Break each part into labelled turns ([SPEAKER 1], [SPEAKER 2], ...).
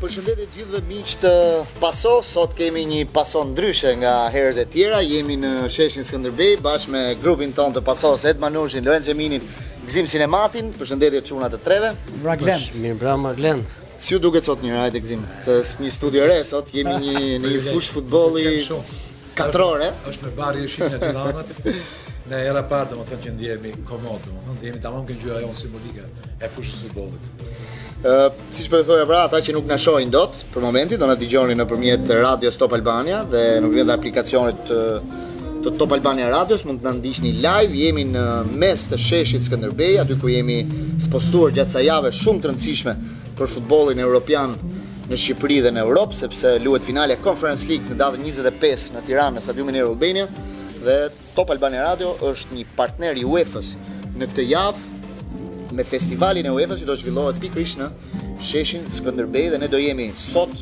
[SPEAKER 1] Përshëndetje gjithë dhe miq të Paso. Sot kemi një Paso ndryshe nga herët e tjera. Jemi në sheshin Skënderbej bashkë me grupin ton të Pasos, Ed Manushin, Lorenz Eminin, Gzim Sinematin. Përshëndetje çuna të treve.
[SPEAKER 2] Raglen.
[SPEAKER 3] Mirë brama Glen.
[SPEAKER 1] Si ju duket sot një hajde Gzim? Se është një studio re sot, jemi një në një fush futbolli katrore.
[SPEAKER 4] është me barje shinë e Tiranat. Ne era parë domethënë që ndjehemi komod, domethënë jemi tamam kënë gjyra jonë simbolike e fushës së futbollit.
[SPEAKER 1] Ë, siç po e thoja pra, ata që nuk na shohin dot për momentin, do na dëgjoni nëpërmjet Radio Stop Albania dhe nëpërmjet aplikacionit të, të Top Albania Radios mund të na ndiqni live. Jemi në mes të sheshit Skënderbej, aty ku jemi spostuar gjatë sa jave shumë të rëndësishme për futbollin evropian në Shqipëri dhe në Europë, sepse luhet finale e Conference League në datën 25 në Tiranë në stadiumin Air Albania dhe Top Albania Radio është një partner i UEFA-s në këtë javë me festivalin e UEFA-s që do zhvillohet pikërisht në sheshin Skënderbej dhe ne do jemi sot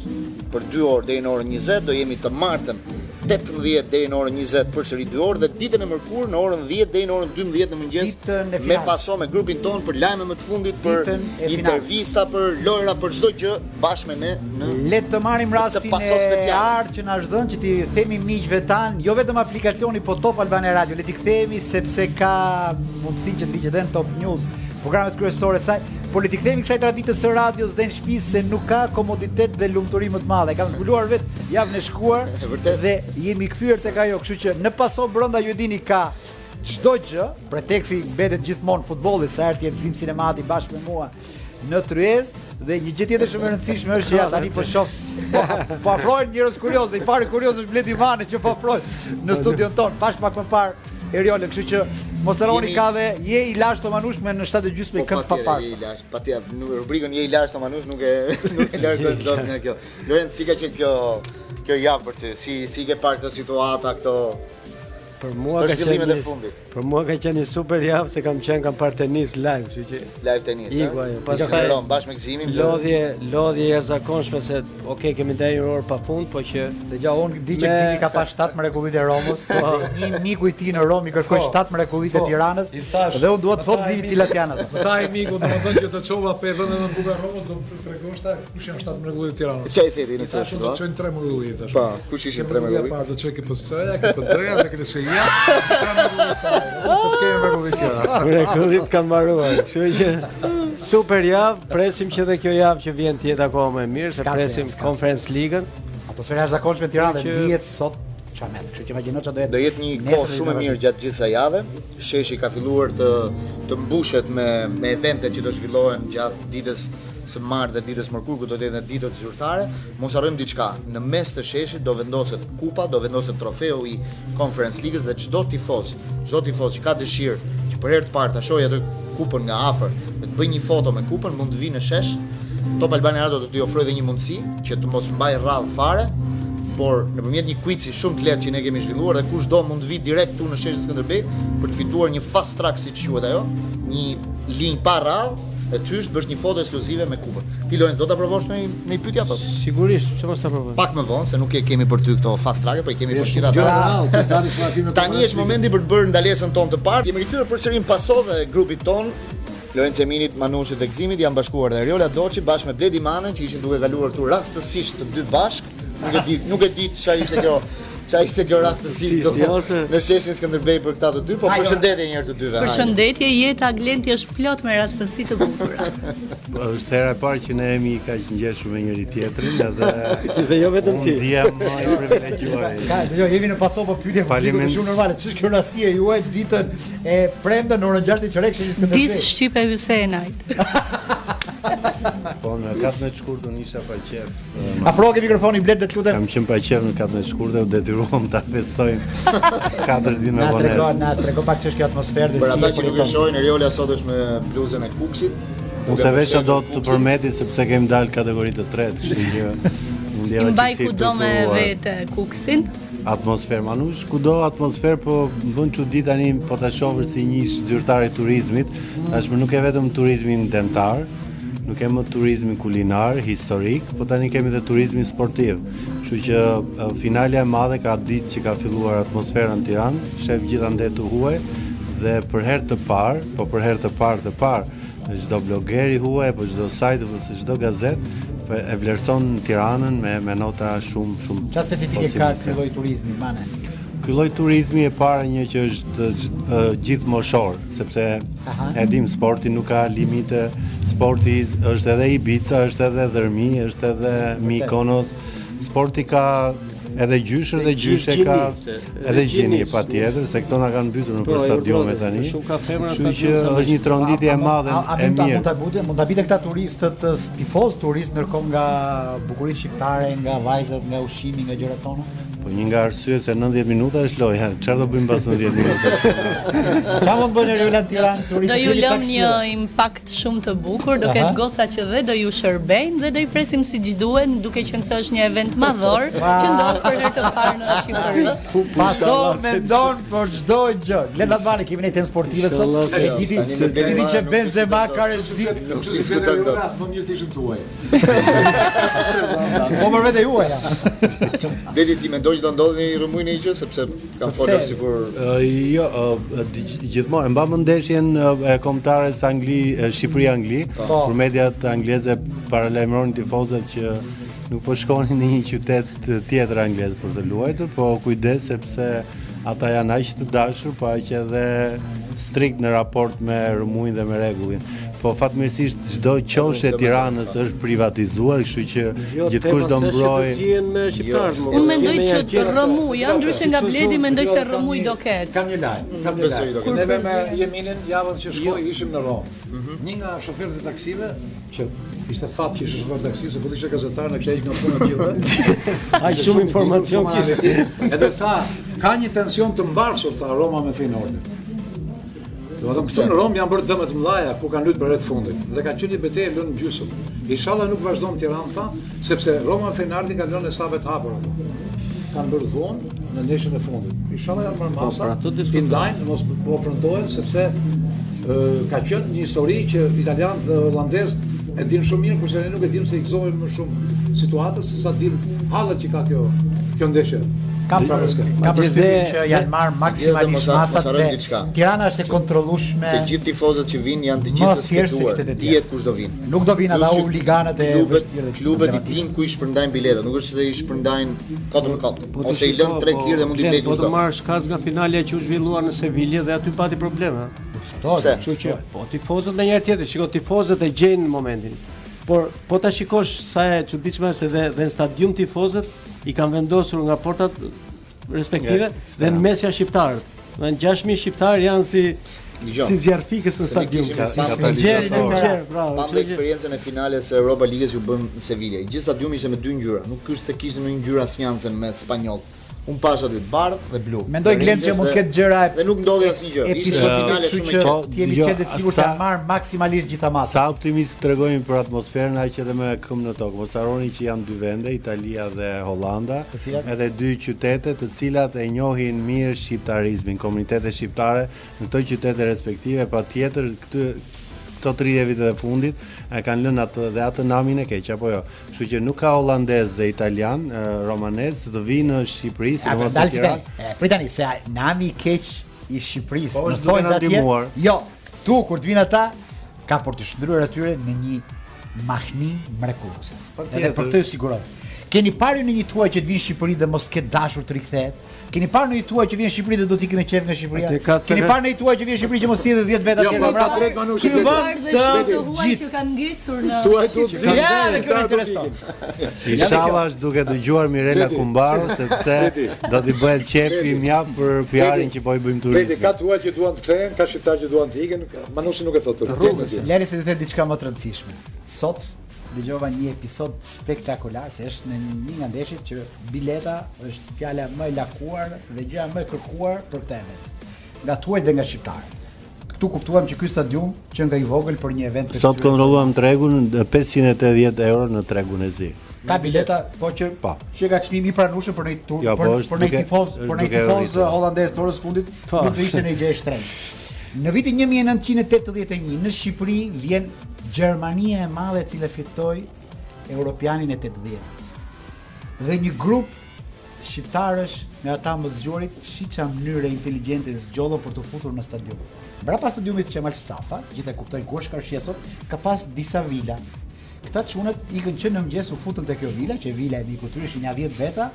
[SPEAKER 1] për 2 orë deri në orën 20, do jemi të martën 18 deri në orën 20 përsëri 2 orë dhe ditën e mërkurë në orën 10 deri në orën 12 në mëngjes
[SPEAKER 2] Ditën e
[SPEAKER 1] me
[SPEAKER 2] finales.
[SPEAKER 1] paso me grupin ton për lajme më të fundit për
[SPEAKER 2] Ditën e finales.
[SPEAKER 1] intervista për lojra për çdo gjë bashkë me ne në
[SPEAKER 2] Le të marrim rastin
[SPEAKER 1] paso
[SPEAKER 2] e
[SPEAKER 1] special.
[SPEAKER 2] ardh që na është dhënë që ti themi miqve tan, jo vetëm aplikacioni, po Top Albania Radio. Le ti kthehemi sepse ka mundësinë që ndiqet edhe në Top News, programet kryesore të saj. Por le ti kthehemi kësaj traditës së radios dhe në shtëpi se nuk ka komoditet dhe lumturi më të madhe. Kam zbuluar vet javën e shkuar
[SPEAKER 1] E vërtet.
[SPEAKER 2] dhe jemi kthyer tek ajo, kështu që në paso brenda ju e dini ka çdo gjë, preteksi mbetet gjithmonë futbolli, sa herë të jetë Gzim Sinemati bashkë me mua në tryez dhe një gjë tjetër shumë e rëndësishme është që ja tani po shoh po, po afrohen njerëz kurioz dhe i pari kurioz është Bledi Vane që po afrohet në studion ton bash pak më parë Eriole, kështu që mos harroni
[SPEAKER 1] Jemi-
[SPEAKER 2] ka dhe je i lash të manushme në 7:30 kënd pa
[SPEAKER 1] Po, je i
[SPEAKER 2] parë.
[SPEAKER 1] lash, patjetër, nuk rubrikën je i lash ta manush nuk e nuk e largojmë dot nga kjo. Lorenz, si ka qenë kjo kjo javë për ty? Si si ke parë këtë situata, këto
[SPEAKER 3] Për mua
[SPEAKER 1] Për
[SPEAKER 3] ka qenë
[SPEAKER 1] zhvillimet e
[SPEAKER 3] një-
[SPEAKER 1] fundit.
[SPEAKER 3] Për mua ka qenë një super javë se kam qenë kam parë tenis live, kështu që
[SPEAKER 1] live tenis,
[SPEAKER 3] Iku ajo,
[SPEAKER 1] Pas
[SPEAKER 3] pastaj-
[SPEAKER 1] bashkë me Gzimin.
[SPEAKER 3] lodhje lodhje e jashtëzakonshme se okay kemi ndajë një orë pa fund, po që
[SPEAKER 2] Dëgjoj, unë di që
[SPEAKER 3] Me-
[SPEAKER 2] Gzimi ka pa 7 mrekullit e Romës, dhe një miku i tij në Rom i kërkoi
[SPEAKER 4] Po.
[SPEAKER 2] 7 mrekullit e
[SPEAKER 4] Po.
[SPEAKER 2] Tiranës,
[SPEAKER 4] I thash.
[SPEAKER 2] dhe unë dua të
[SPEAKER 4] Po,
[SPEAKER 2] them
[SPEAKER 4] tha,
[SPEAKER 2] Gzimi
[SPEAKER 4] i
[SPEAKER 2] cilat janë ato.
[SPEAKER 4] Më po tha i miku domethënë që të çova pe vendën në Bugar Romës, do të tregosh ta kush janë shtatë mrekullit e Tiranës.
[SPEAKER 1] Çfarë i theti në
[SPEAKER 4] I
[SPEAKER 1] këtë
[SPEAKER 4] thash, unë do të
[SPEAKER 1] situatë?
[SPEAKER 4] çojnë tre mrekulli tash.
[SPEAKER 1] Pa, kush ishin tre mrekulli?
[SPEAKER 4] Pa, do të çoj ke pozicione, ke të drejtë, ke lëshëria. Tre mrekulli. Sa s'kemë mrekulli tjera.
[SPEAKER 3] mrekullit kanë mbaruar. Kështu që super javë, presim që edhe kjo javë që vjen të jetë akoma më e mirë, se
[SPEAKER 2] S'kam se,
[SPEAKER 3] presim
[SPEAKER 2] s'kam se.
[SPEAKER 3] Conference League-ën.
[SPEAKER 2] Atmosfera e zakonshme në Tiranë dhe
[SPEAKER 3] Që-
[SPEAKER 2] dihet sot çamet, kështu që imagjino çfarë do jetë.
[SPEAKER 1] Do jetë një
[SPEAKER 2] nesër
[SPEAKER 1] kohë
[SPEAKER 2] dhe
[SPEAKER 1] shumë e
[SPEAKER 2] ditave
[SPEAKER 1] mirë gjatë gjithë kësaj jave. Sheshi ka filluar të të mbushet me me eventet që do zhvillohen gjatë ditës së martë dhe ditës mërkurë, ku do të jetë ditët zyrtare. Mos harrojmë diçka. Në mes të sheshit do vendoset kupa, do vendoset trofeu i Conference League-s dhe çdo tifoz, çdo tifoz që ka dëshirë që për herë të parë ta shohë atë kupën nga afër, dhe të bëj një foto me kupën, mund të vi në shesh. Top Albania Radio do t'i ofrojë dhe një mundësi që të mos mbaj rradh fare, por nëpërmjet një quizi shumë të lehtë që ne kemi zhvilluar dhe kushdo mund të vi direkt tu në sheshin Skënderbej për të fituar një fast track siç quhet ajo, një linjë pa radhë e ty është bësh një foto ekskluzive me kupën. Ti Lorenz do ta provosh në një- në një pyetje apo?
[SPEAKER 3] Sigurisht, pse mos ta provoj.
[SPEAKER 1] Pak më vonë se nuk e kemi për ty këto fast track, por i kemi për
[SPEAKER 4] Gjëra
[SPEAKER 1] tira
[SPEAKER 4] të
[SPEAKER 1] ta.
[SPEAKER 4] rrallë, që tani shumë afim me
[SPEAKER 1] Tani është momenti për të bërë ndalesën tonë të parë. Jemi rikthyer përsëri në paso dhe grupit ton Lorenz Eminit, Manushit dhe Gzimit janë bashkuar dhe Riola Doçi bashkë me Bledi Manën që ishin duke kaluar këtu rastësisht të dy bashk. Nuk e di, nuk e di çfarë ishte kjo. Çfarë ishte kjo rastësi
[SPEAKER 3] Rastësisht, jo,
[SPEAKER 1] këtu
[SPEAKER 3] se-
[SPEAKER 1] në sheshin Skënderbej për këta të dy, po përshëndetje një herë të dyve. hajde.
[SPEAKER 5] Përshëndetje, jeta Glenti është plot me rastësi të bukura.
[SPEAKER 6] Po, është hera e parë që ne jemi kaq ngjeshur me njëri tjetrin edhe
[SPEAKER 3] Dhe jo vetëm ti.
[SPEAKER 6] Unë ndjem më i privilegjuar.
[SPEAKER 2] Ka, jo, jemi në paso po pyetje publiku
[SPEAKER 6] Faliment.
[SPEAKER 2] është shumë normale. Ç'është kjo rasia juaj ditën e premte në orën 6 çorek sheshi
[SPEAKER 5] Dis
[SPEAKER 2] Skënderbej.
[SPEAKER 5] Shqipe Hysenajt.
[SPEAKER 6] Po në 14 shkurtën isha pa qef.
[SPEAKER 2] Afro ke mikrofonin bled dhe të lutem.
[SPEAKER 6] Kam qenë pa qef në 14 shkurtën, u detyruam ta festojmë 4 ditë
[SPEAKER 2] Na
[SPEAKER 6] në
[SPEAKER 2] trego,
[SPEAKER 6] vonë.
[SPEAKER 2] na trego pak ç'është kjo atmosferë dhe
[SPEAKER 1] Për
[SPEAKER 2] si
[SPEAKER 1] ata
[SPEAKER 2] e
[SPEAKER 1] që nuk e
[SPEAKER 2] përjeton.
[SPEAKER 1] shohin, Riola sot është me bluzën e Kuksit.
[SPEAKER 6] Unë se vesha dot të përmeti sepse kemi dalë kategori të tretë, kështu që unë
[SPEAKER 5] I
[SPEAKER 6] ndjeva
[SPEAKER 5] mbaj
[SPEAKER 6] qetësi
[SPEAKER 5] kudo
[SPEAKER 6] për
[SPEAKER 5] me
[SPEAKER 6] të-
[SPEAKER 5] vete kuksin.
[SPEAKER 6] Atmosferë manush, kudo atmosferë, po më bën çudi tani po ta shohësh si një zyrtar i turizmit. Tashmë nuk e vetëm turizmin dentar, nuk e më turizmin kulinar, historik, po tani kemi edhe turizmin sportiv. Kështu që e, finalja e madhe ka ditë që ka filluar atmosfera në Tiranë, shef gjithandaj të huaj dhe për herë të parë, po për herë të parë të parë, çdo blogeri huaj, po çdo sajt, po çdo gazet e- e vlerëson Tiranën me me nota shumë shumë.
[SPEAKER 2] Qa
[SPEAKER 4] Po,
[SPEAKER 2] specifike ka
[SPEAKER 6] pozitiviste.
[SPEAKER 2] ky lloj turizmi, mane?
[SPEAKER 6] Ky lloj turizmi e para një që është gj- ë, gjithë moshor, sepse
[SPEAKER 2] Aha.
[SPEAKER 6] e dim sporti nuk ka limite. Sporti is- është edhe Ibiza, është edhe Dërmi, është edhe Mykonos. Sporti ka edhe gjyshe dhe
[SPEAKER 3] Dhe
[SPEAKER 6] gjyshe
[SPEAKER 3] gjini,
[SPEAKER 6] ka
[SPEAKER 3] se-
[SPEAKER 6] edhe
[SPEAKER 3] edhe
[SPEAKER 6] gjini
[SPEAKER 3] gjini,
[SPEAKER 6] patjetër, se këto na kanë mbytur në për
[SPEAKER 2] jo,
[SPEAKER 3] Po, e
[SPEAKER 6] stadiume
[SPEAKER 3] vërtetë,
[SPEAKER 6] tani.
[SPEAKER 3] shumë ka femra
[SPEAKER 6] Kështu që
[SPEAKER 3] stadium sa
[SPEAKER 6] është një tronditje e madhe
[SPEAKER 2] A- a- a
[SPEAKER 6] e
[SPEAKER 2] mund ta-
[SPEAKER 6] mirë.
[SPEAKER 2] Mund ta butin, mund ta bite këta turistët eh, s- tifoz turist ndërkohë nga bukuria shqiptare, nga vajzat, nga ushqimi, nga gjërat tona.
[SPEAKER 6] Po një nga arsyet se 90 minuta është loja. Çfarë do bëjmë pas 90 minutash?
[SPEAKER 2] Çfarë mund bëjnë Riola në Tiranë turistët?
[SPEAKER 5] Do ju
[SPEAKER 2] jeni
[SPEAKER 5] lëm
[SPEAKER 2] ca
[SPEAKER 5] një
[SPEAKER 2] këshilla.
[SPEAKER 5] impakt shumë të bukur, do
[SPEAKER 2] Aha.
[SPEAKER 5] ketë goca që dhe do ju shërbejnë dhe do i presim si duhen, duke qenë se është një event madhor që ndodh për herë të parë në Shqipëri.
[SPEAKER 2] Paso mendon për çdo gjë. Le ta bani kemi ne temë sportive sot.
[SPEAKER 3] Inshallah,
[SPEAKER 2] E
[SPEAKER 3] se-
[SPEAKER 2] diti
[SPEAKER 1] tani me
[SPEAKER 2] se diti
[SPEAKER 1] Benzema
[SPEAKER 2] që
[SPEAKER 1] nuk
[SPEAKER 2] Benzema
[SPEAKER 1] diskutojmë.
[SPEAKER 2] ka rëzim.
[SPEAKER 4] Nuk
[SPEAKER 1] Nuk
[SPEAKER 4] që si këtë
[SPEAKER 1] diskutojmë
[SPEAKER 4] e
[SPEAKER 1] dot.
[SPEAKER 4] urat, më mirë të ishim tuaj.
[SPEAKER 2] Po për vete juaja.
[SPEAKER 1] Bledi ti mendoj që do ndodhi një rrëmujë në gjë sepse kam
[SPEAKER 2] Pse?
[SPEAKER 1] folur sikur
[SPEAKER 6] Ë, Jo, ë, di- gjithmonë e mbam ndeshjen ë, e kombëtares Angli e, Shqipëri-Angli,
[SPEAKER 2] Po.
[SPEAKER 6] kur mediat angleze paralajmëronin tifozët që nuk po shkonin në një qytet tjetër anglez për të luajtur, po kujdes sepse ata janë aq të dashur, po aq edhe strikt në raport me rëmujin dhe me rregullin. Po fatmirësisht çdo qoshe e Tiranës është privatizuar, kështu që
[SPEAKER 3] Jo,
[SPEAKER 6] gjithkush do mbrojë
[SPEAKER 3] me
[SPEAKER 1] Jo.
[SPEAKER 3] shqiptarët. mo,
[SPEAKER 5] Unë mendoj
[SPEAKER 3] jemi
[SPEAKER 5] që
[SPEAKER 3] janë
[SPEAKER 5] të
[SPEAKER 3] gjithë ato.
[SPEAKER 5] rëmuja, ndryshe nga Bledi mendoj se rëmuj do ketë.
[SPEAKER 4] Kam jo, një lajm, kam një
[SPEAKER 1] besoj do
[SPEAKER 4] lajm. Jo.
[SPEAKER 1] ketë.
[SPEAKER 4] Neve me Jeminin javën që shkoi ishim në Rom. Një nga shoferët e taksive që ishte fat që ishte shofer taksi, se po ishte gazetar në këtej në punë gjithë.
[SPEAKER 3] Ai shumë informacion kishte.
[SPEAKER 4] Edhe tha, ka një tension të mbarshur tha Roma me Feyenoordin. Do të thonë këtu në Rom janë bërë dëmë të mëdha ku kanë luajtur për herë të fundit dhe ka qenë një betejë e lënë gjysmë. Inshallah nuk vazhdon në Tiranë tha, sepse Roma me Feyenoordin kanë lënë hesabet hapur ato. Kanë bërë dhunë në ndeshjen e fundit. Inshallah janë marrë masa.
[SPEAKER 3] pra, ato
[SPEAKER 4] i
[SPEAKER 3] diskutojnë.
[SPEAKER 4] ndajnë, mos po ofrontohen sepse ë, ka qenë një histori që italianët dhe holandezët e dinë shumë mirë, kurse ne nuk e dimë se i gëzohemi më shumë situatës se sa dinë hallat që ka kjo kjo ndeshje.
[SPEAKER 2] Kam
[SPEAKER 4] Dhe-
[SPEAKER 2] përshtypjen,
[SPEAKER 4] Ma
[SPEAKER 2] kam
[SPEAKER 3] gjithë
[SPEAKER 2] përshtypjen
[SPEAKER 3] dhe-
[SPEAKER 2] që janë marrë
[SPEAKER 1] mos har-
[SPEAKER 2] maksimalisht
[SPEAKER 1] mos
[SPEAKER 2] masat
[SPEAKER 1] harrojmë
[SPEAKER 2] dhe
[SPEAKER 1] diçka.
[SPEAKER 2] Tirana është e kontrollueshme.
[SPEAKER 1] të gjithë tifozët që vinë janë të
[SPEAKER 2] Ma
[SPEAKER 1] gjithë të
[SPEAKER 2] thjeshtë se
[SPEAKER 1] skeduar.
[SPEAKER 2] qytetet tjera.
[SPEAKER 1] Dihet kush do vinë.
[SPEAKER 2] Nuk do vinë ata
[SPEAKER 1] Plus që
[SPEAKER 2] huliganët e
[SPEAKER 1] klubet,
[SPEAKER 2] vështirë dhe
[SPEAKER 1] klubet i
[SPEAKER 2] problematike.
[SPEAKER 1] din ku i shpërndajnë biletat, nuk është se i shpërndajnë kot në kot.
[SPEAKER 3] Po të
[SPEAKER 1] Ose i
[SPEAKER 3] shiko,
[SPEAKER 1] lën tre
[SPEAKER 3] po,
[SPEAKER 1] lirë dhe mund i
[SPEAKER 3] Glenn,
[SPEAKER 1] blej
[SPEAKER 3] Po
[SPEAKER 1] kush
[SPEAKER 3] të
[SPEAKER 1] do.
[SPEAKER 3] marrësh kaz nga finalja që u zhvillua në Sevilje dhe aty pati probleme. ha.
[SPEAKER 1] Pse?
[SPEAKER 3] Kështu që po tifozët në njëherë tjetër, shiko tifozët e gjejnë në momentin. Por po ta shikosh sa e çuditshme është edhe dhe në stadium tifozët i kanë vendosur nga portat respektive dhe në mes janë shqiptarët. Do të thënë 6000 shqiptarë janë si
[SPEAKER 1] Dgjoj.
[SPEAKER 3] si zjarrfikës
[SPEAKER 1] Se
[SPEAKER 3] në
[SPEAKER 1] ne
[SPEAKER 3] stadium.
[SPEAKER 1] kishim
[SPEAKER 3] ka-
[SPEAKER 1] pas-
[SPEAKER 3] ka-
[SPEAKER 1] pas-
[SPEAKER 3] Gjerë,
[SPEAKER 1] pas-
[SPEAKER 3] gjerë, bravo.
[SPEAKER 1] Pam dhe
[SPEAKER 3] kështu që-
[SPEAKER 1] eksperiencën e finales së Europa Ligës ju bëm në Sevilla. Gjithë stadiumi ishte me dy ngjyra, nuk është se kishte ndonjë ngjyrë asnjëse me spanjoll. Un pash aty të bardh dhe blu.
[SPEAKER 2] Mendoj
[SPEAKER 1] Dhe
[SPEAKER 2] Glenn që
[SPEAKER 1] Rangers
[SPEAKER 2] mund
[SPEAKER 1] dhe-
[SPEAKER 2] ketë gjëra e
[SPEAKER 1] dhe nuk ndodhi asnj gjë. Ishte
[SPEAKER 2] episodike,
[SPEAKER 1] finale
[SPEAKER 2] kështu
[SPEAKER 1] shumë e
[SPEAKER 2] që
[SPEAKER 1] qetë.
[SPEAKER 2] ti jemi
[SPEAKER 6] Jo,
[SPEAKER 2] qenë të sigurt se
[SPEAKER 6] sa-
[SPEAKER 2] janë marrë maksimalisht gjitha masat.
[SPEAKER 6] Sa optimist të regojnë për atmosferën aq edhe me këmbë në tokë. Mos harroni që janë dy vende, Italia dhe Holanda,
[SPEAKER 2] Të cilat?
[SPEAKER 6] edhe dy qytete të cilat e njohin mirë shqiptarizmin, komunitetet shqiptare në këto qytete respektive, patjetër këtë këto 30 vite të fundit e kanë lënë atë dhe atë namin e keq apo jo. Kështu që nuk ka holandez dhe italian, e, romanez të vinë në Shqipëri,
[SPEAKER 2] A po
[SPEAKER 6] sidomos në
[SPEAKER 2] dalë ti.
[SPEAKER 6] Tiranë.
[SPEAKER 2] Prit tani se a- nami i keq i Shqipërisë,
[SPEAKER 6] Po,
[SPEAKER 2] në
[SPEAKER 6] është duke
[SPEAKER 2] thonjë
[SPEAKER 6] na
[SPEAKER 2] atje.
[SPEAKER 6] ndihmuar.
[SPEAKER 2] Jo, tu kur të vinë ata ka për të shndryer atyre në një mahni mrekulluese. Edhe për
[SPEAKER 6] tjetër.
[SPEAKER 2] të siguroj. Keni parë ju në një tuaj që të vinë në Shqipëri dhe mos ketë dashur të rikthehet? Keni parë në një tuaj që vjen në Shqipëri dhe do të ikim me qejf nga Shqipëria?
[SPEAKER 3] Atë ka
[SPEAKER 2] Keni
[SPEAKER 3] cele-
[SPEAKER 2] parë në një tuaj që vjen në Shqipëri që mos sidhet 10 veta
[SPEAKER 4] Jo,
[SPEAKER 2] atje
[SPEAKER 4] po,
[SPEAKER 2] me
[SPEAKER 4] ka
[SPEAKER 6] pra,
[SPEAKER 4] drejt,
[SPEAKER 2] vrapë?
[SPEAKER 4] Manushi,
[SPEAKER 2] Ky
[SPEAKER 4] drejtë.
[SPEAKER 2] vend
[SPEAKER 5] Dhe shumë të
[SPEAKER 2] të
[SPEAKER 5] huaj
[SPEAKER 2] gjithë.
[SPEAKER 5] që kanë ngecur në Shqipëri.
[SPEAKER 2] Ja, dhe kjo intereson.
[SPEAKER 6] Inshallah është duke dëgjuar Mirela Kumbaro sepse do t'i bëhet qepi mjaft për PR-in që po i
[SPEAKER 4] Beti,
[SPEAKER 6] bëjmë turizmin.
[SPEAKER 4] ka të huaj që duan të kthehen, ka shqiptar që duan të ikin, ka- Manushi nuk e thotë të rrugës.
[SPEAKER 2] Lëri se të them diçka më të rëndësishme. Sot dëgjova një episod spektakolar se është në një nga ndeshjet që bileta është fjala më e lakuar dhe gjëja më e kërkuar për këtë event. Nga tuaj dhe nga shqiptarët. Këtu kuptuam që ky stadium që nga i vogël për një event të
[SPEAKER 6] Sot kontrolluam tregun 580 euro në tregun e zi.
[SPEAKER 2] ka bileta, po që
[SPEAKER 6] Pa.
[SPEAKER 2] që ka çmim i pranueshëm për një tur,
[SPEAKER 6] Ja,
[SPEAKER 2] për,
[SPEAKER 6] po, është
[SPEAKER 2] për një
[SPEAKER 6] duke-
[SPEAKER 2] tifoz,
[SPEAKER 6] është
[SPEAKER 2] për një
[SPEAKER 6] duke
[SPEAKER 2] tifoz
[SPEAKER 6] rritur.
[SPEAKER 2] holandez të orës fundit,
[SPEAKER 3] Po.
[SPEAKER 2] nuk do ishte një gjë e shtrenjtë. Në vitin 1981 në Shqipëri vjen Gjermania e madhe e cila fitoi Europianin e 80-s. Dhe një grup shqiptarësh nga ata më të zgjuarit shiça mënyrë inteligjente zgjollën për të futur në stadium. Mbrapa stadiumit Qemal Safa, gjithë e kuptojnë ku është Karshia sot, ka pas disa vila këta çunat ikën që në mëngjes u futën te kjo vila, që vila e mikut tyre ishin ja 10 veta.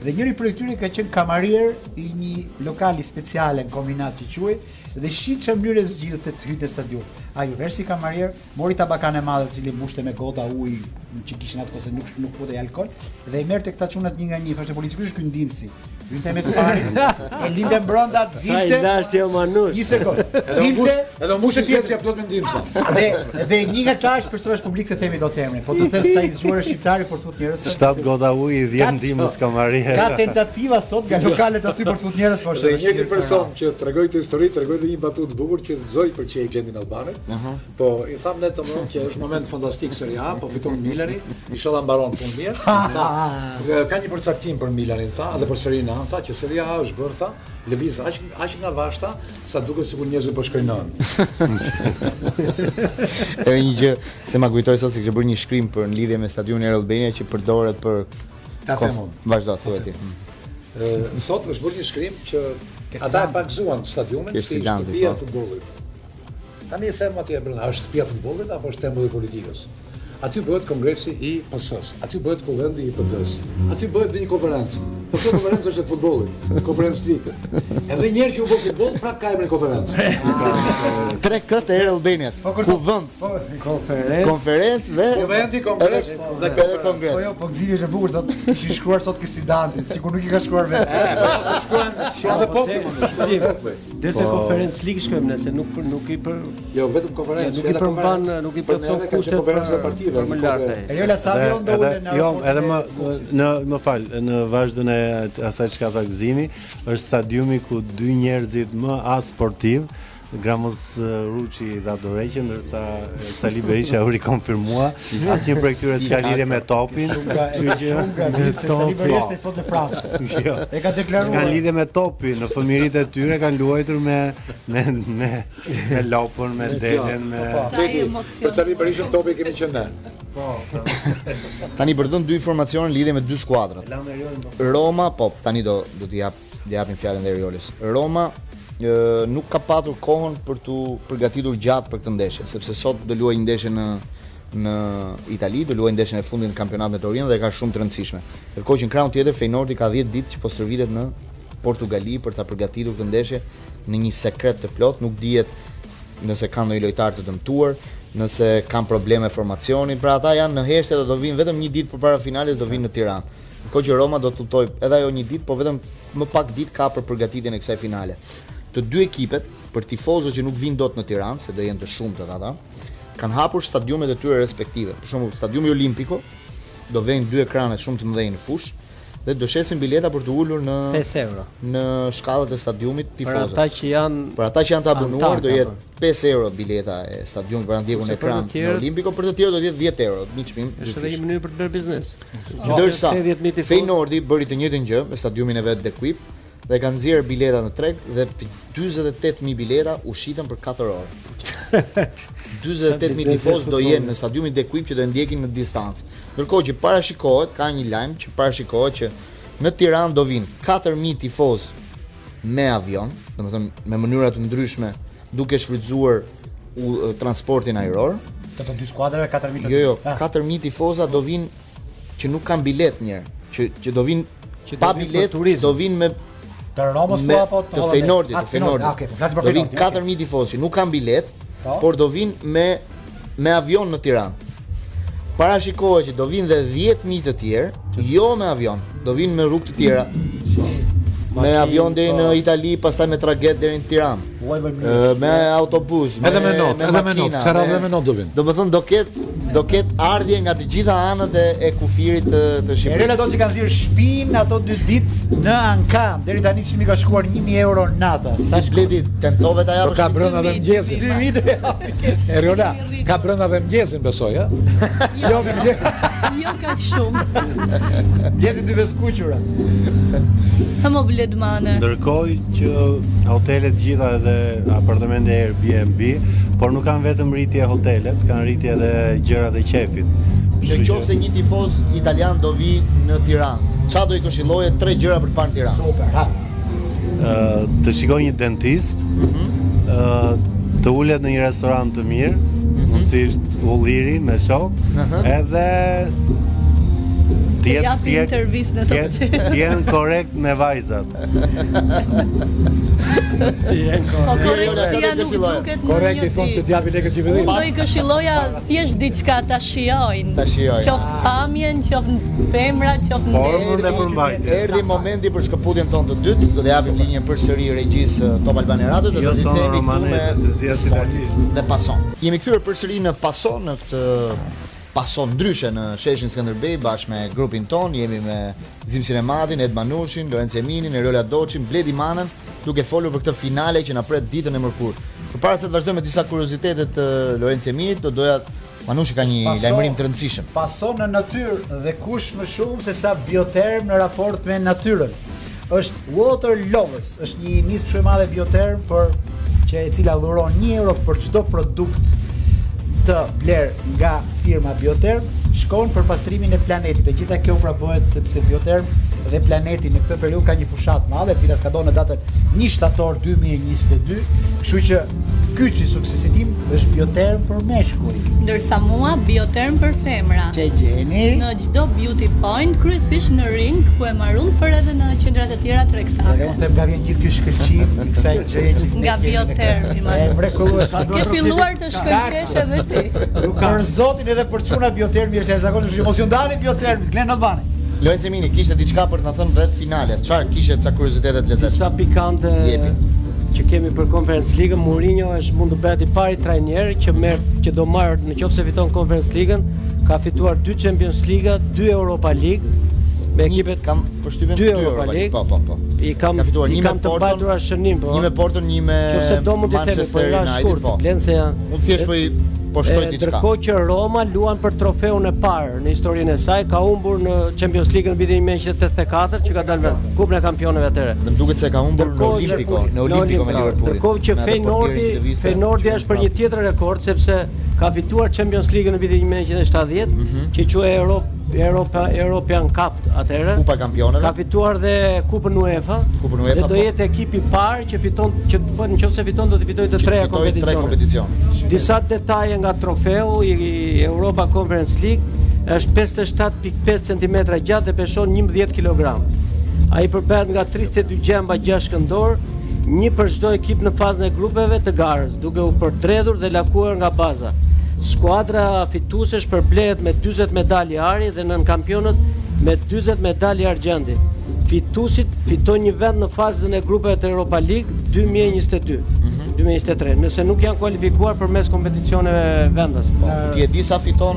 [SPEAKER 2] Dhe njëri prej tyre ka qenë kamarier i një lokali speciale në kombinat që quaj dhe shit që mënyrë e zgjidhët të hyjë në stadion. Ai u versi kamarier, mori tabakan e madhe, e cili mbushte me gota ujë që kishin atë ose nuk nuk futej alkol dhe i merrte këta çunat një nga një, thoshte polici kush është ky ndimsi. Hynte me të parin, e linte brenda,
[SPEAKER 3] Sa i jo,
[SPEAKER 2] zilte.
[SPEAKER 3] dashur je o manush.
[SPEAKER 2] Një sekond.
[SPEAKER 7] Edhe u mbush, edhe u mbush
[SPEAKER 2] Hilte
[SPEAKER 7] si ja plot mendim sa.
[SPEAKER 2] Dhe dhe një nga ta është personazh publik se themi dot emrin, po do të them sa i zgjuar është shqiptari por thot njerëz. se-
[SPEAKER 6] 7 gota uji, 10
[SPEAKER 2] Ka-
[SPEAKER 6] ndimës kamarier.
[SPEAKER 2] Ka tentativa sot nga lokalet aty për fut njerëz po është.
[SPEAKER 7] Dhe një
[SPEAKER 2] vështirë
[SPEAKER 7] këtë
[SPEAKER 2] për
[SPEAKER 7] person që tregoi këtë histori, tregoi dhe një batutë të bukur që zoj për çej gjendin albanet. Po i tham ne të mëron që është moment fantastik Serie A, po fiton Milani, inshallah mbaron punë mirë. Tha, "Ë, Ka një përcaktim për Milanin tha, dhe për Serie A tha që Serie A është bërë tha, lëviz aq aq nga vashta sa duket sikur njerëzit po shkojnë nën.
[SPEAKER 1] Edhe një gjë se ma kujtoi sot se kishte bërë një shkrim për në lidhje me stadiumin e Air Albania që përdoret për
[SPEAKER 7] Ta
[SPEAKER 1] Kof-
[SPEAKER 7] them unë.
[SPEAKER 1] Vazhdo thuaj ti.
[SPEAKER 7] Ë, sot është bërë një shkrim që ata e pakzuan stadionin
[SPEAKER 1] Ke
[SPEAKER 7] si
[SPEAKER 1] Sfidanti,
[SPEAKER 7] shtëpia e
[SPEAKER 1] po.
[SPEAKER 7] futbollit. Tani e them atje brenda, a është shtëpia e futbollit apo është tempulli i politikës? Aty bëhet kongresi i PS-s, aty bëhet kuvendi i PD-s, aty bëhet dhe një konferencë. Po kjo konferencë është e futbollit, konferencë like. Edhe një herë që u bë futboll, prap ka emrin konferencë.
[SPEAKER 1] Mm. Tre këtë Air Albanias.
[SPEAKER 4] Po,
[SPEAKER 1] Ku vend?
[SPEAKER 2] Po,
[SPEAKER 3] Konferencë.
[SPEAKER 1] Konferencë dhe
[SPEAKER 7] Kuvendi, kongres
[SPEAKER 1] edhe-
[SPEAKER 7] dhe
[SPEAKER 1] edhe
[SPEAKER 7] konferencë.
[SPEAKER 2] ta. Po
[SPEAKER 1] kongres.
[SPEAKER 2] jo, po gzimi është e bukur sot. Kishin shkruar sot ke studentin, sikur nuk i ka shkruar vetë.
[SPEAKER 7] Shkruan edhe populli.
[SPEAKER 3] Si, deri te konferencë ligë shkojmë ne se nuk për, nuk i për
[SPEAKER 7] Jo, vetëm konferencë.
[SPEAKER 3] Nuk i
[SPEAKER 7] edhe
[SPEAKER 3] përmban,
[SPEAKER 7] konferencë.
[SPEAKER 3] nuk i
[SPEAKER 7] Për neve
[SPEAKER 3] plotëson
[SPEAKER 7] ka qenë
[SPEAKER 3] kushtet
[SPEAKER 7] konferenca e
[SPEAKER 3] për-
[SPEAKER 7] partive,
[SPEAKER 3] për më
[SPEAKER 7] nuk
[SPEAKER 3] lart
[SPEAKER 7] konferencë.
[SPEAKER 3] ai.
[SPEAKER 2] Eriola Savio
[SPEAKER 6] Dhe-
[SPEAKER 2] ndo
[SPEAKER 6] edhe-
[SPEAKER 2] ulë në
[SPEAKER 6] Jo,
[SPEAKER 2] aeroport
[SPEAKER 6] edhe
[SPEAKER 2] e
[SPEAKER 6] më
[SPEAKER 2] Kosovës.
[SPEAKER 6] në më fal, në vazhdën e at- asaj çka tha Gzimi, është stadiumi ku dy njerëzit më asportiv Gramos eh, Ruçi dha dorëqe ndërsa eh, Sali Berisha u rikonfirmua asnjë prej këtyre s'ka lidhje me topin.
[SPEAKER 2] Nga
[SPEAKER 6] kështu që-
[SPEAKER 2] shumë nga ditë se
[SPEAKER 6] Topi.
[SPEAKER 2] Sali Berisha është fot në Francë.
[SPEAKER 6] Jo.
[SPEAKER 2] E ka
[SPEAKER 6] S'kan
[SPEAKER 2] deklaruar.
[SPEAKER 6] lidhje me topin, në fëmirit e tyre kanë luajtur me me me me lopën, me delen, me
[SPEAKER 5] Sa e emocion.
[SPEAKER 7] Për sa li Berishën topi kemi qenë ne.
[SPEAKER 1] Tani përdhën dy informacione në lidhje me dy skuadrat. Roma, po tani do do t'i jap do japim fjalën dhe Riolis. Roma ë, nuk ka patur kohën për tu përgatitur gjatë për këtë ndeshje, sepse sot do luajë një ndeshje në në Itali, do luajë ndeshjen e fundit në kampionat me Torino dhe ka shumë të rëndësishme. Ndërkohë që në krahun tjetër Feyenoordi ka 10 ditë që po stërvitet në Portugali për ta përgatitur këtë ndeshje në një sekret të plot, nuk dihet nëse kanë ndonjë lojtar të dëmtuar, nëse kanë probleme formacioni, pra ata janë në heshtje do të vinë vetëm një ditë përpara finales do vinë në Tiranë. Ndërkohë që Roma do të tutoj edhe ajo një ditë, po vetëm më pak ditë ka për përgatitjen e kësaj finale. Të dy ekipet, për tifozët që nuk vinë dot në Tiranë, se do jenë të shumtët ata, kanë hapur stadiumet e tyre respektive. Për shembull, stadiumi Olimpiko do vënë dy ekrane shumë të mëdhenj në fush dhe do shesin bileta për të ulur në
[SPEAKER 3] 5 euro.
[SPEAKER 1] në shkallët e stadiumit
[SPEAKER 3] Për
[SPEAKER 1] tifozët.
[SPEAKER 3] Pra, ata që janë
[SPEAKER 1] Për ata që janë të abonuar
[SPEAKER 3] Antar,
[SPEAKER 1] do
[SPEAKER 3] ka
[SPEAKER 1] jetë 5 euro bileta e stadiumit për ndjekun
[SPEAKER 3] po. Kurse për të
[SPEAKER 1] ekran në
[SPEAKER 3] tjerët-
[SPEAKER 1] Olimpiko, për të tjerë do të jetë 10 euro, një çmim. dy
[SPEAKER 3] është edhe
[SPEAKER 1] fish.
[SPEAKER 3] një mënyrë për të bërë biznes.
[SPEAKER 1] Ndërsa
[SPEAKER 3] 80000 tifoz.
[SPEAKER 1] Feyenoordi bëri të njëjtën gjë me stadiumin e vet Dekuip dhe ka nxjerr bileta në treg dhe të 48000 bileta u shitën për 4 orë. 48000
[SPEAKER 3] Sa
[SPEAKER 1] tifoz
[SPEAKER 3] biznese
[SPEAKER 1] do
[SPEAKER 3] futbolli.
[SPEAKER 1] jenë në stadiumin Dekuip që do e ndjekin në distancë. Ndërkohë që parashikohet, ka një lajm që parashikohet që në Tiranë do vinë 4000 tifoz me avion, domethënë me mënyra të ndryshme, duke shfrytzuar u- transportin ajror.
[SPEAKER 2] Të të dy skuadrave 4000.
[SPEAKER 1] Jo, jo,
[SPEAKER 2] Ah,
[SPEAKER 1] 4000 tifoza do vinë që nuk kanë bilet njerë, që që do vinë
[SPEAKER 3] Që do
[SPEAKER 1] pa
[SPEAKER 3] vinë për
[SPEAKER 1] bilet,
[SPEAKER 3] turizëm.
[SPEAKER 1] do vinë me
[SPEAKER 2] Të Romës
[SPEAKER 1] me
[SPEAKER 2] po apo
[SPEAKER 1] të
[SPEAKER 2] Hollandesë?
[SPEAKER 1] Feyenoordit,
[SPEAKER 2] Ah,
[SPEAKER 1] të Feyenoordit.
[SPEAKER 2] Ah, okay, po flasim për
[SPEAKER 1] do vinë
[SPEAKER 2] Feyenoordin. okay.
[SPEAKER 1] 4000 tifozë që nuk kanë bilet,
[SPEAKER 2] Po.
[SPEAKER 1] por do vinë me me avion në Tiranë. Parashikohet që do vinë dhe 10000 të tjerë, jo me avion, do vinë me rrugë të tjera. Me
[SPEAKER 3] Makinë,
[SPEAKER 1] avion deri në
[SPEAKER 3] po.
[SPEAKER 1] Itali, pastaj me traget deri në Tiranë.
[SPEAKER 2] Vuaj lloj mënyre.
[SPEAKER 1] Ë, me autobus, me
[SPEAKER 7] Edhe me not, edhe me not,
[SPEAKER 1] makina,
[SPEAKER 7] kësa radhë edhe me not do vinë.
[SPEAKER 1] Do më thënë do ketë do ketë ardhje nga të gjitha anët e, e kufirit të, të
[SPEAKER 2] Erela do
[SPEAKER 1] Shqipërisë.
[SPEAKER 2] që kanë zirë shpin ato dy ditë në Ankam Deri tani qëmi ka shkuar 1000 euro nata Sa
[SPEAKER 1] Tash bledi tentove ta
[SPEAKER 7] Do
[SPEAKER 1] japësh.
[SPEAKER 7] Po ka brenda dhe mëngjesin.
[SPEAKER 5] Dy
[SPEAKER 7] vite. Eriola, ka brenda dhe mëngjesin besoj, ha?
[SPEAKER 5] Jo, jo ka shumë.
[SPEAKER 2] gjesi dy veskuqura
[SPEAKER 5] Hamo bledmane.
[SPEAKER 6] Ndërkohë që hotelet gjitha edhe apartamente Airbnb, por nuk kanë vetëm rritje hotelet, kanë rritje edhe gjërat e qefit.
[SPEAKER 1] Në
[SPEAKER 6] Kështu
[SPEAKER 1] qoftë se një tifoz italian do vi në Tiranë, ç'a do i këshilloje tre gjëra për të parë në Tiranë?
[SPEAKER 2] Super, ha
[SPEAKER 6] ë, të
[SPEAKER 1] Mhm. Mhm.
[SPEAKER 6] shikoj një dentist, ë, të ulet në një restorant të mirë, mund të kryesisht ulliri me show, edhe
[SPEAKER 5] Të japi intervistë në të
[SPEAKER 6] Ti jenë korrekt me vajzat.
[SPEAKER 5] Po korrektësia nuk
[SPEAKER 1] këshilloj.
[SPEAKER 5] duket në
[SPEAKER 4] Korrekt i thonë që
[SPEAKER 5] njëti.
[SPEAKER 4] t'japi lekët që i
[SPEAKER 5] Unë do i këshilloja thjesht diçka ta shijojnë.
[SPEAKER 1] Ta shijojnë.
[SPEAKER 5] Qoftë pamjen, qoftë femra, qoftë ndeshje.
[SPEAKER 6] Formën e përmbajtjes.
[SPEAKER 1] Erdi momenti për shkëputjen tonë të dytë, do të japim linjën përsëri regjisë uh, Top Albani Radio, do
[SPEAKER 6] Jo
[SPEAKER 1] të
[SPEAKER 6] son
[SPEAKER 1] themi këtu me
[SPEAKER 6] romanese, se zgjat italisht.
[SPEAKER 1] sport dhe pason. Jemi kthyer përsëri në pason në këtë uh, pason ndryshe në sheshin Skënderbej bashkë me grupin ton, jemi me Zim Sinemadin, Ed Manushin, Lorenz Eminin, Eriola Doçin, Bledi Manën, duke folur për këtë finale që na pret ditën e mërkurë. Përpara se të vazhdojmë me disa kuriozitete të Lorenz Eminit, do doja Manushi ka një
[SPEAKER 2] Pason.
[SPEAKER 1] lajmërim të rëndësishëm.
[SPEAKER 2] Pason në natyrë dhe kush më shumë se sa bioterm në raport me natyrën. Është Water Lovers, është një nismë shumë e madhe bioterm për që e cila dhuron 1 euro për çdo produkt të bler nga firma Bioterm, shkon për pastrimin e planetit. E gjitha kjo pra bëhet sepse Bioterm dhe planeti në këtë periudhë ka një fushat madhe, e cila ska do në datën 1 shtator 2022, kështu që kyçi suksesi tim është Bioterm për meshkuj.
[SPEAKER 5] Ndërsa mua bioterm për femra.
[SPEAKER 2] Çe gjeni?
[SPEAKER 5] Në çdo beauty point, kryesisht në ring, ku e marrun për edhe në qendra të tjera
[SPEAKER 2] Edhe
[SPEAKER 5] tregtare.
[SPEAKER 2] unë them nga vjen gjithë ky shkëlqim i kësaj gjëje që
[SPEAKER 5] Nga biotermi, ma.
[SPEAKER 2] E mrekullueshme.
[SPEAKER 5] Ke filluar të shkëlqesh edhe ti.
[SPEAKER 2] Për zotin edhe për çuna biotermi është jashtëzakonisht, kështu që mos ju ndani biotermit, glen Albani.
[SPEAKER 1] Lorenz Emini kishte diçka për të na thënë rreth finales. Çfarë kishte ca kuriozitete të lezetshme?
[SPEAKER 3] Disa pikante
[SPEAKER 1] Jepi.
[SPEAKER 3] që kemi për Conference League, Mourinho është mund të bëhet i pari trajner që merr që do marr nëse fiton Conference League-ën, ka fituar 2 Champions League, 2 Europa League me ekipet
[SPEAKER 1] kam përshtypjen
[SPEAKER 3] dy
[SPEAKER 1] dy
[SPEAKER 3] Europa
[SPEAKER 1] Europa League.
[SPEAKER 3] League.
[SPEAKER 1] Po, po, po.
[SPEAKER 3] i kam
[SPEAKER 1] Ka fituar
[SPEAKER 3] i
[SPEAKER 1] një me
[SPEAKER 3] kam të
[SPEAKER 1] Porton,
[SPEAKER 3] bajtura shënim po.
[SPEAKER 1] Një me Porto, një me
[SPEAKER 3] Nëse do mund të themi po
[SPEAKER 1] Manchester
[SPEAKER 3] la
[SPEAKER 1] United,
[SPEAKER 3] shkurt,
[SPEAKER 1] po.
[SPEAKER 3] blen se janë.
[SPEAKER 1] Unë thjesht po i- po shtoj
[SPEAKER 3] E,
[SPEAKER 1] diçka.
[SPEAKER 3] Ndërkohë që Roma luan për trofeun e parë në historinë e saj, ka humbur në Champions League në vitin 1984 që ka dalë vend Kupën e Kampionëve atëherë.
[SPEAKER 1] Dhe më duket se ka humbur në
[SPEAKER 3] Ndërkohë që-
[SPEAKER 1] Olimpiko, në Olimpiko me
[SPEAKER 3] bravo.
[SPEAKER 1] Liverpoolin.
[SPEAKER 3] Ndërkohë që
[SPEAKER 1] Me atë
[SPEAKER 3] Feyenoordi,
[SPEAKER 1] portierin që lëvizte,
[SPEAKER 3] Feyenoordi është për një tjetër rekord sepse ka fituar Champions League në vitin 1970,
[SPEAKER 1] Mhm.
[SPEAKER 3] që quhej Europa Europa European Cup atëherë.
[SPEAKER 1] Kupa e Kampioneve.
[SPEAKER 3] Ka fituar dhe Kupën UEFA.
[SPEAKER 1] Kupën UEFA,
[SPEAKER 3] Dhe do
[SPEAKER 1] po.
[SPEAKER 3] jetë ekipi i parë që fiton që po nëse fiton do të fitojë të
[SPEAKER 1] Që
[SPEAKER 3] treja
[SPEAKER 1] fitoi tre
[SPEAKER 3] kompeticione.
[SPEAKER 1] kompeticione.
[SPEAKER 3] Disa detaje nga trofeu i i Europa Conference League është 57.5 cm gjatë dhe peshon 11 kg. Ai përbëhet nga 32 gjemba 6 këndor, një për çdo ekip në fazën e grupeve të garës, duke u përtredhur dhe lakuar nga baza. Skuadra fituesesh përplehet me 40 medalje ari dhe nën kampionët me 40 medalje argjendi. Fituesit fitojnë një vend në fazën e grupeve të Europa League 2022. 2023, nëse nuk janë kualifikuar përmes kompeticioneve vendas.
[SPEAKER 1] Po, Ti e di sa fiton,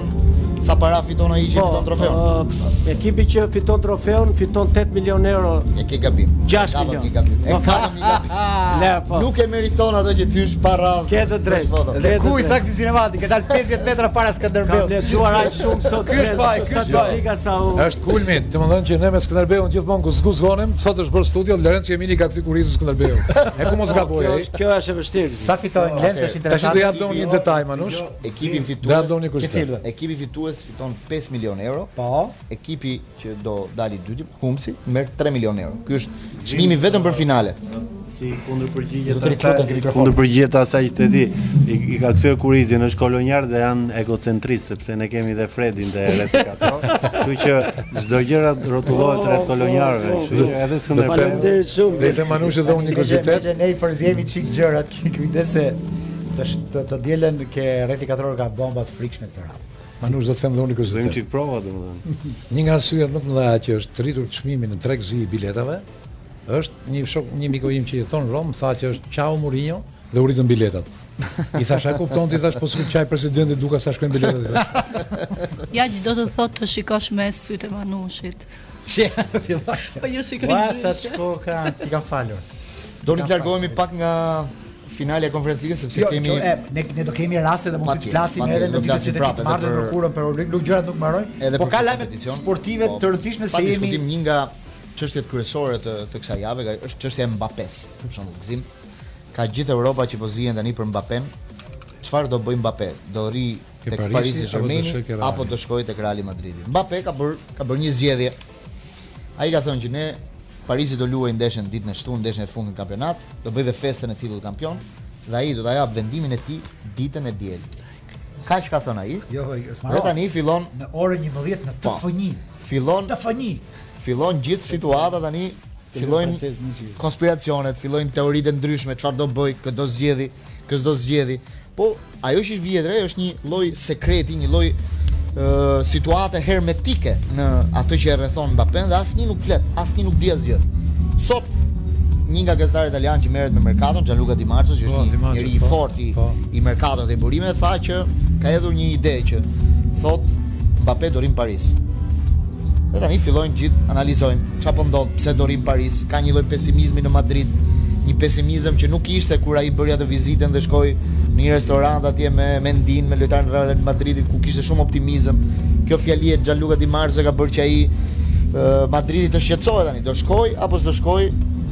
[SPEAKER 1] sa para fiton ai
[SPEAKER 3] po,
[SPEAKER 1] që fiton trofeun.
[SPEAKER 3] ë, ekipi që fiton trofeun fiton 8 milion euro.
[SPEAKER 1] E ke gabim.
[SPEAKER 3] Gjashtë
[SPEAKER 1] E kapëm
[SPEAKER 3] milion.
[SPEAKER 1] një gabim. E
[SPEAKER 3] Po,
[SPEAKER 1] kapëm një gabim.
[SPEAKER 3] Le, po.
[SPEAKER 1] Ah, Nuk e meriton ato që ty është pa radhë.
[SPEAKER 3] Ke të drejtë.
[SPEAKER 1] Është foto.
[SPEAKER 3] Ke
[SPEAKER 2] Dhe
[SPEAKER 3] Drejtë,
[SPEAKER 2] ku i
[SPEAKER 3] drejtë.
[SPEAKER 2] tha kësaj sinemati, ka dal 50 metra para
[SPEAKER 3] Kam
[SPEAKER 2] Skënderbeut.
[SPEAKER 3] lexuar aq shumë sot.
[SPEAKER 2] Ky është vaj, ky është vaj.
[SPEAKER 3] Statistika sa u.
[SPEAKER 4] Është kulmi, të më dhënë që ne me Skënderbeun gjithmonë ku zguzgonim, sot është bërë studio, Lorenzo Emini ka këtë kurizë Skënderbeu. E ku mos gaboj ai.
[SPEAKER 3] Kjo është e vështirë.
[SPEAKER 2] Sa fitojnë Glenc është
[SPEAKER 4] Tash do
[SPEAKER 2] interesant.
[SPEAKER 4] jap domun një detaj manush.
[SPEAKER 1] Ekipi fitues.
[SPEAKER 4] Do jap domun një kurse.
[SPEAKER 2] Cili?
[SPEAKER 1] Ekipi fitues fiton 5 milion euro.
[SPEAKER 2] Po.
[SPEAKER 1] Ekipi që do dali dyti, Humsi, merr 3 milion euro. Ky është çmimi vetëm për finale.
[SPEAKER 6] Si kundër përgjigjet
[SPEAKER 1] Zotëri, Kloten, ke mikrofon.
[SPEAKER 6] kundër përgjigjet asaj që të di, i, i ka kthyer kurizin, është kolonjar dhe janë egocentristë sepse ne kemi dhe Fredin dhe Reti Kato. Kështu që çdo gjëra rrotullohet rreth kolonjarëve, kështu që edhe Skënderbeu
[SPEAKER 3] Faleminderit shumë.
[SPEAKER 4] Dhe i them manush edhe unë një
[SPEAKER 2] Ne që-
[SPEAKER 4] kuriozitet.
[SPEAKER 2] ne që ne i përzjemi çik gjërat, ki kujdes se të sh- të, të dielën ke rreti katror ka bomba të frikshme këtë radhë.
[SPEAKER 4] Manush do të them dhe unë një
[SPEAKER 6] Dhe më
[SPEAKER 4] kuriozitet.
[SPEAKER 6] çik prova domethënë.
[SPEAKER 4] Një nga arsyet më të mëdha që është të rritur çmimi në tregzi i biletave është një shok, një miku im që jeton në Rom, tha që është Ciao Mourinho dhe u ritën biletat. I thash, "A kupton ti thash, po s'ku çaj presidenti Duka sa shkojnë biletat." i thash.
[SPEAKER 5] Ja që do të thotë të shikosh me sytë e manushit.
[SPEAKER 2] She, fillon.
[SPEAKER 5] Po ju shikoni.
[SPEAKER 2] Ua sa çko ka, ti ka falur.
[SPEAKER 1] Doni të largohemi pak nga finalja e konferencës Ligës, sepse
[SPEAKER 2] Jo,
[SPEAKER 1] kemi
[SPEAKER 2] jo, e, ne, ne do kemi raste dhe mund të
[SPEAKER 1] Patjetër,
[SPEAKER 2] flasim
[SPEAKER 1] patjetër,
[SPEAKER 2] edhe
[SPEAKER 1] do
[SPEAKER 2] në vitet
[SPEAKER 1] flasim
[SPEAKER 2] që të
[SPEAKER 1] prapë
[SPEAKER 2] kemë
[SPEAKER 1] edhe
[SPEAKER 2] marrë
[SPEAKER 1] për-
[SPEAKER 2] në kurën për Olimp, nuk gjërat nuk mbarojnë.
[SPEAKER 1] edhe
[SPEAKER 2] Po
[SPEAKER 1] për
[SPEAKER 2] ka
[SPEAKER 1] këtë
[SPEAKER 2] lajme
[SPEAKER 1] kompeticion,
[SPEAKER 2] sportive
[SPEAKER 1] po,
[SPEAKER 2] të rëndësishme
[SPEAKER 1] pa
[SPEAKER 2] se jemi
[SPEAKER 1] diskutim një nga çështjet kryesore të, të kësaj jave ka- është çështja e Mbappes. Për shembull, gzim ka gjithë Europa që po zihen tani për Mbappen. Çfarë do bëj Mbappé? Do rri
[SPEAKER 4] Ke
[SPEAKER 1] tek
[SPEAKER 4] Parisi,
[SPEAKER 1] Parisi
[SPEAKER 4] apo do
[SPEAKER 1] Germain
[SPEAKER 4] shkoj ke Reali?
[SPEAKER 1] apo do shkojë tek Real Madridi. Mbappé ka bër ka bër një zgjedhje. Ai ka thënë që ne Parisi do luajë ndeshën ditën e shtunë, ndeshën e fundit në kampionat, do bëj dhe festën e titullit kampion dhe ai do ta jap vendimin e tij ditën e diel. Kaq ka thënë ai.
[SPEAKER 2] Jo, jo, s'maro.
[SPEAKER 1] Dhe tani fillon
[SPEAKER 2] në orën 11 në
[SPEAKER 1] Po.
[SPEAKER 2] TF1.
[SPEAKER 1] fillon
[SPEAKER 2] TF1.
[SPEAKER 1] fillon gjithë situata tani fillojnë
[SPEAKER 8] proces në gjithë.
[SPEAKER 1] konspiracionet, fillojnë teoritë ndryshme, çfarë do bëj, kë do zgjedhi, kë s'do zgjedhi. Po ajo që vihet re është një lloj sekreti, një lloj ë situate hermetike në atë që e rrethon Mbappé dhe asnjë nuk flet, asnjë nuk di asgjë. Sot një nga gazetarët italian që merret me merkaton, Gianluca Di Marzio, që
[SPEAKER 7] Po, Di
[SPEAKER 1] është një
[SPEAKER 7] Marzio,
[SPEAKER 1] njeri i
[SPEAKER 7] po,
[SPEAKER 1] fortë i,
[SPEAKER 7] po.
[SPEAKER 1] i merkatos dhe i burimeve, tha që ka hedhur një ide që thot Mbappé do rinë në Paris. Dhe tani fillojnë gjithë analizojnë çfarë po ndodh, pse do rrim Paris, ka një lloj pesimizmi në Madrid, një pesimizëm që nuk ishte kur ai bëri atë vizitën dhe shkoi në një restorant atje me Mendin, me lojtarin e Real Madridit ku kishte shumë optimizëm. Kjo fjali e Gianluca Di Marzio ka bërë që ai ë, Madridi të shqetësohet tani, do shkoj apo s'do shkoj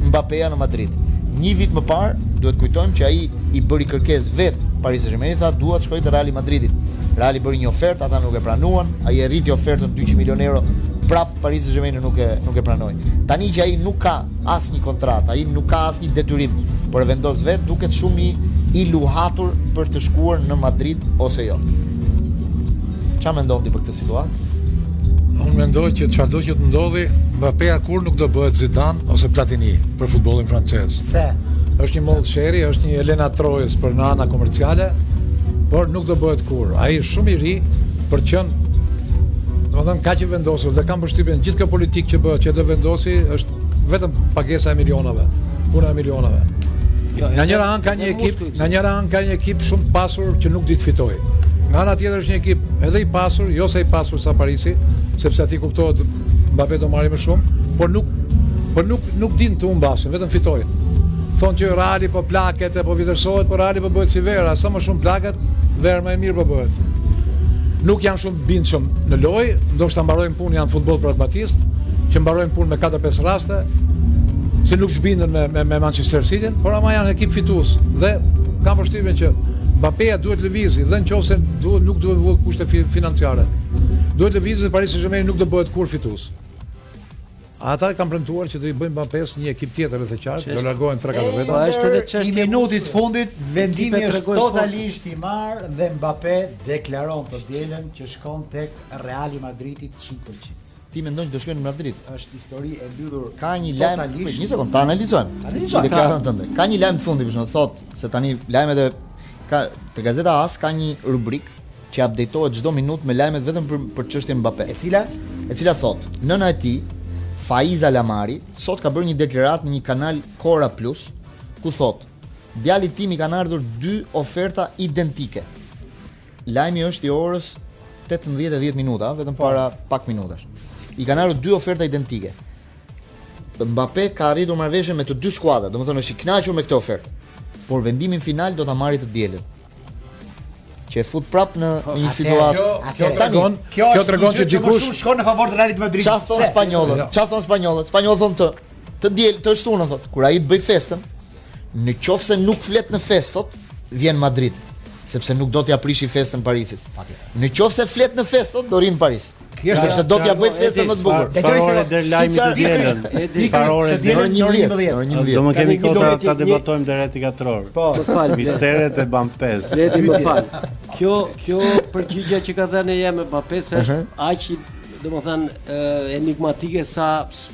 [SPEAKER 1] Mbappéja në Madrid. Një vit më parë duhet kujtojmë që ai i bëri kërkesë vet Paris Saint-Germain, tha dua të shkoj te Real Madridit. Reali bëri një ofertë, ata nuk e pranuan, ai e rriti ofertën 200 milion euro, prap Paris Saint-Germain nuk e nuk e pranoi. Tani që ai nuk ka asnjë kontratë, ai nuk ka asnjë detyrim, por e vendos vet, duket shumë i i luhatur për të shkuar në Madrid ose jo. Çfarë mendon ti për këtë situatë?
[SPEAKER 7] Unë mendoj që çfarëdo që të ndodhi, Mbappé kur nuk do bëhet Zidane ose Platini për futbollin francez.
[SPEAKER 2] Pse?
[SPEAKER 7] Është një mold sheri, është një Elena Trojes për në ana komerciale, por nuk do bëhet kur. Ai është shumë i ri për qen domethënë ka që vendosur dhe kam përshtypjen gjithë kjo politikë që bëhet, që do vendosi është vetëm pagesa e milionave, puna e milionave.
[SPEAKER 3] Jo,
[SPEAKER 7] Në
[SPEAKER 3] e-
[SPEAKER 7] njëra anë ka një
[SPEAKER 3] e
[SPEAKER 7] ekip,
[SPEAKER 3] muskuj,
[SPEAKER 7] në njëra anë ka një ekip shumë pasur që nuk di të fitojë. Nga ana tjetër është një ekip edhe i pasur, jo se i pasur sa Parisi, sepse aty kuptohet Mbappé do marrë më shumë, por nuk por nuk nuk din të humbasin, vetëm fitojnë. Thonë që Reali po plaket, e po vitërsohet, por Reali po bëhet si vera, sa më shumë plaket, verë më e mirë po bëhet nuk janë shumë bindshëm në lojë, ndoshta mbarojnë punë janë futboll pragmatist, që mbarojnë punë me 4-5 raste, që nuk zhbindën me me, me Manchester City, por ama janë ekip fitues dhe kam përshtypjen që Mbappéja duhet lëvizi dhe nëse duhet nuk duhet vë kushte fi- financiare. Duhet lëvizi se Paris Saint-Germain nuk do bëhet kur fitues. Ata kanë premtuar që do i bëjnë Mbappés një ekip tjetër rreth e qartë, do largohen 3-4
[SPEAKER 3] Po
[SPEAKER 7] veta.
[SPEAKER 3] është edhe
[SPEAKER 2] I
[SPEAKER 3] çështje e
[SPEAKER 2] minutit
[SPEAKER 3] mundshme.
[SPEAKER 2] fundit vendimi
[SPEAKER 3] Ekipet
[SPEAKER 2] është
[SPEAKER 3] tregojnë forcë.
[SPEAKER 2] totalisht i marr dhe Mbappé deklaron të dielën që shkon tek Real Madridit 100%.
[SPEAKER 1] Ti mendon që do shkojnë në Madrid?
[SPEAKER 2] Është histori e mbyllur
[SPEAKER 1] Ka një lajm,
[SPEAKER 2] totalisht.
[SPEAKER 1] Prit, një sekond, ta analizojmë.
[SPEAKER 2] Analizojmë.
[SPEAKER 1] Deklaratën tënde. Ka një lajm të fundit për shkak thotë se tani lajmet e ka te gazeta AS ka një rubrik që updatohet çdo minutë me lajmet vetëm për për çështjen Mbappé,
[SPEAKER 2] E cila
[SPEAKER 1] e cila thotë nëna e tij Faiza Lamari sot ka bërë një deklaratë në një kanal Kora Plus ku thotë djali tim i kanë ardhur dy oferta identike. Lajmi është i orës 18:10 minuta, vetëm para pak minutash. I kanë ardhur dy oferta identike. Mbappé ka arritur marrëveshje me të dy skuadra, domethënë është i kënaqur me këtë ofertë. Por vendimin final do ta marrë të dielën. Që e fut prap në në një situatë.
[SPEAKER 7] kjo
[SPEAKER 1] Tani,
[SPEAKER 7] tregon,
[SPEAKER 2] kjo
[SPEAKER 7] kjo
[SPEAKER 2] është
[SPEAKER 7] tregon
[SPEAKER 2] një
[SPEAKER 7] që
[SPEAKER 2] gjë më
[SPEAKER 7] dikush
[SPEAKER 2] shumë shkon në favor të Realit Madridit.
[SPEAKER 1] Çfarë thon
[SPEAKER 2] Se-
[SPEAKER 1] spanjollët?
[SPEAKER 7] Jo.
[SPEAKER 1] Çfarë thon spanjollët? Spanjollët thon të të diel, të shtunën thot. Kur ai të bëj festën, në qoftë se nuk flet në festë thot, vjen Madrid, sepse nuk do t'ja prishi festën Parisit. Në qoftë se flet në festë thot, do rinë në Paris.
[SPEAKER 2] Kjo është-
[SPEAKER 1] sepse do t'ja bëj festën më të bukur.
[SPEAKER 2] Dhe kjo
[SPEAKER 6] Farore
[SPEAKER 2] ishte-
[SPEAKER 6] der lajmi
[SPEAKER 1] si
[SPEAKER 6] të
[SPEAKER 1] qarë-
[SPEAKER 6] dielën.
[SPEAKER 3] Edi,
[SPEAKER 6] Farore
[SPEAKER 2] të
[SPEAKER 6] der.
[SPEAKER 2] dielën në orën 11.
[SPEAKER 1] Në një
[SPEAKER 6] Do
[SPEAKER 1] vit.
[SPEAKER 6] më kemi
[SPEAKER 3] Ka një
[SPEAKER 6] kohë ta-
[SPEAKER 3] lojë
[SPEAKER 6] ta
[SPEAKER 3] tje-
[SPEAKER 6] debatojmë deri rreth 4 orë.
[SPEAKER 2] Po.
[SPEAKER 3] Më fal, le-
[SPEAKER 6] Misteret e Bampes.
[SPEAKER 3] leti më fal. Kjo kjo përgjigje që ka dhënë ja me Mbappé se është aq i- domethënë ë, enigmatike sa s-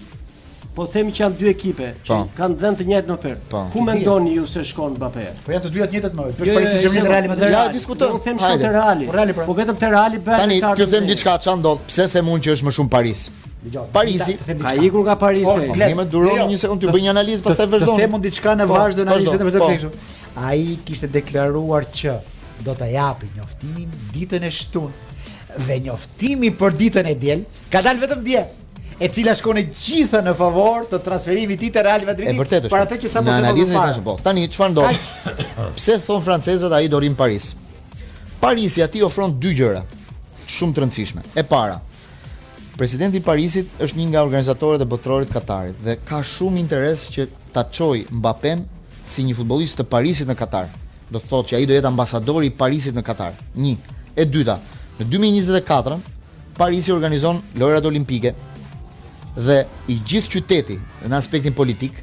[SPEAKER 3] po themi që janë dy ekipe që
[SPEAKER 1] Po.
[SPEAKER 3] kanë dhënë të njëjtën ofertë.
[SPEAKER 1] Po.
[SPEAKER 3] Ku mendoni ju se shkon Mbappé?
[SPEAKER 2] Po janë të dyja të njëjtat më. Për
[SPEAKER 3] Jo,
[SPEAKER 2] Paris
[SPEAKER 3] jo,
[SPEAKER 2] Saint-Germain dhe
[SPEAKER 3] jo,
[SPEAKER 2] Real Madrid.
[SPEAKER 1] Ja,
[SPEAKER 3] Reali.
[SPEAKER 1] diskutojmë.
[SPEAKER 3] Unë them shumë
[SPEAKER 1] Hajde.
[SPEAKER 3] te Reali.
[SPEAKER 2] Po, Reali, pra.
[SPEAKER 3] Po vetëm te Reali bëhet.
[SPEAKER 1] Tani
[SPEAKER 3] lojtarë
[SPEAKER 1] kjo
[SPEAKER 3] të
[SPEAKER 1] them
[SPEAKER 3] mirë.
[SPEAKER 1] diçka ç'a ndodh. Pse them unë që është më shumë Paris?
[SPEAKER 2] Dgjoj,
[SPEAKER 1] Parisi-
[SPEAKER 2] të them
[SPEAKER 3] Ka
[SPEAKER 2] diçka.
[SPEAKER 3] ikur nga Parisi.
[SPEAKER 2] Por,
[SPEAKER 1] Ne më duron
[SPEAKER 2] Jo.
[SPEAKER 1] një sekond të bëj një analizë, pastaj vazhdon.
[SPEAKER 2] Të them unë diçka në vazhdo në analizën e
[SPEAKER 1] po.
[SPEAKER 2] përse Ai kishte deklaruar që do ta japi njoftimin ditën e shtunë dhe njoftimi për ditën e diel ka dalë vetëm dje e cila shkon e gjitha në favor të transferimit i të Real
[SPEAKER 1] E
[SPEAKER 2] Madridit
[SPEAKER 1] vërtet është.
[SPEAKER 2] para atë që sa po
[SPEAKER 1] në
[SPEAKER 2] të
[SPEAKER 1] analizën i thash po. Tani çfarë ndodh? Pse thon francezët ai do rinë në Paris? Parisi aty ofron dy gjëra shumë të rëndësishme. E para, presidenti i Parisit është një nga organizatorët e botërorit Katarit dhe ka shumë interes që ta çojë Mbappé si një futbollist të Parisit në Katar. Do të thotë që ai do jetë ambasadori i Parisit në Katar. Një. E dyta, në 2024 Parisi organizon lojrat olimpike, dhe i gjithë qyteti në aspektin politik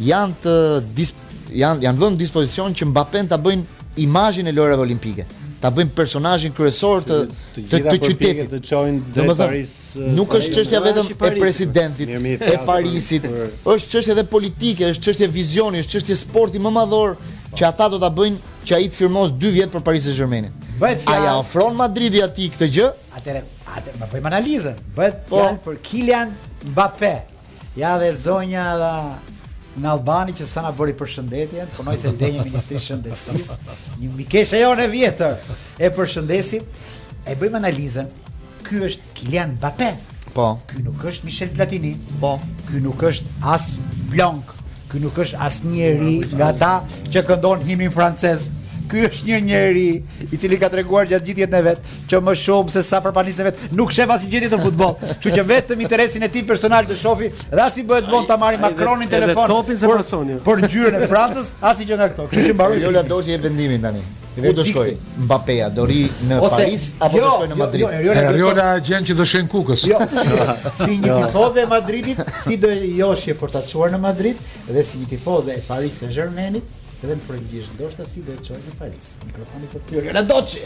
[SPEAKER 1] janë të dis, janë janë vënë në dispozicion që Mbappé ta bëjnë imazhin e lojrave olimpike. ta bëjmë personazhin kryesor të të, të,
[SPEAKER 6] gjitha përpjekjet
[SPEAKER 1] qytetit.
[SPEAKER 6] Të çojnë drejt
[SPEAKER 1] Domethënë,
[SPEAKER 6] Paris. eh,
[SPEAKER 1] nuk është
[SPEAKER 6] Paris.
[SPEAKER 1] çështja vetëm
[SPEAKER 3] Paris,
[SPEAKER 1] e
[SPEAKER 3] Paris.
[SPEAKER 1] presidentit,
[SPEAKER 6] Mirë, mirë,
[SPEAKER 1] e
[SPEAKER 6] flasim për-
[SPEAKER 1] Parisit,
[SPEAKER 6] për-
[SPEAKER 1] është çështje edhe politike, është çështje vizioni, është çështje sporti më madhor që ata do ta bëjnë që ai të firmos 2 vjet për Paris Saint-Germain.
[SPEAKER 2] Bëhet
[SPEAKER 1] A ja
[SPEAKER 2] fjalë.
[SPEAKER 1] ofron Madridi atij këtë gjë?
[SPEAKER 2] Atëre, atë më bëjmë analizën. Bëhet fjalë për Kylian Mbappé. Ja dhe zonja dha në Albani që sa na bëri përshëndetjen, punoj se ndenjë Ministrinë e Shëndetësisë, një mikeshe jonë e vjetër. E përshëndesim. E bëjmë analizën. Ky është Kylian Mbappé.
[SPEAKER 1] Po.
[SPEAKER 2] Ky nuk është Michel Platini.
[SPEAKER 1] Po.
[SPEAKER 2] Ky nuk është as Blanc. Ky nuk është as njeri nga ata që këndon himnin francez. Ky është një njeri i cili ka treguar gjatë gjithë jetën e vet që më shumë se sa përpanisë vet nuk shef asnjë gjetje në futboll. Kështu që vetëm interesin e tij personal të shofi dhe as i bëhet vonë ta marri
[SPEAKER 3] Ai- ai
[SPEAKER 2] Macronin
[SPEAKER 3] edhe- edhe
[SPEAKER 2] telefon.
[SPEAKER 3] topin se
[SPEAKER 2] për-
[SPEAKER 3] personi.
[SPEAKER 2] Për ngjyrën e Francës, asnjë gjë nga këto. Kështu që mbaroi
[SPEAKER 1] Lola do të jep vendimin tani. Ku do
[SPEAKER 2] Verdikti.
[SPEAKER 1] shkoj? Mbappéja do ri në Paris apo do shkoj në Madrid?
[SPEAKER 2] Jo, jo, jo, jo,
[SPEAKER 7] Eriola gjen që dëshën kukës.
[SPEAKER 2] Jo, si, si një tifoze e Madridit, si do joshje për ta çuar në Madrid dhe si një tifoze e Paris Saint-Germainit, edhe në frëngjisht, ndoshta si do të çojë në Paris. Mikrofoni po pyet. Jo, doçi.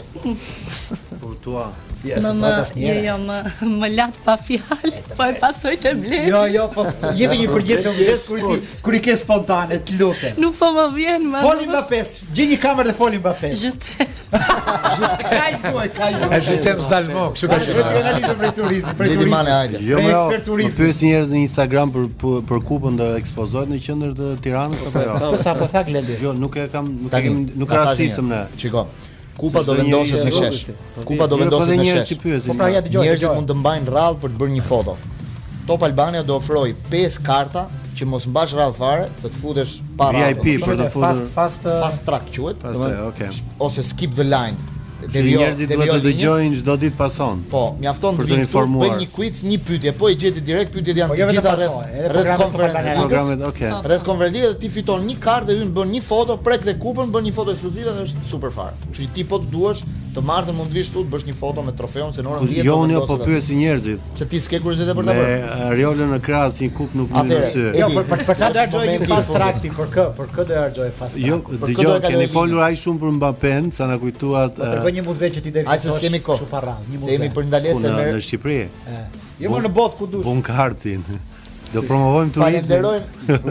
[SPEAKER 6] Courtois.
[SPEAKER 2] Yes,
[SPEAKER 5] Më
[SPEAKER 2] po
[SPEAKER 5] më
[SPEAKER 2] tas
[SPEAKER 5] jo
[SPEAKER 2] njëra.
[SPEAKER 5] jo më më lat pa fjalë, po e pasoj te blej.
[SPEAKER 2] Jo, jo, po jepi një përgjigje vdes kur ti kur i ke spontane, të lutem.
[SPEAKER 5] Nuk po më vjen më.
[SPEAKER 2] Foli Mbappé, gjej një kamerë dhe foli Mbappé.
[SPEAKER 5] Gjithë
[SPEAKER 2] Kaq duhet, kaq
[SPEAKER 7] E
[SPEAKER 2] duhet.
[SPEAKER 7] zhytem s'dalmo, kështu ka
[SPEAKER 2] Hajde,
[SPEAKER 7] qenë.
[SPEAKER 2] vetë ju analizë për turizëm, për
[SPEAKER 1] Didi Mane, hajde.
[SPEAKER 2] turizëm.
[SPEAKER 6] Jo,
[SPEAKER 2] Për
[SPEAKER 6] më
[SPEAKER 2] ekspert
[SPEAKER 6] jo,
[SPEAKER 2] turizmi.
[SPEAKER 6] më pyes njerëz në Instagram për për, për kupën do ekspozohet në qendër të Tiranës apo jo?
[SPEAKER 2] Po sa po tha Glendi.
[SPEAKER 6] Jo, nuk e kam, nuk e
[SPEAKER 1] Tani,
[SPEAKER 6] kemi, nuk
[SPEAKER 1] na thash
[SPEAKER 6] rastisëm ne.
[SPEAKER 1] një. Shiko. Kupa
[SPEAKER 6] Se
[SPEAKER 1] do
[SPEAKER 6] çdo njeri
[SPEAKER 1] vendoset
[SPEAKER 6] e
[SPEAKER 1] në shesh.
[SPEAKER 6] rrugës,
[SPEAKER 1] Kupa do
[SPEAKER 6] Jo, po
[SPEAKER 1] vendoset
[SPEAKER 6] dhe
[SPEAKER 1] në
[SPEAKER 6] njerëz
[SPEAKER 1] shesh.
[SPEAKER 6] që pyesin.
[SPEAKER 2] Po pra ja dëgjoj.
[SPEAKER 1] Njerëzit
[SPEAKER 2] dëgjoj.
[SPEAKER 1] mund të mbajnë radhë për të bërë një foto. Top Albania do ofroj 5 karta që mos mbash radhë fare, të të futesh para
[SPEAKER 6] VIP,
[SPEAKER 1] radhës.
[SPEAKER 6] për të futur-
[SPEAKER 2] fast fast uh,
[SPEAKER 1] fast track quhet,
[SPEAKER 6] Fast
[SPEAKER 1] domethënë,
[SPEAKER 6] track, okay.
[SPEAKER 1] sh- ose skip the line.
[SPEAKER 6] Që
[SPEAKER 1] Devio-
[SPEAKER 6] njerëzit duhet
[SPEAKER 1] devio
[SPEAKER 6] të
[SPEAKER 1] linjën.
[SPEAKER 6] dëgjojnë çdo ditë pason.
[SPEAKER 1] Po, mjafton të
[SPEAKER 6] Për të
[SPEAKER 1] vini këtu,
[SPEAKER 6] informuar.
[SPEAKER 1] bëj një quiz, një pyetje, po i gjeti direkt, pyetjet janë
[SPEAKER 2] Po, jo
[SPEAKER 1] të
[SPEAKER 2] vetëm
[SPEAKER 1] gjitha
[SPEAKER 2] pasoj,
[SPEAKER 1] rreth
[SPEAKER 2] edhe
[SPEAKER 1] rreth
[SPEAKER 2] programet e
[SPEAKER 1] konferencës.
[SPEAKER 2] Top
[SPEAKER 1] Ligës.
[SPEAKER 6] Programet, okay.
[SPEAKER 1] Rreth konferencës dhe ti fiton një kartë dhe hyn bën një foto, prek dhe kupën, bën një foto ekskluzive dhe është super fare. Kështu që ti po të duash të martën mund të vish këtu të bësh një foto me trofeun se në orën 10
[SPEAKER 6] Jo,
[SPEAKER 1] do
[SPEAKER 6] unë jo po
[SPEAKER 1] vendoset atë.
[SPEAKER 6] pyesi njerëzit.
[SPEAKER 1] se ti s'ke kuriozitet për ta
[SPEAKER 6] Me
[SPEAKER 1] bërë.
[SPEAKER 6] Ariolën në krahas një kup nuk më
[SPEAKER 1] Atëre,
[SPEAKER 6] sy.
[SPEAKER 1] e-
[SPEAKER 2] Jo, për për për çfarë do
[SPEAKER 1] Është
[SPEAKER 2] harxoj një
[SPEAKER 1] momenti
[SPEAKER 2] fast
[SPEAKER 1] i fundit.
[SPEAKER 2] traktin për kë? Për kë do harxoj fast
[SPEAKER 6] Jo,
[SPEAKER 2] traktin?
[SPEAKER 1] për
[SPEAKER 6] dëgjoj,
[SPEAKER 1] këtë e kaloj
[SPEAKER 6] keni
[SPEAKER 1] linjën.
[SPEAKER 6] folur aq shumë për Mbapen, sa na kujtuat
[SPEAKER 2] Për
[SPEAKER 6] eh,
[SPEAKER 2] bëj një muze që ti do
[SPEAKER 1] Ai se s'kemi kohë.
[SPEAKER 2] Kështu pa radhë, një
[SPEAKER 1] Se jemi për
[SPEAKER 2] muze.
[SPEAKER 1] ndalesë
[SPEAKER 6] punë
[SPEAKER 1] me
[SPEAKER 6] në Shqipëri.
[SPEAKER 2] Jo më në botë ku dush.
[SPEAKER 6] Bunkartin. Do promovojmë turizmin.
[SPEAKER 1] Falenderojmë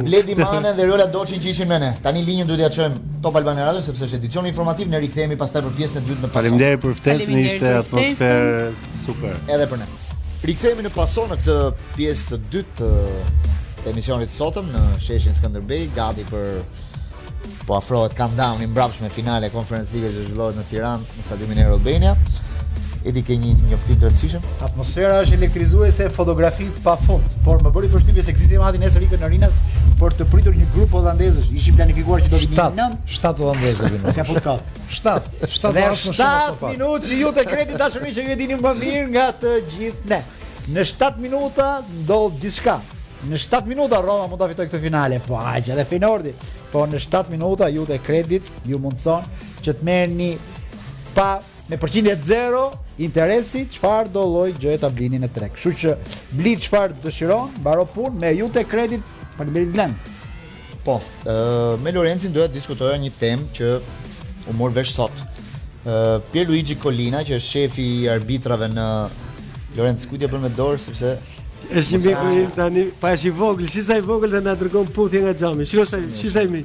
[SPEAKER 1] Bledi Mane dhe Rola Doçi që ishin me ne. Tani linjën duhet ja çojmë Top Albania Radio sepse është edicion informativ, ne rikthehemi pastaj për pjesën e dytë në pason.
[SPEAKER 6] Faleminderit për ftesën,
[SPEAKER 5] Faleminderit
[SPEAKER 6] ishte
[SPEAKER 5] për
[SPEAKER 6] atmosferë super.
[SPEAKER 1] Edhe për ne. Rikthehemi në pason në këtë pjesë të dytë të, të emisionit sotëm në sheshin Skënderbej, gati për po afrohet countdowni mbrapsht me finale e Conference League që zhvillohet në Tiranë në stadiumin Air Albania. Edi ke një njoftim të rëndësishëm?
[SPEAKER 2] Atmosfera është elektrizuese, fotografi pa fund, por më bëri përshtypje se ekzistim hati nesër ikën në Rinas për të pritur një grup hollandezësh. Ishin planifikuar që do të vinë
[SPEAKER 7] 7,
[SPEAKER 2] 9.
[SPEAKER 7] 7 holandezë do vinë.
[SPEAKER 2] Se apo ka.
[SPEAKER 7] 7, 7
[SPEAKER 2] Dhe
[SPEAKER 7] varës më shumë as
[SPEAKER 2] 7
[SPEAKER 7] më pak.
[SPEAKER 2] minutë që ju të kreti dashuri që ju e dini më mirë nga të gjithë ne. Në 7 minuta ndodh diçka. Në 7 minuta Roma mund ta fitojë këtë finale, po aq edhe Feynordi. Po në 7 minuta ju të kredit ju mundson që të merrni pa me përqindje zero interesi çfarë do lloj gjëje ta blini në treg. Kështu që bli çfarë dëshiron, baro punë me ju të kredit. Faleminderit Glen.
[SPEAKER 1] Po, ë me Lorencin doja të diskutoja një temë që u mor vesh sot. ë Pierluigi Colina, që është shefi i arbitrave në Lorenz kujt e bën me dorë sepse
[SPEAKER 3] Është një miku im tani, pa është i vogël, si sa i vogël dhe na dërgon puthje nga xhami. Shikoj sa si sa i mi.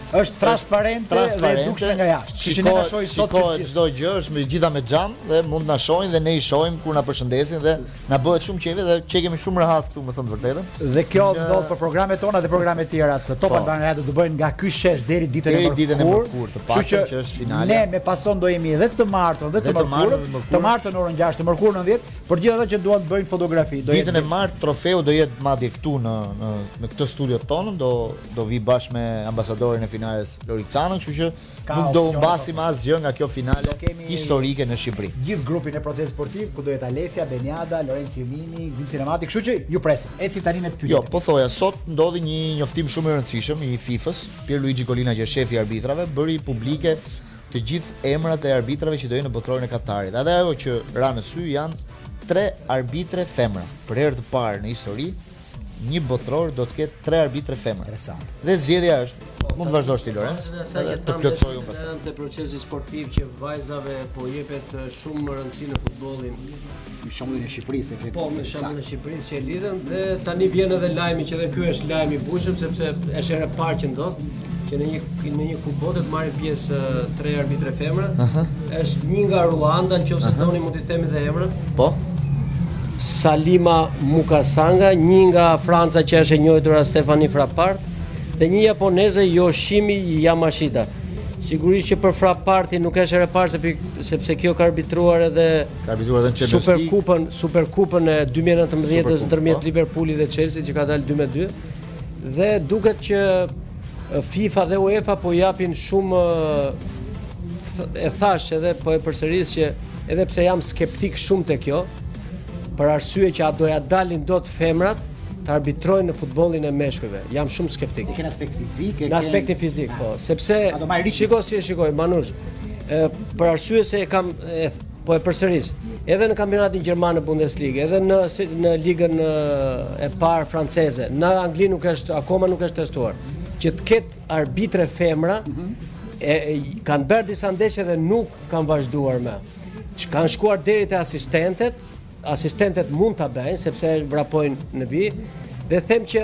[SPEAKER 2] Është transparente, dhe e dukshme nga jashtë. Kështu që ne na
[SPEAKER 1] Shikohet,
[SPEAKER 2] shohim sot që
[SPEAKER 1] shikohet
[SPEAKER 2] gjithë.
[SPEAKER 1] çdo gjë, është me gjitha me xham dhe mund na shohin dhe ne i shohim kur na përshëndesin dhe na bëhet shumë qejve dhe çekemi shumë rehat këtu, më thënë të vërtetën.
[SPEAKER 2] Dhe kjo ndodh për programet tona dhe programet tjera të Top
[SPEAKER 1] Po.
[SPEAKER 2] Albana Radio do bëjnë nga ky shesh deri ditën
[SPEAKER 1] Deri
[SPEAKER 2] e
[SPEAKER 1] ditën e
[SPEAKER 2] mërkurë.
[SPEAKER 1] mërkurë, të
[SPEAKER 2] Kështu
[SPEAKER 1] paktën që është finale.
[SPEAKER 2] Ne me pason do jemi edhe të martën dhe
[SPEAKER 1] Dhe
[SPEAKER 2] të
[SPEAKER 1] të martën
[SPEAKER 2] mërkurën,
[SPEAKER 1] dhe të mërkurën.
[SPEAKER 2] të martën orën 6, të mërkurën në 10, për gjithë ata që duan të bëjnë fotografi. Do
[SPEAKER 1] Ditën e martë trofeu do jetë madje këtu në në në këtë studio tonë, do do vi bashkë me ambasadorin e finares Loricanën, kështu që
[SPEAKER 9] Ka
[SPEAKER 1] nuk do
[SPEAKER 9] opsione,
[SPEAKER 1] humbasim asgjë nga kjo finale
[SPEAKER 9] Kemi-
[SPEAKER 1] historike në Shqipëri.
[SPEAKER 9] gjithë grupin e proces sportiv ku do jetë Alesia, Beniada, Lorenzo Vini, Gzim Sinematik, kështu që ju presim. Eci tani me pyetje.
[SPEAKER 1] Jo, po thoja, sot ndodhi një njoftim shumë i rëndësishëm i FIFA-s. Pierluigi Colina që është shefi i arbitrave bëri publike të gjithë emrat e arbitrave që do jenë në botrorin e Katarit. Edhe ajo që ra në sy janë tre arbitre femra. Për herë të parë në histori, një botror do të ketë tre arbitre femra.
[SPEAKER 9] Interesant.
[SPEAKER 1] Dhe zgjedhja është mund të vazhdosh ti Lorenz, edhe të plotësoj unë pastaj.
[SPEAKER 10] Të procesi sportiv që vajzave po jepet eh, shumë rëndësi në futbollin.
[SPEAKER 2] Në shembullin e Shqipërisë e ke.
[SPEAKER 10] Po, në shembull në Shqipërinë që e lidhen dhe tani vjen edhe lajmi që edhe ky është lajm i bushëm sepse është era e parë që ndodh që në një në një kupë bote të marrin pjesë eh, tre arbitre femra. Është një nga Ruanda, nëse doni mund t'i themi dhe emrat.
[SPEAKER 1] Po?
[SPEAKER 10] Salima Mukasanga, një nga Franca që është e njohur as Stefani Frappart dhe një japoneze Yoshimi Yamashita. Sigurisht që për Frapparti nuk është e reparë sepi- sepse kjo ka arbitruar edhe
[SPEAKER 1] Ka arbitruar edhe në Champions League.
[SPEAKER 10] Superkupën, Superkupën e 2019-s
[SPEAKER 1] Superkupën,
[SPEAKER 10] ndërmjet
[SPEAKER 1] po.
[SPEAKER 10] Liverpoolit dhe Chelsea që ka dalë 2-2 dhe duket që e, FIFA dhe UEFA po japin shumë e, th- e thash edhe po e përsëris që edhe pse jam skeptik shumë te kjo për arsye që a doja dalin dot femrat të arbitrojnë në futbollin e meshkujve. Jam shumë skeptik.
[SPEAKER 2] Ken aspekt fizik, e
[SPEAKER 10] Në
[SPEAKER 2] ke-
[SPEAKER 10] aspektin fizik, po, sepse
[SPEAKER 2] A do marrë ritmin?
[SPEAKER 10] shiko si e shikoj Manush. Ë për arsye se e kam e, po e përsëris. Edhe në kampionatin gjerman në Bundesliga, edhe në si- në ligën ë, e parë franceze, në Angli nuk është akoma nuk është testuar. Që të ketë arbitre femra
[SPEAKER 2] Mhm.
[SPEAKER 10] e, e kanë bërë disa ndeshje dhe nuk kanë vazhduar më. Që kanë shkuar deri te asistentet, asistentet mund ta bëjnë sepse vrapojnë në bi dhe them që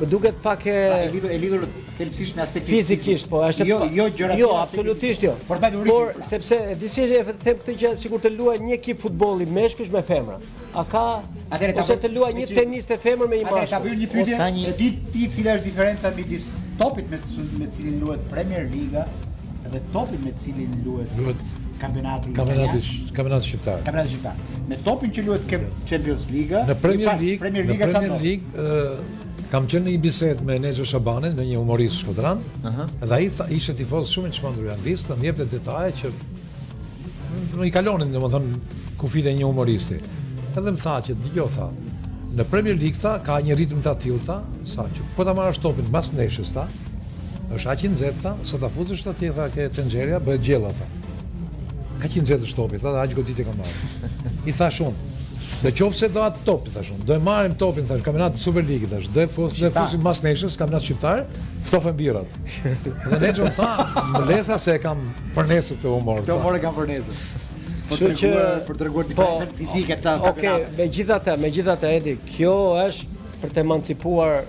[SPEAKER 10] më duket pak e
[SPEAKER 2] e lidhur e lidhur thelpsisht me aspektin
[SPEAKER 10] Fizikisht, po, është
[SPEAKER 2] jo
[SPEAKER 10] pa-
[SPEAKER 2] jo gjëra tjera,
[SPEAKER 10] Jo,
[SPEAKER 2] aspekti
[SPEAKER 10] absolutisht
[SPEAKER 2] fizik.
[SPEAKER 10] jo.
[SPEAKER 2] Por dalë
[SPEAKER 10] Por
[SPEAKER 2] urin.
[SPEAKER 10] sepse e di si e them këtë gjë, sikur të luaj një ekip futbolli meshkush me femra. A ka
[SPEAKER 2] Atëherë ta
[SPEAKER 10] ose
[SPEAKER 2] bëj-
[SPEAKER 10] të luaj një
[SPEAKER 2] me që-
[SPEAKER 10] teniste femër me një
[SPEAKER 2] Atëherë ta
[SPEAKER 10] mashkull.
[SPEAKER 2] bëjmë një pyetje.
[SPEAKER 1] Sa një-
[SPEAKER 2] E di ti cila është diferenca midis topit me cil- me cilin luhet Premier Liga dhe topit me cilin luhet
[SPEAKER 7] Luhet
[SPEAKER 2] kampionati
[SPEAKER 7] kampionati
[SPEAKER 2] italian?
[SPEAKER 7] kampionati shqiptar.
[SPEAKER 2] kampionati shqiptar. Me topin që luhet ke Champions Liga,
[SPEAKER 7] Në Premier
[SPEAKER 2] pa-
[SPEAKER 7] League,
[SPEAKER 2] Premier
[SPEAKER 7] në
[SPEAKER 2] Liga çfarë
[SPEAKER 7] Premier
[SPEAKER 2] ndodh?
[SPEAKER 7] League, ë, kam qenë në një bisedë me Nexo Shabanin, me një humorist shkodran, dhe ai tha, ishte tifoz shumë i çmendur i Anglisë, dhe më jepte detaje që më i kalonin, domethënë, kufit e një humoristi. Edhe më tha që dëgjoj tha, në Premier League tha ka një ritëm të atill tha, sa që po ta marrësh topin pas ndeshjes tha, është aq i nxehtë tha, sa ta futësh atje tha ke tenxherja bëhet gjella tha. Ka qenë nxehtë shtopi, tha, aq goditje ka marrë. I thash unë, Në qoftë se do atë top, thash unë, do e marrim topin, thash, kampionat Superligë, thash, do e fus, do e fusim mas neshës, kampionat shqiptar, ftofen birat. Dhe ne më tha, më le tha se e kam për nesër këtë humor.
[SPEAKER 2] Këto
[SPEAKER 7] tha.
[SPEAKER 2] morë kanë fornezë. Për
[SPEAKER 10] Kështu që po,
[SPEAKER 2] treguar për
[SPEAKER 7] po,
[SPEAKER 2] treguar diferencën fizike të
[SPEAKER 10] Okej,
[SPEAKER 2] kampionatit.
[SPEAKER 10] megjithatë, megjithatë Edi, kjo është për të emancipuar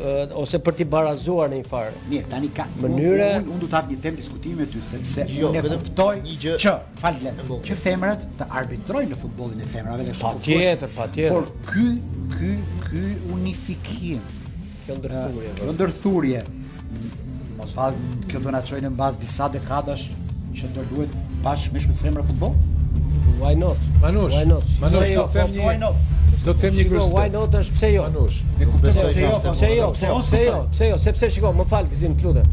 [SPEAKER 10] ë, ose për t'i barazuar në një farë.
[SPEAKER 2] Mirë, tani ka
[SPEAKER 10] Mënyre-
[SPEAKER 2] unë, unë, unë do të hap një temë diskutimi me ty sepse
[SPEAKER 1] Jo,
[SPEAKER 2] unë e
[SPEAKER 1] vetëm
[SPEAKER 2] kuptoj
[SPEAKER 1] një gjë-
[SPEAKER 2] që fal Glen,
[SPEAKER 1] Në bollë.
[SPEAKER 2] që femrat të arbitrojnë në futbollin e femrave dhe këto
[SPEAKER 10] Patjetër,
[SPEAKER 2] kuptosh,
[SPEAKER 10] patjetër.
[SPEAKER 2] Por ky ky ky unifikim,
[SPEAKER 10] Kjo ndërthurje.
[SPEAKER 2] kjo ndërthurje m- mos fal kjo do na çojë në mbas disa dekadash që do luhet bashkë me shkë femra futboll?
[SPEAKER 10] Why not?
[SPEAKER 7] Manush,
[SPEAKER 10] why not?
[SPEAKER 7] Manush,
[SPEAKER 10] Pse
[SPEAKER 7] do
[SPEAKER 10] jo? Po,
[SPEAKER 7] të them
[SPEAKER 2] po, why
[SPEAKER 7] një,
[SPEAKER 2] not?
[SPEAKER 7] do të them një
[SPEAKER 10] Shiko, why
[SPEAKER 7] kuriozitet.
[SPEAKER 10] not është pse jo?
[SPEAKER 7] Manush,
[SPEAKER 2] E kuptoj
[SPEAKER 1] besoj
[SPEAKER 2] se
[SPEAKER 1] që
[SPEAKER 2] jo,
[SPEAKER 1] është e
[SPEAKER 2] po,
[SPEAKER 10] Pse jo?
[SPEAKER 2] pse
[SPEAKER 10] Pse jo? Pse jo? Sepse shiko, më fal Gzim, të lutem.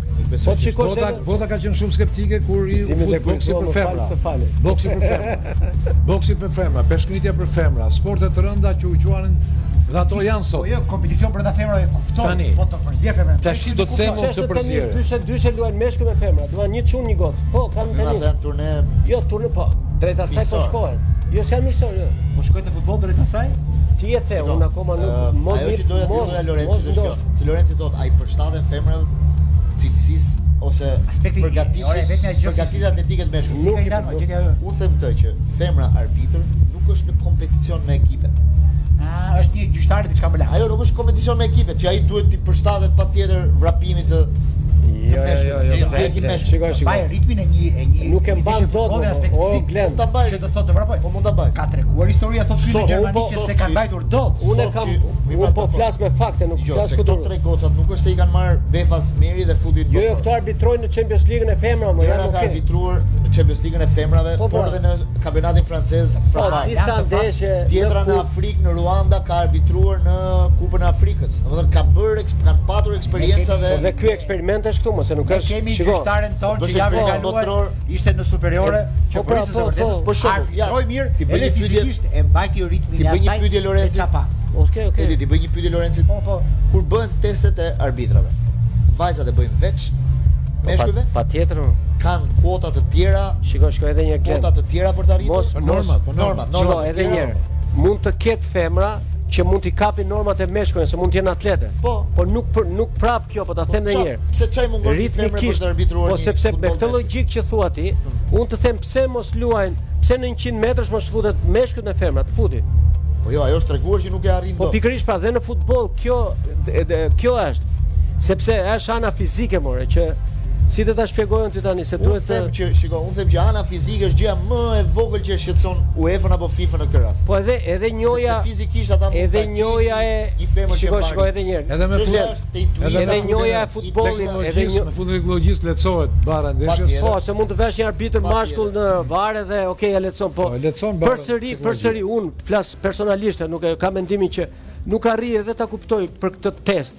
[SPEAKER 10] Po të shikosh
[SPEAKER 7] Bota,
[SPEAKER 10] edhe-
[SPEAKER 7] bota ka qenë shumë skeptike kur i u
[SPEAKER 10] Gëzimi
[SPEAKER 7] fut
[SPEAKER 10] dhe
[SPEAKER 7] boksi
[SPEAKER 10] kujtuam,
[SPEAKER 7] për
[SPEAKER 10] më
[SPEAKER 7] femra.
[SPEAKER 10] falë, Stefani.
[SPEAKER 7] Boksi për femra. Boksi për femra, peshkëngritja për femra, sporte të rënda që u quanin dhe ato janë
[SPEAKER 2] Po
[SPEAKER 7] sot.
[SPEAKER 2] jo, kompeticion brenda femrave e kuptoj,
[SPEAKER 7] Tani.
[SPEAKER 2] po të përzier femrën.
[SPEAKER 7] Tash do të them unë
[SPEAKER 10] Çeshtë
[SPEAKER 7] të përzierë.
[SPEAKER 10] Dyshe dyshe luajnë meshkuj me femra, duan një çun një got. Po, kanë
[SPEAKER 1] Ata
[SPEAKER 10] tenis.
[SPEAKER 1] janë turne
[SPEAKER 10] Jo, turni po, drejt asaj po
[SPEAKER 1] Miqësor.
[SPEAKER 10] shkohet. Jo, se janë miqësor, jo.
[SPEAKER 2] Po shkojnë në futboll drejt asaj?
[SPEAKER 10] Ti e the, unë akoma nuk
[SPEAKER 1] Ë, Po,
[SPEAKER 10] mos
[SPEAKER 1] eh, ajo që
[SPEAKER 10] një-
[SPEAKER 1] doja të
[SPEAKER 10] mos-
[SPEAKER 1] thoja Lorenci
[SPEAKER 10] mos
[SPEAKER 1] është kjo.
[SPEAKER 10] ndosh.
[SPEAKER 1] Si Lorenci thot, ai përshtaten femrave cilësisë ose
[SPEAKER 2] Aspekti- ore,
[SPEAKER 1] përgatitjes,
[SPEAKER 2] vetmja gjë-
[SPEAKER 1] përgatitjet atletike të meshkut.
[SPEAKER 2] Si ka i dhanë, gjëja ajo.
[SPEAKER 1] Unë them këtë që femra arbitër nuk është në kompeticion me ekipet.
[SPEAKER 2] Ah, është një gjyqtar diçka më lart.
[SPEAKER 1] Ajo nuk është kompeticion me ekipet, që ai duhet të përshtatet patjetër vrapimit të
[SPEAKER 10] Jo, jo, jo, jo.
[SPEAKER 1] Drejt,
[SPEAKER 10] drejt,
[SPEAKER 1] drejt.
[SPEAKER 10] Shikoj, shikoj.
[SPEAKER 2] Mbaj ritmin e një e një
[SPEAKER 10] Nuk e mban
[SPEAKER 2] që
[SPEAKER 10] dot,
[SPEAKER 2] futbolli në
[SPEAKER 10] o,
[SPEAKER 2] aspekt
[SPEAKER 10] o,
[SPEAKER 2] fizik.
[SPEAKER 10] Glenn.
[SPEAKER 1] Po Mund ta mbaj.
[SPEAKER 2] Që do të thotë vrapoj.
[SPEAKER 1] Po mund ta bëj.
[SPEAKER 2] Ka treguar historia thotë ky në
[SPEAKER 1] Sot,
[SPEAKER 2] Gjermani
[SPEAKER 1] po,
[SPEAKER 2] se
[SPEAKER 1] sot
[SPEAKER 2] se kanë
[SPEAKER 1] që-
[SPEAKER 2] mbajtur dot.
[SPEAKER 10] Unë
[SPEAKER 1] Sot
[SPEAKER 10] kam,
[SPEAKER 1] që- mi
[SPEAKER 10] unë
[SPEAKER 1] marr
[SPEAKER 10] po
[SPEAKER 1] dakord.
[SPEAKER 10] flas me fakte, nuk
[SPEAKER 1] Jo,
[SPEAKER 10] flas
[SPEAKER 1] se këto tre
[SPEAKER 10] kulturë.
[SPEAKER 1] gocat nuk është se i kanë marrë Befas Meri dhe Fudin
[SPEAKER 10] Jo, jo, këto arbitrojnë në Champions League-ën e femra, më
[SPEAKER 1] Njëra
[SPEAKER 10] janë
[SPEAKER 1] ka
[SPEAKER 10] okay.
[SPEAKER 1] arbitruar Champions League-ën e femrave,
[SPEAKER 10] Po,
[SPEAKER 1] por
[SPEAKER 10] pra.
[SPEAKER 1] edhe në kampionatin francez
[SPEAKER 10] Po,
[SPEAKER 1] frapai.
[SPEAKER 10] disa
[SPEAKER 1] Janë të fakt-
[SPEAKER 10] ndeshje
[SPEAKER 1] Tjetra
[SPEAKER 10] në
[SPEAKER 1] në
[SPEAKER 10] kup-
[SPEAKER 1] Afrikë, në Ruanda ka arbitruar në Kupën e Afrikës. Do të thonë ka bërë eks- kanë patur eksperjenca
[SPEAKER 10] Po, Dhe
[SPEAKER 1] dhe
[SPEAKER 10] ky eksperiment është këtu, mos e nuk
[SPEAKER 2] Ne
[SPEAKER 10] është.
[SPEAKER 2] kemi
[SPEAKER 10] shiko,
[SPEAKER 2] gjyqtaren ton që
[SPEAKER 1] bësh
[SPEAKER 2] javën e
[SPEAKER 1] sport
[SPEAKER 2] kaluar
[SPEAKER 1] botror.
[SPEAKER 2] ishte në superiore që
[SPEAKER 10] E, po, pra,
[SPEAKER 2] prisë së
[SPEAKER 10] po,
[SPEAKER 2] vërtetës.
[SPEAKER 10] po.
[SPEAKER 1] Po, shembull, ja.
[SPEAKER 2] Arbitroj mirë,
[SPEAKER 1] Ti bëj
[SPEAKER 2] edhe
[SPEAKER 1] një pyetje-
[SPEAKER 2] fizikisht e mbajti ritmin
[SPEAKER 1] Ti
[SPEAKER 2] e
[SPEAKER 1] bëj një
[SPEAKER 2] asaj.
[SPEAKER 1] pyetje, Lorenzo?
[SPEAKER 2] e çapa.
[SPEAKER 10] Okej, okej.
[SPEAKER 1] Edi ti bëj një pyetje Lorencit.
[SPEAKER 2] Po, po.
[SPEAKER 1] Kur bëhen testet e arbitrave, vajzat e bëjnë
[SPEAKER 10] Po,
[SPEAKER 1] veç, meshkujve
[SPEAKER 10] Patjetër. mo.
[SPEAKER 1] kanë kuota të tjera,
[SPEAKER 10] Shiko, shiko edhe një gjë.
[SPEAKER 1] kuota të tjera për të arritur.
[SPEAKER 10] Mos-
[SPEAKER 7] normat, po
[SPEAKER 1] normat,
[SPEAKER 7] normat.
[SPEAKER 10] Jo,
[SPEAKER 1] normat. të
[SPEAKER 10] edhe
[SPEAKER 1] tjera.
[SPEAKER 10] një herë. Mund të ketë femra që mund t'i kapin normat e meshkujve, se mund të jenë atlete.
[SPEAKER 1] Po.
[SPEAKER 10] Por nuk për, nuk prap kjo, po ta them edhe
[SPEAKER 1] Qa-
[SPEAKER 10] një herë.
[SPEAKER 1] pse çaj mungon një femre për
[SPEAKER 10] Ritmikisht,
[SPEAKER 1] të arbitruar
[SPEAKER 10] po
[SPEAKER 1] një Hmm.
[SPEAKER 10] sepse me
[SPEAKER 1] futboll
[SPEAKER 10] këtë
[SPEAKER 1] meshkuj?
[SPEAKER 10] logjik që thua ti, unë të them pse mos luajnë, pse në 100 metrësh mos futet meshkujt me femrat, futi.
[SPEAKER 1] Po jo, ajo është treguar që nuk e arrin
[SPEAKER 10] Po
[SPEAKER 1] dot.
[SPEAKER 10] pikërisht pra dhe në futboll kjo d- d- kjo është sepse është ana fizike more që si do ta shpjegojnë ty tani se
[SPEAKER 1] Unë
[SPEAKER 10] duhet
[SPEAKER 1] them
[SPEAKER 10] të
[SPEAKER 1] që shiko, unë them që ana fizike është gjëja më e vogël që e shqetëson UEFA-n apo FIFA-n në këtë rast.
[SPEAKER 10] po edhe edhe njoja
[SPEAKER 1] Sepse fizikisht ata mund ta
[SPEAKER 10] edhe
[SPEAKER 1] gjejnë
[SPEAKER 10] njoja e
[SPEAKER 1] një femër që
[SPEAKER 10] shiko
[SPEAKER 1] mbarë.
[SPEAKER 10] shiko edhe një herë
[SPEAKER 7] Edhe me
[SPEAKER 1] Çështja
[SPEAKER 7] fut-
[SPEAKER 1] është te intuita.
[SPEAKER 7] edhe
[SPEAKER 10] edhe
[SPEAKER 7] me
[SPEAKER 10] njoja e
[SPEAKER 1] fut-
[SPEAKER 10] futbollit
[SPEAKER 1] intuita-
[SPEAKER 10] edhe
[SPEAKER 7] Teknologjisë,
[SPEAKER 10] një
[SPEAKER 7] me fund teknologjisë lehtësohet bara ndeshjes.
[SPEAKER 1] Patjetër.
[SPEAKER 10] Po, se mund të vesh një arbitër
[SPEAKER 1] Pa
[SPEAKER 10] mashkull në varë dhe okay, e lecon, po.
[SPEAKER 7] Po, e lecon, ba-
[SPEAKER 10] Përsëri,
[SPEAKER 7] teknologji.
[SPEAKER 10] përsëri un flas personalisht, nuk e kam mendimin që nuk arrij edhe ta kuptoj për këtë test.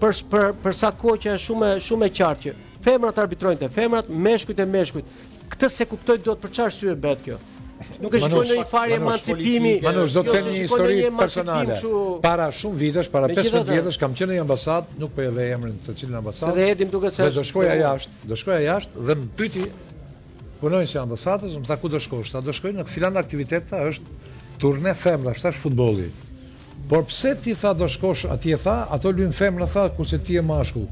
[SPEAKER 10] Për s- për për sa kohë që është shumë e- shumë e qartë që femrat arbitrojnë te femrat, meshkujt e meshkujt. Këtë se kuptoj dot për çfarë syre bëhet kjo. Nuk e shkoj
[SPEAKER 7] Manush,
[SPEAKER 10] në një farë
[SPEAKER 1] Manush,
[SPEAKER 10] emancipimi.
[SPEAKER 1] politike,
[SPEAKER 7] Manush, do
[SPEAKER 10] Jo,
[SPEAKER 7] të
[SPEAKER 10] se
[SPEAKER 7] them një
[SPEAKER 10] shikoj
[SPEAKER 7] histori
[SPEAKER 10] ndonjë emancipim
[SPEAKER 7] personale.
[SPEAKER 10] kështu-
[SPEAKER 7] Para shumë vitesh, para
[SPEAKER 10] Megjithatë-
[SPEAKER 7] 15 vjetësh kam qenë në ambasadë, nuk po e vej emrin të cilën ambasadë.
[SPEAKER 10] Se dhe Edim duket se
[SPEAKER 7] Dhe
[SPEAKER 10] është-
[SPEAKER 7] do shkoja jashtë, do shkoja jashtë dhe më pyeti punojnë si ambasadës, më tha ku do shkosh? Tha do shkoj në filan aktivitet, tha është turne femra, është futbolli. Por pse ti tha do shkosh atje tha, ato luajn femra tha kurse ti je mashkull.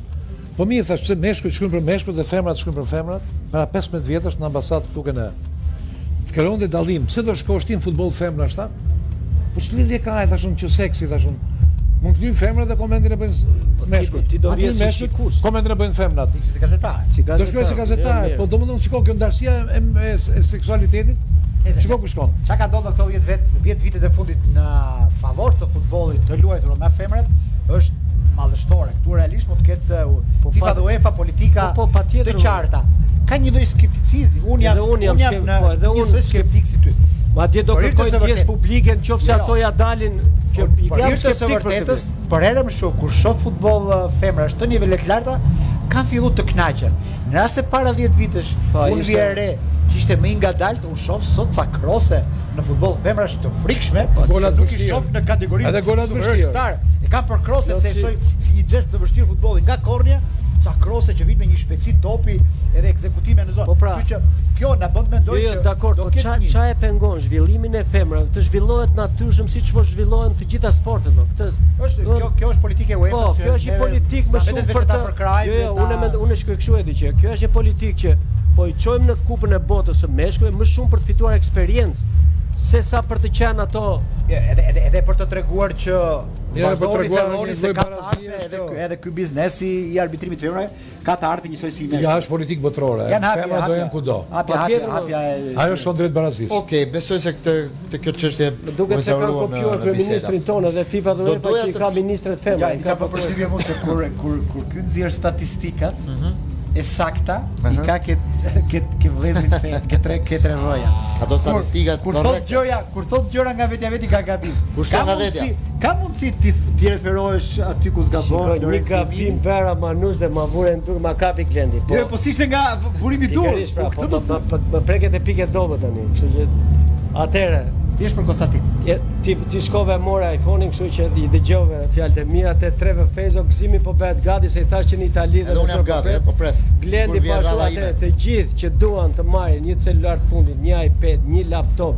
[SPEAKER 7] Po mirë thash pse meshkujt shkojnë për meshkujt dhe femrat shkojnë për femrat? Para 15 vjetësh në ambasadë këtu kanë. Të kërkonte dallim, pse do shkosh ti në futboll femra tha? Po ç'lidhje ka ai thashun që seksi thashun. Mund të luajnë femrat dhe komentin e bëjnë meshkujt.
[SPEAKER 10] Po ti do
[SPEAKER 7] Atë
[SPEAKER 10] vje
[SPEAKER 7] luajnë
[SPEAKER 10] si
[SPEAKER 7] meshkujt,
[SPEAKER 10] shikus.
[SPEAKER 7] Komentin e bëjnë femrat.
[SPEAKER 2] Si gazetar.
[SPEAKER 10] Si
[SPEAKER 7] Do shkoj si gazetar,
[SPEAKER 10] mirë.
[SPEAKER 7] po domethënë shikoj kjo ndarësia e, e, e seksualitetit.
[SPEAKER 2] Eze.
[SPEAKER 7] Shikoj ku shkon.
[SPEAKER 2] Çka ka ndodhur këto 10 vet, 10 vitet e fundit në favor të futbollit të luajtur nga femrat është mallështore. Ktu realisht mund të ketë uh,
[SPEAKER 10] Po,
[SPEAKER 2] FIFA
[SPEAKER 10] pa-
[SPEAKER 2] dhe UEFA politika
[SPEAKER 10] Po, po, patjetër,
[SPEAKER 2] të qarta. Ka një lloj skepticizmi. Unë jam
[SPEAKER 10] Edhe unë jam skep-
[SPEAKER 2] në-
[SPEAKER 10] po, edhe
[SPEAKER 2] një
[SPEAKER 10] unë
[SPEAKER 2] lloj skeptik si ty.
[SPEAKER 10] Ma dje do
[SPEAKER 2] Por irtë
[SPEAKER 10] kërkoj
[SPEAKER 2] se
[SPEAKER 10] pjesë
[SPEAKER 2] vërtet.
[SPEAKER 10] publike në qofë se
[SPEAKER 2] Jo.
[SPEAKER 10] ato ja dalin që
[SPEAKER 2] Por, por
[SPEAKER 10] jam
[SPEAKER 2] irtë se
[SPEAKER 10] skeptik për këtë.
[SPEAKER 2] vërtetës, për herë më shumë kur shoh futboll uh, femrash të nivele të larta, kanë filluar të knaqen. Në rast se para 10 vitesh
[SPEAKER 10] Po,
[SPEAKER 2] unë
[SPEAKER 10] ishte-
[SPEAKER 2] vi e re që ishte më i ngadalt, unë shoh sot ca krose në futboll femrash të frikshme,
[SPEAKER 10] Po.
[SPEAKER 7] golat
[SPEAKER 2] që nuk i
[SPEAKER 7] vështirë.
[SPEAKER 2] shoh në kategorinë.
[SPEAKER 7] Edhe golat
[SPEAKER 2] super
[SPEAKER 7] vështirë.
[SPEAKER 2] shqiptare. E kanë për krose
[SPEAKER 10] Jo,
[SPEAKER 2] se
[SPEAKER 10] si-
[SPEAKER 2] e shoj si një gest të vështirë futbolli nga kornja, ca krose që vit me një shpejtësi topi edhe ekzekutime në zonë.
[SPEAKER 10] Po, pra.
[SPEAKER 2] Kështu që kjo na bën të mendoj
[SPEAKER 10] Jo, jo,
[SPEAKER 2] që
[SPEAKER 10] dakor,
[SPEAKER 2] do
[SPEAKER 10] po
[SPEAKER 2] ketë
[SPEAKER 10] qa,
[SPEAKER 2] një-
[SPEAKER 10] qa e pengon zhvillimin e femrave, të zhvillohet natyrshëm siç po zhvillohen të gjitha sportet, po. Këtë
[SPEAKER 2] Është
[SPEAKER 10] do-
[SPEAKER 2] kjo kjo është politika e
[SPEAKER 10] Po,
[SPEAKER 2] UEFA-s. që
[SPEAKER 10] kjo është një
[SPEAKER 2] neve
[SPEAKER 10] politikë më
[SPEAKER 2] sa
[SPEAKER 10] shumë
[SPEAKER 2] vetëm
[SPEAKER 10] për
[SPEAKER 2] vetë
[SPEAKER 10] të
[SPEAKER 2] ta përkrajmë.
[SPEAKER 10] Jo, jo, unë mend unë shkoj kështu edhe që kjo është një politikë që po i çojmë në kupën e botës së meshkujve më shumë për të fituar eksperiencë sesa për të qenë ato
[SPEAKER 2] edhe edhe edhe për të treguar që
[SPEAKER 7] Ja,
[SPEAKER 2] vazhdoni
[SPEAKER 7] po treguar një
[SPEAKER 2] thelloni se
[SPEAKER 7] lloj
[SPEAKER 2] ka të
[SPEAKER 7] barazie
[SPEAKER 2] ardhme
[SPEAKER 7] është
[SPEAKER 2] edhe
[SPEAKER 7] kjo.
[SPEAKER 2] ky- edhe ky biznesi i arbitrimit të femrave ka të ardhmë njësoj si ne.
[SPEAKER 7] Ja është politikë botërore.
[SPEAKER 2] Janë hapja,
[SPEAKER 7] Femrat do
[SPEAKER 2] hapja.
[SPEAKER 7] janë kudo.
[SPEAKER 2] Hapja, hapja,
[SPEAKER 10] Patjetër,
[SPEAKER 2] hapja. e-
[SPEAKER 7] Ajo shkon drejt barazisë.
[SPEAKER 1] Okej, besoj se këtë këtë kjo çështje
[SPEAKER 10] Më duket se kanë kopjuar
[SPEAKER 1] eh,
[SPEAKER 10] kryeministrin tonë dhe FIFA dhe
[SPEAKER 1] uh, Do
[SPEAKER 10] UEFA
[SPEAKER 1] doja
[SPEAKER 10] që i
[SPEAKER 1] të
[SPEAKER 10] ka
[SPEAKER 1] f-
[SPEAKER 10] ministret
[SPEAKER 2] Ja,
[SPEAKER 10] femra. i
[SPEAKER 2] i
[SPEAKER 10] ka
[SPEAKER 2] ka po
[SPEAKER 10] kopjuar.
[SPEAKER 2] përshtypje mos se kur kur kur ky nxjerr statistikat e sakta i ka ket ket ke vëllezrit fet, ke tre ke tre rroja.
[SPEAKER 1] Ato
[SPEAKER 2] Kur-
[SPEAKER 1] statistikat
[SPEAKER 2] kur
[SPEAKER 1] korrekte.
[SPEAKER 2] thot gjëra, kur thot gjëra nga vetja veti ka gabim.
[SPEAKER 1] Kur shton
[SPEAKER 2] Ka
[SPEAKER 1] nga
[SPEAKER 2] mundësi-
[SPEAKER 1] vetja.
[SPEAKER 2] Ka mundsi ti ti referohesh aty ku zgabon
[SPEAKER 10] Shikoj, Një
[SPEAKER 2] Lorenzo
[SPEAKER 10] gabim
[SPEAKER 2] Mini?
[SPEAKER 10] vera manush dhe ma vure në dur ma kapi klendi. Po,
[SPEAKER 2] Jo, po si ishte nga burimi i dur.
[SPEAKER 10] pikërisht pra,
[SPEAKER 2] Po
[SPEAKER 10] po,
[SPEAKER 2] këtë do
[SPEAKER 10] po,
[SPEAKER 2] të
[SPEAKER 10] po, po, më preket e pike dobët tani. Kështu që atëre
[SPEAKER 2] thësh për Konstantin.
[SPEAKER 10] je- ti ti shkove mora iPhone-in, kështu që i dëgjove fjalët e mia te treve Fezo gëzimi po bëhet gati se i thash që në Itali dhe
[SPEAKER 1] Edhe unë
[SPEAKER 10] nëse
[SPEAKER 1] jam gati,
[SPEAKER 10] bëhet,
[SPEAKER 1] po pres.
[SPEAKER 10] Glendi
[SPEAKER 1] Kur vjen
[SPEAKER 10] pa ashtu
[SPEAKER 1] rradha
[SPEAKER 10] atë
[SPEAKER 1] ime.
[SPEAKER 10] të gjithë që duan të marrin një celular të fundit, një iPad, një laptop,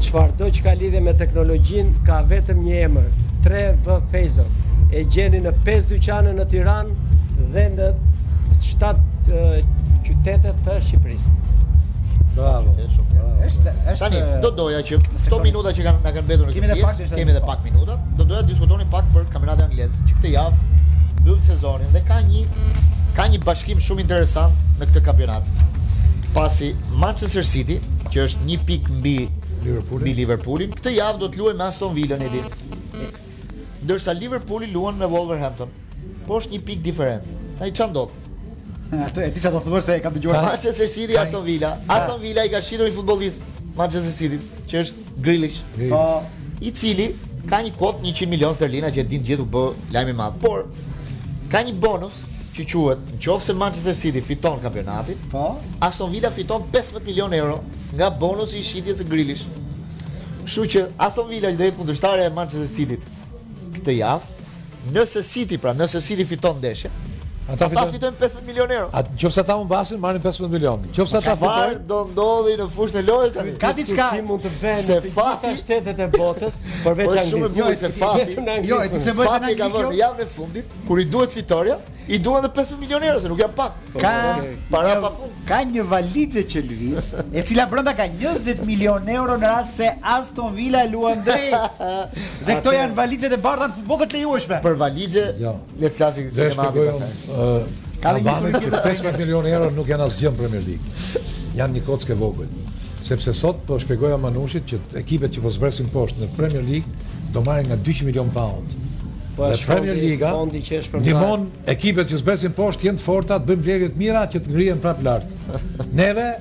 [SPEAKER 10] çfarëdo që ka lidhje me teknologjinë ka vetëm një emër, 3V Fezo. E gjeni në 5 dyqane në Tiranë dhe në 7 eh, qytete të Shqipërisë.
[SPEAKER 7] Bravo.
[SPEAKER 1] E, shumë mirë.
[SPEAKER 2] Është është
[SPEAKER 1] Tani, do doja që këto minuta që kanë na kanë mbetur në
[SPEAKER 2] Kemi
[SPEAKER 1] këtë
[SPEAKER 2] edhe pak
[SPEAKER 1] pjesë,
[SPEAKER 2] minuta.
[SPEAKER 1] kemi edhe pak minuta, do doja të diskutonin pak për kampionatin anglez, që këtë javë mbyll sezonin dhe ka një ka një bashkim shumë interesant në këtë kampionat. Pasi Manchester City, që është një pikë mbi
[SPEAKER 7] Liverpoolin.
[SPEAKER 1] mbi Liverpoolin, këtë javë do të luajë me Aston Villa në ditë. Ndërsa Liverpooli luan me Wolverhampton, po është një pikë diferencë. Tani çfarë ndodh?
[SPEAKER 11] Atë e di çfarë do të thuash se e kam dëgjuar. se-
[SPEAKER 1] Manchester City Aston Villa. Aston Villa i ka shitur një futbollist Manchester City, që është Grealish,
[SPEAKER 11] Po,
[SPEAKER 1] i cili ka një kot 100 milion sterlina që e din gjithë u bë lajm i madh, por ka një bonus që quhet nëse Manchester City fiton kampionatin,
[SPEAKER 11] po.
[SPEAKER 1] Aston Villa fiton 15 milion euro nga bonusi i shitjes së Grealish. Kështu që Aston Villa do jetë kundërshtare e Manchester City-t këtë javë. Nëse City, pra, nëse City fiton ndeshjen,
[SPEAKER 7] Ata
[SPEAKER 1] ata
[SPEAKER 7] fitojnë.
[SPEAKER 1] fitojnë 15 milion euro.
[SPEAKER 7] Atë qofse ata humbasin marrin 15 milion. Qofse ata
[SPEAKER 1] Çfarë
[SPEAKER 7] fitojnë,
[SPEAKER 1] do ndodhi në fushën e lojës tani?
[SPEAKER 11] Ka diçka.
[SPEAKER 10] Ti mund të bëjë
[SPEAKER 1] Se
[SPEAKER 10] në të gjitha
[SPEAKER 1] fati-
[SPEAKER 10] shtetet e botës, përveç
[SPEAKER 1] Po,
[SPEAKER 10] Anglisë.
[SPEAKER 1] është shumë e bukur se fati-
[SPEAKER 10] vetëm në
[SPEAKER 11] Jo, e
[SPEAKER 10] Anglisë.
[SPEAKER 11] pse bëhet në
[SPEAKER 1] Fati e ka vënë
[SPEAKER 11] Angli
[SPEAKER 1] në
[SPEAKER 11] kjo?
[SPEAKER 1] javën e fundit, kur i duhet fitoria, i duan edhe 15 milion euro, se nuk janë pak.
[SPEAKER 11] Ka
[SPEAKER 1] para
[SPEAKER 11] një-
[SPEAKER 1] pafund.
[SPEAKER 11] Ka një valixhe që lviz, e cila brenda ka 20 milion euro në rast se Aston Villa luan drejt. Dhe këto janë valixhet e bardha në futbollet lejueshme.
[SPEAKER 1] Për valixhe,
[SPEAKER 7] Jo.
[SPEAKER 1] le të flasim
[SPEAKER 7] dhe
[SPEAKER 1] sinemati
[SPEAKER 7] shpjegoj
[SPEAKER 1] pastaj.
[SPEAKER 7] unë
[SPEAKER 11] Ka
[SPEAKER 7] Ka
[SPEAKER 11] dhe një histori tjetër.
[SPEAKER 7] 15 milion euro nuk janë asgjë në Premier League. Janë një kockë e vogël. Sepse sot po shpjegoja Manushit që ekipet që po zbresin poshtë në Premier League do marrin nga 200 milion pound.
[SPEAKER 10] Po,
[SPEAKER 7] Dhe
[SPEAKER 10] është
[SPEAKER 7] Premier
[SPEAKER 10] fondi-
[SPEAKER 7] Liga
[SPEAKER 10] fondi që është për
[SPEAKER 7] ndihmon ekipet që zbresin poshtë jenë të forta, të bëjnë blerje të mira që të ngrihen prapë lart. Neve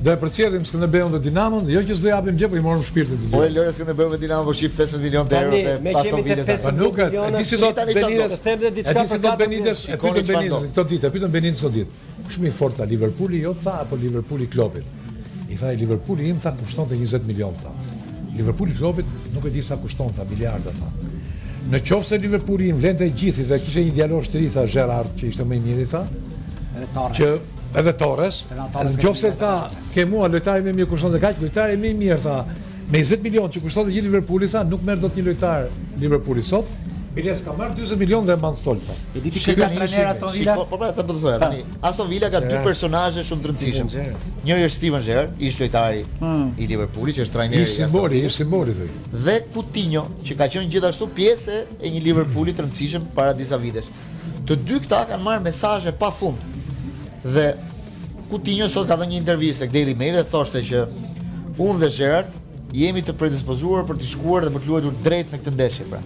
[SPEAKER 7] do e përcjellim Skënderbeun dhe Dinamon, jo që s'do japim gjë, po i morëm shpirtin të
[SPEAKER 1] Ore
[SPEAKER 7] dy.
[SPEAKER 1] Lore s'kënë bërë me Dinamo po shif 15 milion të euro
[SPEAKER 10] Tani,
[SPEAKER 1] dhe
[SPEAKER 10] me
[SPEAKER 1] Aston
[SPEAKER 10] qemi të
[SPEAKER 1] Villa. sa.
[SPEAKER 7] Po
[SPEAKER 10] 15
[SPEAKER 7] nuk e e di si do
[SPEAKER 1] Tani çfarë
[SPEAKER 7] Benitez.
[SPEAKER 1] do?
[SPEAKER 10] Të them dhe diçka
[SPEAKER 7] e di si
[SPEAKER 10] për
[SPEAKER 7] do
[SPEAKER 10] katër
[SPEAKER 7] Benitez, e
[SPEAKER 1] minuta.
[SPEAKER 7] pyetën
[SPEAKER 1] Shikoni çfarë
[SPEAKER 7] Benitez
[SPEAKER 1] do.
[SPEAKER 7] këto ditë, e pyetën Benitez sot ditë. Shumë i fortë tha Liverpooli, jo tha apo Liverpooli Klopit. I tha i Liverpooli im tha kushtonte 20 milion tha. Liverpooli Klopit nuk e di sa kushton tha miliarda tha. Në qoftë se Liverpooli im vlente gjithë dhe kishte një djalosh të ri tha Gerrard që ishte më i miri tha,
[SPEAKER 11] Edhe Torres.
[SPEAKER 7] që edhe Torres,
[SPEAKER 11] Edhe Torres
[SPEAKER 7] në qoftë se
[SPEAKER 11] ka
[SPEAKER 7] tha ke mua lojtari më i mirë kushton të kaq, lojtari më i mirë tha, me 20 milion që kushton të gjithë Liverpooli tha, nuk merr dot një lojtar Liverpooli sot. Biles ka marr 40 milion dhe e mban stol tha.
[SPEAKER 11] E di ti
[SPEAKER 1] Shikoj
[SPEAKER 11] që ka
[SPEAKER 1] një
[SPEAKER 11] trajner
[SPEAKER 1] shikoj.
[SPEAKER 11] Aston Villa?
[SPEAKER 1] Shiko- Po pra, ta po të thoya tani. Aston Villa ka dy personazhe shumë të rëndësishëm. Njëri është Steven Gerrard, ish lojtari i Liverpoolit që është trajneri i Aston
[SPEAKER 7] Ishtë Hmm. simboli,
[SPEAKER 1] Villa,
[SPEAKER 7] ishtë simboli thoi.
[SPEAKER 1] dhe Coutinho, që ka qenë gjithashtu pjesë e një Liverpooli të rëndësishëm para disa vitesh. Të dy këta kanë marrë mesazhe pafund. Dhe Coutinho sot ka dhënë një intervistë tek Daily Mail dhe thoshte që unë dhe Gerrard jemi të predispozuar për të shkuar dhe për të luajtur drejt në këtë ndeshje, pra.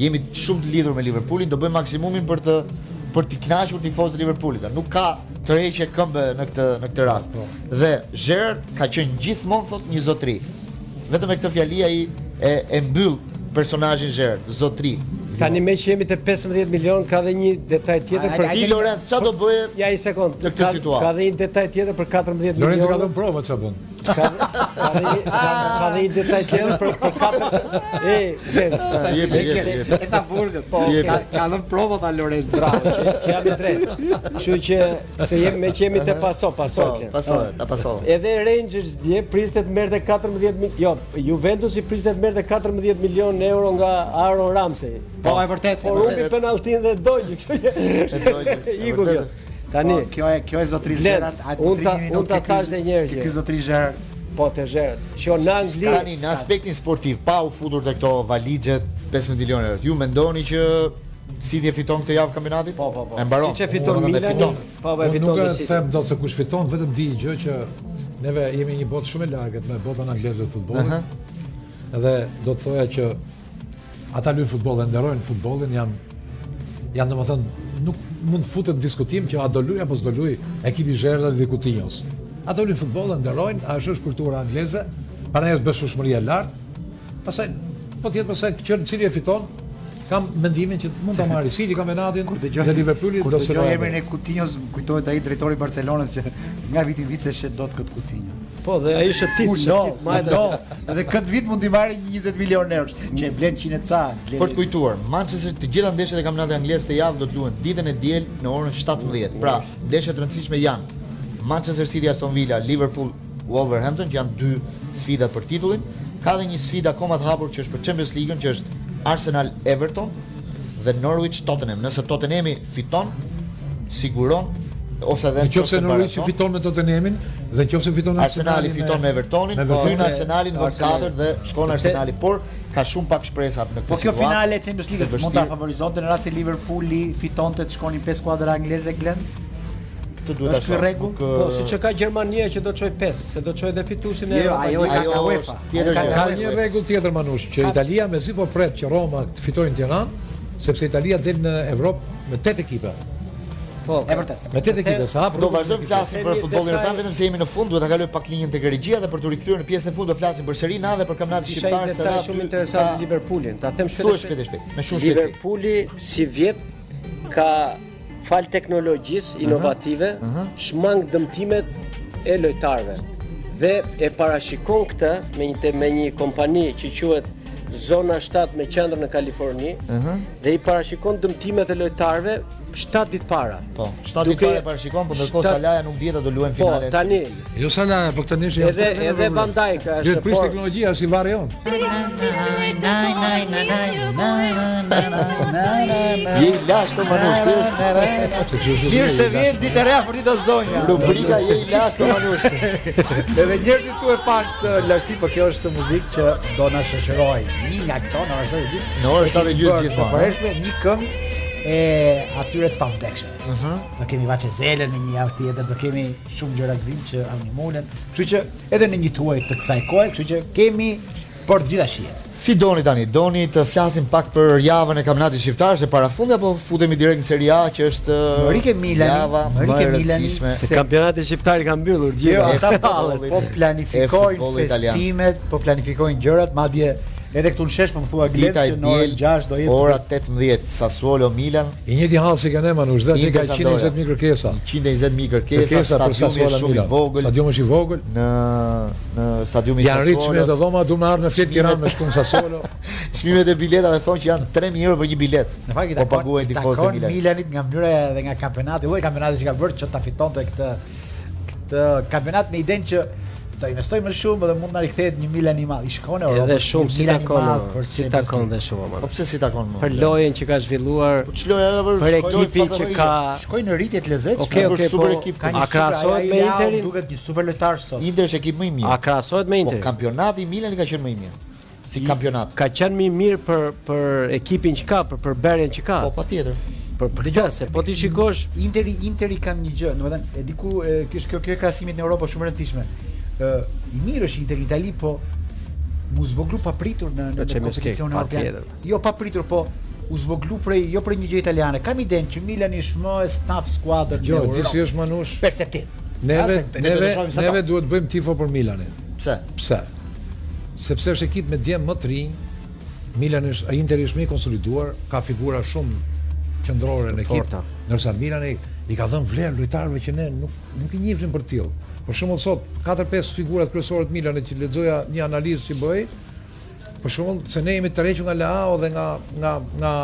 [SPEAKER 1] Jemi shumë të lidhur me Liverpoolin, do bëjmë maksimumin për të për të kënaqur tifozët e Liverpoolit. pra. Nuk ka tërheqje këmbë në këtë në këtë rast. Dhe Gerrard ka qenë gjithmonë thotë një zotëri. Vetëm me këtë fjali ai e, e mbyll personazhin Gerrard, zotëri.
[SPEAKER 10] Tani me që jemi te 15 milion ka dhe një detaj tjetër
[SPEAKER 1] Për
[SPEAKER 10] për
[SPEAKER 1] ti Lorenz, çfarë do bëje?
[SPEAKER 10] Ja i sekond.
[SPEAKER 1] Në këtë
[SPEAKER 10] Ka-
[SPEAKER 1] situatë.
[SPEAKER 10] Ka dhe një detaj tjetër për 14 milion.
[SPEAKER 7] Lorenzo ka dhënë prova çfarë bën.
[SPEAKER 10] Ka ka dhe një- ka- ka dhe një detaj tjetër për për 4 E, vend.
[SPEAKER 1] Jepi, jepi, jepi.
[SPEAKER 11] E ta burgët, po,
[SPEAKER 1] Jepi.
[SPEAKER 11] ka, ka dhënë provo ta Lorenzo.
[SPEAKER 10] Kjo jam i drejtë. Kështu që se jemi me që jemi te paso, paso.
[SPEAKER 1] Po,
[SPEAKER 10] Klen.
[SPEAKER 1] Pasoj, ta pasoj.
[SPEAKER 10] Edhe Rangers dje priste të merrte 14 milion, jo, Juventusi priste të merrte 14 milion euro nga Aaron Ramsey.
[SPEAKER 11] Po, e vërtet.
[SPEAKER 10] Por humbi penalltin dhe dogji, kështu
[SPEAKER 1] dogji,
[SPEAKER 10] që
[SPEAKER 1] e
[SPEAKER 10] iku kjo.
[SPEAKER 1] vërtetë.
[SPEAKER 10] Tani,
[SPEAKER 11] Po, kjo e kjo e zotri
[SPEAKER 10] Blen,
[SPEAKER 11] Gerard, a të
[SPEAKER 10] unë ta-
[SPEAKER 11] tri
[SPEAKER 10] unë ta
[SPEAKER 11] minutë
[SPEAKER 10] thash dhe njerë gjë.
[SPEAKER 11] Ky zotri Gerard.
[SPEAKER 10] po të zherët. Shqo në
[SPEAKER 1] Tani
[SPEAKER 10] Angli,
[SPEAKER 1] në aspektin sportiv, pa u futur te këto valixhe 15 milionë euro. Ju mendoni që City e fiton këtë javë kampionatin?
[SPEAKER 10] Po, po, po.
[SPEAKER 1] E mbaron.
[SPEAKER 10] Siç e fiton
[SPEAKER 1] Domethënë, e
[SPEAKER 10] Milani,
[SPEAKER 1] fiton.
[SPEAKER 10] po po e
[SPEAKER 7] Unë
[SPEAKER 10] fiton
[SPEAKER 7] nuk
[SPEAKER 10] dhe
[SPEAKER 7] e
[SPEAKER 10] City.
[SPEAKER 7] them dot se kush fiton, vetëm di gjë që neve jemi një botë shumë e largët me botën angleze të futbollit. Edhe do të thoja që ata luajnë futboll dhe nderojnë futbollin, janë janë domethënë nuk mund të futet në diskutim që a do luaj apo s'do luaj ekipi Zherda dhe Coutinho's. Ata luajnë futboll dhe nderojnë, a është është kultura angleze, para është beshushmëria e lartë. Pastaj po të jetë pastaj që cili e fiton, kam mendimin që mund ta marrë City kampionatin dhe Liverpooli
[SPEAKER 11] Kur
[SPEAKER 7] do
[SPEAKER 11] të
[SPEAKER 7] të
[SPEAKER 11] gjoj emrin e Coutinho's, më kujtohet ai drejtori i Barcelonës që nga viti në vit se shet dot këtë Coutinho.
[SPEAKER 10] po dhe ai shëtit,
[SPEAKER 11] Ulo,
[SPEAKER 10] shëtit, majtë.
[SPEAKER 11] ulo. Edhe këtë vit mund t'i marrë 20 milionë euro, që e blen 100 e ca. blen-
[SPEAKER 1] Për të kujtuar, Manchester të gjitha ndeshjet e kampionatit anglez të javë do të luhen ditën e diel në orën 17. Pra, ndeshjet e rëndësishme janë Manchester City Aston Villa, Liverpool Wolverhampton, që janë dy sfida për titullin. Ka dhe një sfidë akoma të hapur që është për Champions League-ën, që është Arsenal Everton dhe Norwich Tottenham. Nëse Tottenhami fiton, siguron ose edhe
[SPEAKER 7] Në qoftë se
[SPEAKER 1] nëse
[SPEAKER 7] Norwich
[SPEAKER 1] mbarazon,
[SPEAKER 7] fiton me Tottenhamin dhe në qoftë se fiton
[SPEAKER 1] Arsenali fiton me Evertonin,
[SPEAKER 7] me
[SPEAKER 1] po
[SPEAKER 7] Evertonin.
[SPEAKER 1] hyn Arsenalin në vend 4 dhe shkon Arsenali, por ka shumë pak shpresa në këtë
[SPEAKER 11] Po kjo
[SPEAKER 1] situatë,
[SPEAKER 11] finale e Champions
[SPEAKER 1] se
[SPEAKER 11] League mund ta
[SPEAKER 1] vështirë-
[SPEAKER 11] favorizonte në rast se Liverpooli fitonte të shkonin pesë kuadra angleze Glen.
[SPEAKER 1] Këtë duhet ta
[SPEAKER 11] Është ky
[SPEAKER 1] shoh.
[SPEAKER 11] rregull?
[SPEAKER 1] nuk,
[SPEAKER 10] Po
[SPEAKER 1] ë,
[SPEAKER 10] siç e ka Gjermania që do të çoj 5, se do të çoj edhe fituesin e
[SPEAKER 11] Jo,
[SPEAKER 10] Europa
[SPEAKER 11] ajo
[SPEAKER 10] League.
[SPEAKER 11] i ka
[SPEAKER 1] Ajo
[SPEAKER 11] nga UEFA.
[SPEAKER 1] është tjetër
[SPEAKER 11] Ajo
[SPEAKER 1] gjë.
[SPEAKER 7] Ka një rregull tjetër Manush, që Italia mezi po pret që Roma të fitojë në Tiranë, sepse Italia del në Evropë me 8 ekipe.
[SPEAKER 10] Po,
[SPEAKER 2] E vërtet.
[SPEAKER 7] Me tetë ekipe sa hap
[SPEAKER 1] Do
[SPEAKER 7] rrugën
[SPEAKER 1] vazhdojmë
[SPEAKER 7] me
[SPEAKER 1] të
[SPEAKER 7] ekipe.
[SPEAKER 1] flasim për futbollin europian vetëm se jemi në fund, duhet ta kaloj pak linjën tek regjia dhe për të rikthyer në pjesën e fundit do flasim për Serie A dhe për kampionatin
[SPEAKER 10] Isha
[SPEAKER 1] shqiptar
[SPEAKER 10] një
[SPEAKER 1] se
[SPEAKER 10] detaj
[SPEAKER 1] aty
[SPEAKER 10] shumë
[SPEAKER 1] ka-
[SPEAKER 10] interesant Liverpoolin. Ta them
[SPEAKER 1] Thuaj
[SPEAKER 10] shpejt.
[SPEAKER 1] shpejt e shpejt, me shumë shpejtësi.
[SPEAKER 10] Liverpooli si vjet ka fal teknologjisë inovative, shmang dëmtimet e lojtarëve dhe e parashikon këtë me një me një kompani që quhet Zona 7 me qendër në Kaliforni dhe i parashikon dëmtimet e lojtarëve 7 ditë para.
[SPEAKER 1] Po, 7 ditë
[SPEAKER 10] Duke-
[SPEAKER 1] para e parashikon, por ndërkohë
[SPEAKER 10] Shtat-
[SPEAKER 1] Salaja nuk dieta do luajnë
[SPEAKER 10] Po,
[SPEAKER 1] finalen.
[SPEAKER 10] tani
[SPEAKER 7] Jo sa na, po këtë nish janë.
[SPEAKER 10] edhe edhe Van Dijk
[SPEAKER 7] Do
[SPEAKER 10] është
[SPEAKER 7] të prish
[SPEAKER 10] por-
[SPEAKER 7] teknologjia si varri on.
[SPEAKER 1] Je i lashtë Manush, si është?
[SPEAKER 7] Se kështu është.
[SPEAKER 2] Mirë se vjen ditë e re për ditën zonja.
[SPEAKER 1] Rubrika je i lashtë Manush.
[SPEAKER 2] Edhe njerëzit tu e pan të lartësi, por kjo është muzikë që do na shoqëroj. Një nga këto në orën 7:30.
[SPEAKER 1] Në orën 7:30 gjithmonë,
[SPEAKER 2] Por është një këngë e atyre të pavdekshëm. Ëh. Do kemi vaçe zelën në një javë tjetër, do kemi shumë gjëra gzim që animulen. Kështu që edhe në një tuaj të kësaj kohe, kështu që kemi për të gjitha shijet.
[SPEAKER 1] Si doni tani? Doni të flasim pak për javën e kampionatit shqiptar se parafundi apo futemi direkt në Serie A që është
[SPEAKER 2] Rike Milani,
[SPEAKER 1] java më
[SPEAKER 2] Rike
[SPEAKER 1] e
[SPEAKER 2] Milani,
[SPEAKER 1] rëndësishme.
[SPEAKER 2] se
[SPEAKER 3] Kampionati shqiptar i ka mbyllur gjithë.
[SPEAKER 2] Jo,
[SPEAKER 1] E
[SPEAKER 2] ata po,
[SPEAKER 1] futbollit.
[SPEAKER 2] po
[SPEAKER 1] E
[SPEAKER 2] planifikojnë
[SPEAKER 1] futbollit italian.
[SPEAKER 2] festimet, po planifikojnë gjërat, madje edhe këtu në shesh po më thua Glen
[SPEAKER 1] Dita
[SPEAKER 2] që
[SPEAKER 1] e
[SPEAKER 2] në orën
[SPEAKER 1] diel,
[SPEAKER 2] 6 do jetë
[SPEAKER 1] ora 18 Sassuolo Milan,
[SPEAKER 7] I njëti hall si kanë manush, dhe ti ka
[SPEAKER 1] Inter Sampdoria.
[SPEAKER 7] 120 mijë kërkesa.
[SPEAKER 1] 120 mijë kërkesa,
[SPEAKER 7] Kërkesa për
[SPEAKER 1] stadiumi
[SPEAKER 7] Sassuolo
[SPEAKER 1] është shumë i
[SPEAKER 7] Milan.
[SPEAKER 1] vogël.
[SPEAKER 7] Stadiumi është i vogël.
[SPEAKER 1] Në në stadiumin
[SPEAKER 7] Janë rritë çmimet e
[SPEAKER 1] Sassuolo.
[SPEAKER 7] dhoma, du me arë në fletë Tiranë me shku në Sassuolo.
[SPEAKER 1] Çmimet e biletave thonë që janë 3000 euro për një bilet.
[SPEAKER 2] Në fakt i
[SPEAKER 1] po
[SPEAKER 2] takon,
[SPEAKER 1] paguajnë
[SPEAKER 2] i
[SPEAKER 1] tifozët e
[SPEAKER 2] takon
[SPEAKER 1] Milanit.
[SPEAKER 2] Milanit nga mënyra dhe nga kampionati, lloji kampionati që ka bërë që ta fitonte këtë këtë kampionat me idenë që do investoj më shumë dhe mund na rikthehet një Milan i madh. I shkon në Europë.
[SPEAKER 10] Edhe
[SPEAKER 2] një
[SPEAKER 10] shumë si
[SPEAKER 2] Milan i
[SPEAKER 10] takon,
[SPEAKER 2] madh
[SPEAKER 10] o,
[SPEAKER 2] për
[SPEAKER 10] si
[SPEAKER 2] Champions
[SPEAKER 10] takon
[SPEAKER 2] League.
[SPEAKER 10] dhe shumë. o,
[SPEAKER 1] Po pse si takon më?
[SPEAKER 10] Për lojën që ka zhvilluar,
[SPEAKER 1] Po ç'loja ajo për
[SPEAKER 10] për
[SPEAKER 1] shkojnë
[SPEAKER 10] ekipin që
[SPEAKER 1] fantastikë.
[SPEAKER 10] ka
[SPEAKER 2] Shkoj në rritje të lezetshme.
[SPEAKER 10] Okej,
[SPEAKER 1] bërë
[SPEAKER 10] okej, po.
[SPEAKER 1] super ekip.
[SPEAKER 2] Ka
[SPEAKER 10] A
[SPEAKER 2] një super,
[SPEAKER 10] krahasohet
[SPEAKER 2] ajo
[SPEAKER 10] me
[SPEAKER 2] Leao
[SPEAKER 10] Interin?
[SPEAKER 2] Duket një super lojtar sot.
[SPEAKER 1] Inter është ekipi më i mirë.
[SPEAKER 10] A krahasohet me
[SPEAKER 1] Po
[SPEAKER 10] Interin?
[SPEAKER 1] kampionati i Milanit ka qenë më i mirë. Si kampionat.
[SPEAKER 10] Ka qenë më i mirë për për ekipin që ka, për për berjen që ka.
[SPEAKER 1] Po patjetër.
[SPEAKER 10] Për për këtë se po ti shikosh
[SPEAKER 2] Interi Interi kanë një gjë, domethënë e diku e, kjo është kjo kjo e krahasimit në Europë është shumë e rëndësishme. Ë i mirë është Interi në Itali, po mu zvoglu pa pritur në
[SPEAKER 10] Po,
[SPEAKER 2] në, në
[SPEAKER 10] Champions League,
[SPEAKER 2] kompeticionin
[SPEAKER 10] pa
[SPEAKER 2] evropian.
[SPEAKER 10] tjetër.
[SPEAKER 2] Jo pa pritur, po u zvoglu prej jo për një gjë italiane. Kam idenë që Milani është më staff skuadër në
[SPEAKER 7] Jo, ti si
[SPEAKER 2] Europë.
[SPEAKER 7] është manush.
[SPEAKER 2] Perceptiv.
[SPEAKER 7] Neve,
[SPEAKER 2] Ja, se-
[SPEAKER 7] neve,
[SPEAKER 2] ne do të shohim sa
[SPEAKER 7] neve duhet bëjmë tifo për Milanin.
[SPEAKER 1] Pse?
[SPEAKER 7] Pse? Sepse është ekip me djem më të rinj. Milan është Interi është më i konsoliduar, ka figura shumë qendrore në ekip.
[SPEAKER 10] forta.
[SPEAKER 7] Ndërsa Milani i ka dhënë vlerë lojtarëve që ne nuk nuk i njihnim për tillë. Për shembull sot 4-5 figurat kryesore të Milanit që lexoja një analizë që bëi, për shembull se ne jemi të rrequr nga Leao dhe nga nga nga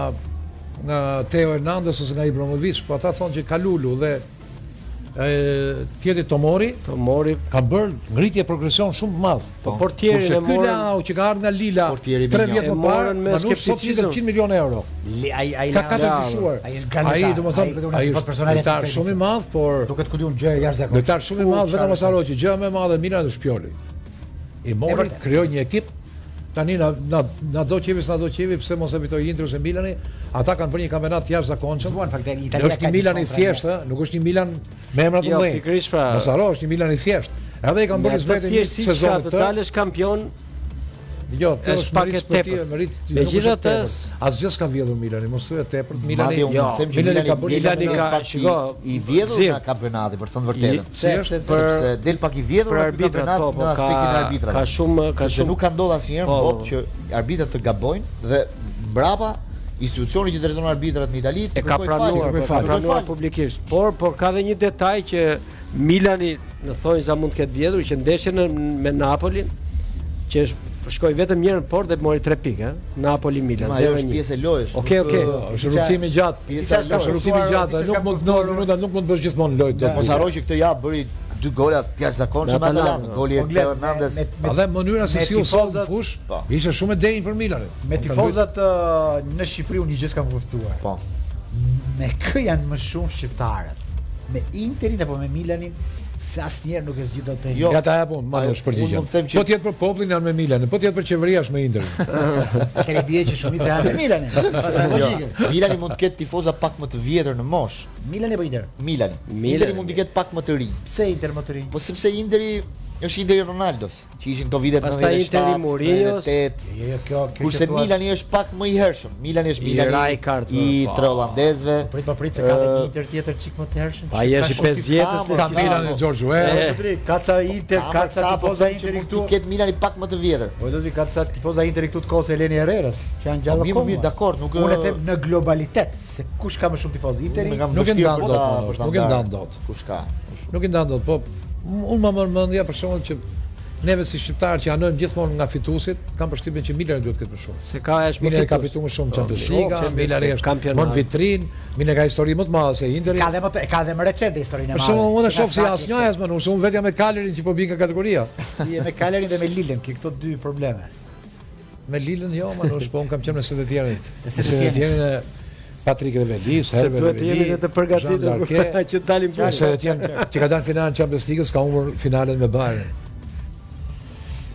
[SPEAKER 7] nga Teo Hernandez ose nga Ibrahimovic, po ata thonë që Kalulu dhe e, tjetri Tomori
[SPEAKER 10] të po mori
[SPEAKER 7] ka bërë ngritje progresion shumë të madh.
[SPEAKER 10] Po, portierin
[SPEAKER 7] Kurse
[SPEAKER 10] e
[SPEAKER 7] ky
[SPEAKER 10] morën-
[SPEAKER 7] Leao që ka ardhur nga Lila
[SPEAKER 1] Portieri
[SPEAKER 7] 3
[SPEAKER 1] Vignon.
[SPEAKER 7] vjet
[SPEAKER 10] E
[SPEAKER 7] më parë,
[SPEAKER 10] morën me
[SPEAKER 7] Manush sot
[SPEAKER 10] skepticizëm.
[SPEAKER 7] shitet 100 milionë euro.
[SPEAKER 2] Le- Ai ai
[SPEAKER 7] Ka katër
[SPEAKER 2] Leao-
[SPEAKER 7] fishuar.
[SPEAKER 2] Ai është gran.
[SPEAKER 7] Ai,
[SPEAKER 2] lojtar.
[SPEAKER 7] domethënë,
[SPEAKER 2] duket unë
[SPEAKER 7] ai
[SPEAKER 2] një
[SPEAKER 7] është
[SPEAKER 2] fakt personale
[SPEAKER 7] lojtar
[SPEAKER 2] të
[SPEAKER 7] shumë i
[SPEAKER 2] Interit.
[SPEAKER 7] madh, por
[SPEAKER 2] Duket ku diun Po gjë jashtëzakonshme.
[SPEAKER 7] lojtar shumë i madh vetëm mos haro që gjë më e madhe e Milanit është Pioli. I mori,
[SPEAKER 2] vërtet.
[SPEAKER 7] krijoi një ekip tani na na na do qevi s'na do qevi pse mos e fitoi Interi ose Milani, ata kanë bërë një kampionat jashtëzakonshëm.
[SPEAKER 2] Zbuan, fakt, Italia
[SPEAKER 7] Nuk është
[SPEAKER 2] ka
[SPEAKER 7] një
[SPEAKER 2] një
[SPEAKER 7] Milan i
[SPEAKER 2] kontra
[SPEAKER 7] thjeshtë, ë, nuk është një Milan me emra të
[SPEAKER 10] Jo,
[SPEAKER 7] mëdhenj.
[SPEAKER 10] pikërisht pra.
[SPEAKER 7] Mos haro, është një Milan i thjeshtë. Edhe i kanë
[SPEAKER 10] me
[SPEAKER 7] bërë
[SPEAKER 10] atë
[SPEAKER 7] zbretin një
[SPEAKER 10] thjesht si ka
[SPEAKER 7] sezon
[SPEAKER 10] të
[SPEAKER 7] të tërë.
[SPEAKER 10] dalësh kampion,
[SPEAKER 7] Jo, kjo
[SPEAKER 10] Është
[SPEAKER 7] është
[SPEAKER 10] pak
[SPEAKER 7] merit
[SPEAKER 10] e
[SPEAKER 7] sportive,
[SPEAKER 10] tepërt.
[SPEAKER 7] merit.
[SPEAKER 10] Me
[SPEAKER 7] nuk është e
[SPEAKER 10] gjithatë,
[SPEAKER 7] tepërt. jo, asgjë s'ka vjedhur Milani, mos thuaj e tepërt. Milani,
[SPEAKER 1] Madje unë
[SPEAKER 10] jo,
[SPEAKER 1] them që
[SPEAKER 7] Milani
[SPEAKER 1] Milani
[SPEAKER 7] ka bërë
[SPEAKER 10] Milani
[SPEAKER 1] del
[SPEAKER 10] ka-
[SPEAKER 1] pak i-
[SPEAKER 10] shiko,
[SPEAKER 1] i vjedhur
[SPEAKER 10] Zim.
[SPEAKER 1] nga kampionati, për të thënë vërtetën.
[SPEAKER 10] I-
[SPEAKER 7] Se
[SPEAKER 1] Sepse-
[SPEAKER 7] është
[SPEAKER 10] për-
[SPEAKER 1] sepse del pak i vjedhur
[SPEAKER 10] për
[SPEAKER 1] nga ky
[SPEAKER 10] arbitrat,
[SPEAKER 1] kampionat
[SPEAKER 10] po, po,
[SPEAKER 1] në aspektin e
[SPEAKER 10] ka-
[SPEAKER 1] arbitrave.
[SPEAKER 10] ka shumë- ka
[SPEAKER 1] Sepse
[SPEAKER 10] shumë-
[SPEAKER 1] nuk ka ndodhur asnjëherë në
[SPEAKER 10] Po,
[SPEAKER 1] botë
[SPEAKER 10] po.
[SPEAKER 1] që arbitrat të gabojnë dhe mbrapa institucioni që drejton arbitrat në Itali të
[SPEAKER 10] e ka
[SPEAKER 1] kërkoj
[SPEAKER 10] pranuar,
[SPEAKER 1] falje,
[SPEAKER 10] po, ka
[SPEAKER 1] kërkoj
[SPEAKER 10] pranuar
[SPEAKER 1] falje.
[SPEAKER 10] publikisht. Por por ka edhe një detaj që Milani në thonjë za mund të ketë vjedhur që ndeshjen në- me Napolin që është shkoi vetëm një herë në port dhe mori 3 pikë, ë? Napoli Milan.
[SPEAKER 1] Ma, Ajo
[SPEAKER 10] 0-1.
[SPEAKER 1] është pjesë e lojës.
[SPEAKER 10] Okej,
[SPEAKER 1] nuk,
[SPEAKER 10] okej.
[SPEAKER 1] ë,
[SPEAKER 7] Po, është rrugtimi i gjatë.
[SPEAKER 1] Pjesa e lojës.
[SPEAKER 7] Është rrugtimi i gjatë, nuk mund të ndodhë minuta, nuk mund të bësh gjithmonë lojë dot.
[SPEAKER 1] Mos harroj që këtë javë bëri dy gola të jashtëzakonshme me
[SPEAKER 10] Nga Atalanta,
[SPEAKER 1] Atalanta. Goli i
[SPEAKER 2] Po,
[SPEAKER 1] Teo
[SPEAKER 2] Glenn, me-
[SPEAKER 1] Hernandez.
[SPEAKER 2] me- me-
[SPEAKER 7] Edhe mënyra se
[SPEAKER 2] me
[SPEAKER 7] si u sol në
[SPEAKER 2] tifozat-
[SPEAKER 7] fush,
[SPEAKER 1] Po.
[SPEAKER 7] ishte shumë e denjë për Milanin.
[SPEAKER 2] Me tifozat uh, në Shqipëri unë një gjë s'kam kuptuar.
[SPEAKER 1] Po.
[SPEAKER 2] Me kë janë më shumë shqiptarët? Me Interin apo me Milanin? Se asnjëherë nuk e zgjidh dot.
[SPEAKER 1] Jo.
[SPEAKER 2] Jo.
[SPEAKER 7] Ja ta japun, ma
[SPEAKER 1] Ajo,
[SPEAKER 7] do
[SPEAKER 1] unë
[SPEAKER 7] shpërgjigjem.
[SPEAKER 1] mund të them që-
[SPEAKER 7] Po tjetë për popullin janë me Milanin, po tjetë për qeveria është me Interin.
[SPEAKER 2] Atëre bie që shumica janë me Milanin. Pas sa
[SPEAKER 1] Jo.
[SPEAKER 2] logjikë.
[SPEAKER 1] Milani mund të ketë tifoza pak më të vjetër në moshë.
[SPEAKER 2] Milani apo po Inter?
[SPEAKER 1] Milani.
[SPEAKER 10] Milani.
[SPEAKER 1] Interi mund të ketë pak më të rinj.
[SPEAKER 2] Pse Inter më të rinj?
[SPEAKER 1] Po sepse Interi Është ideri i Ronaldos, që ishin këto vitet
[SPEAKER 10] Pastaj Interi
[SPEAKER 1] 97,
[SPEAKER 10] Murillos.
[SPEAKER 1] 98.
[SPEAKER 7] Jo, kjo, kjo
[SPEAKER 1] Kurse
[SPEAKER 7] që thua-
[SPEAKER 1] Milani është pak më i hershëm. Milani është
[SPEAKER 10] I
[SPEAKER 1] Milani
[SPEAKER 10] Rijkaard,
[SPEAKER 1] i
[SPEAKER 10] po.
[SPEAKER 1] tre holandezëve.
[SPEAKER 11] Prit
[SPEAKER 2] po,
[SPEAKER 11] pa prit se ka
[SPEAKER 1] Ë,
[SPEAKER 11] një Inter tjetër çik më të hershëm.
[SPEAKER 10] Pa jesh i 50-s
[SPEAKER 1] Kamo,
[SPEAKER 10] në
[SPEAKER 1] kamo.
[SPEAKER 10] skishin.
[SPEAKER 7] Milani Giorgio
[SPEAKER 10] Eh.
[SPEAKER 7] Weah.
[SPEAKER 2] Shqipëri, ka ca Inter, ka ca
[SPEAKER 1] po
[SPEAKER 2] tifoza Interi këtu.
[SPEAKER 1] Ti ket Milani pak më të vjetër.
[SPEAKER 2] Po do të ka ca tifoza Interi këtu të kohës Eleni Herrerës, që janë
[SPEAKER 1] Po
[SPEAKER 2] gjallë
[SPEAKER 1] mirë, mirë,
[SPEAKER 2] kohë.
[SPEAKER 1] dakor, nuk
[SPEAKER 2] Unë e them në globalitet, se kush ka më shumë tifozë Interi?
[SPEAKER 1] Unë e kam
[SPEAKER 7] Nuk e
[SPEAKER 1] vështirë
[SPEAKER 10] po
[SPEAKER 7] ndan
[SPEAKER 1] për po
[SPEAKER 7] dot,
[SPEAKER 1] ta-
[SPEAKER 7] Manosh,
[SPEAKER 1] për ta
[SPEAKER 7] nuk e
[SPEAKER 1] ndarë.
[SPEAKER 7] ndan dot.
[SPEAKER 1] Kush ka?
[SPEAKER 7] Nuk i ndan dot, po m- unë më marr mendja për shembull që neve si shqiptarë që anojmë gjithmonë nga fituesit, kam përshtypjen që Milani duhet këtë më shumë.
[SPEAKER 10] Se ka është më
[SPEAKER 7] Milani ka
[SPEAKER 10] fitues.
[SPEAKER 7] fituar më shumë
[SPEAKER 10] Po,
[SPEAKER 7] Champions
[SPEAKER 10] Liga,
[SPEAKER 7] League,
[SPEAKER 10] Champions
[SPEAKER 7] Milani
[SPEAKER 10] League,
[SPEAKER 7] është
[SPEAKER 10] kampionat.
[SPEAKER 7] më në vitrinë, Milani ka histori më të madhe se Interi.
[SPEAKER 2] Ka dhe më të, ka dhe më recente historinë e
[SPEAKER 7] Për
[SPEAKER 2] madhe.
[SPEAKER 7] shembull, unë e shoh si
[SPEAKER 2] Kinasaki,
[SPEAKER 7] asnjë as më, unë vetëm me Kalerin që po bin nga kategoria.
[SPEAKER 2] ti je me Kalerin dhe me Lilën, ke këto dy probleme.
[SPEAKER 7] Me Lilën jo, më unë po unë kam qenë me së të tjerën. Me
[SPEAKER 2] së
[SPEAKER 7] së
[SPEAKER 2] të
[SPEAKER 7] të
[SPEAKER 2] tjerën.
[SPEAKER 7] tjerën e Patrik Revelis,
[SPEAKER 10] Se
[SPEAKER 7] Herbert
[SPEAKER 10] duhet të jemi
[SPEAKER 7] Reveli,
[SPEAKER 10] ne të përgatitur
[SPEAKER 7] Jean Larquet,
[SPEAKER 10] që të dalim
[SPEAKER 7] Po, se
[SPEAKER 10] poshtë.
[SPEAKER 7] tjerë që ka dalë finalen Champions League-s ka humbur finalen me Bayern.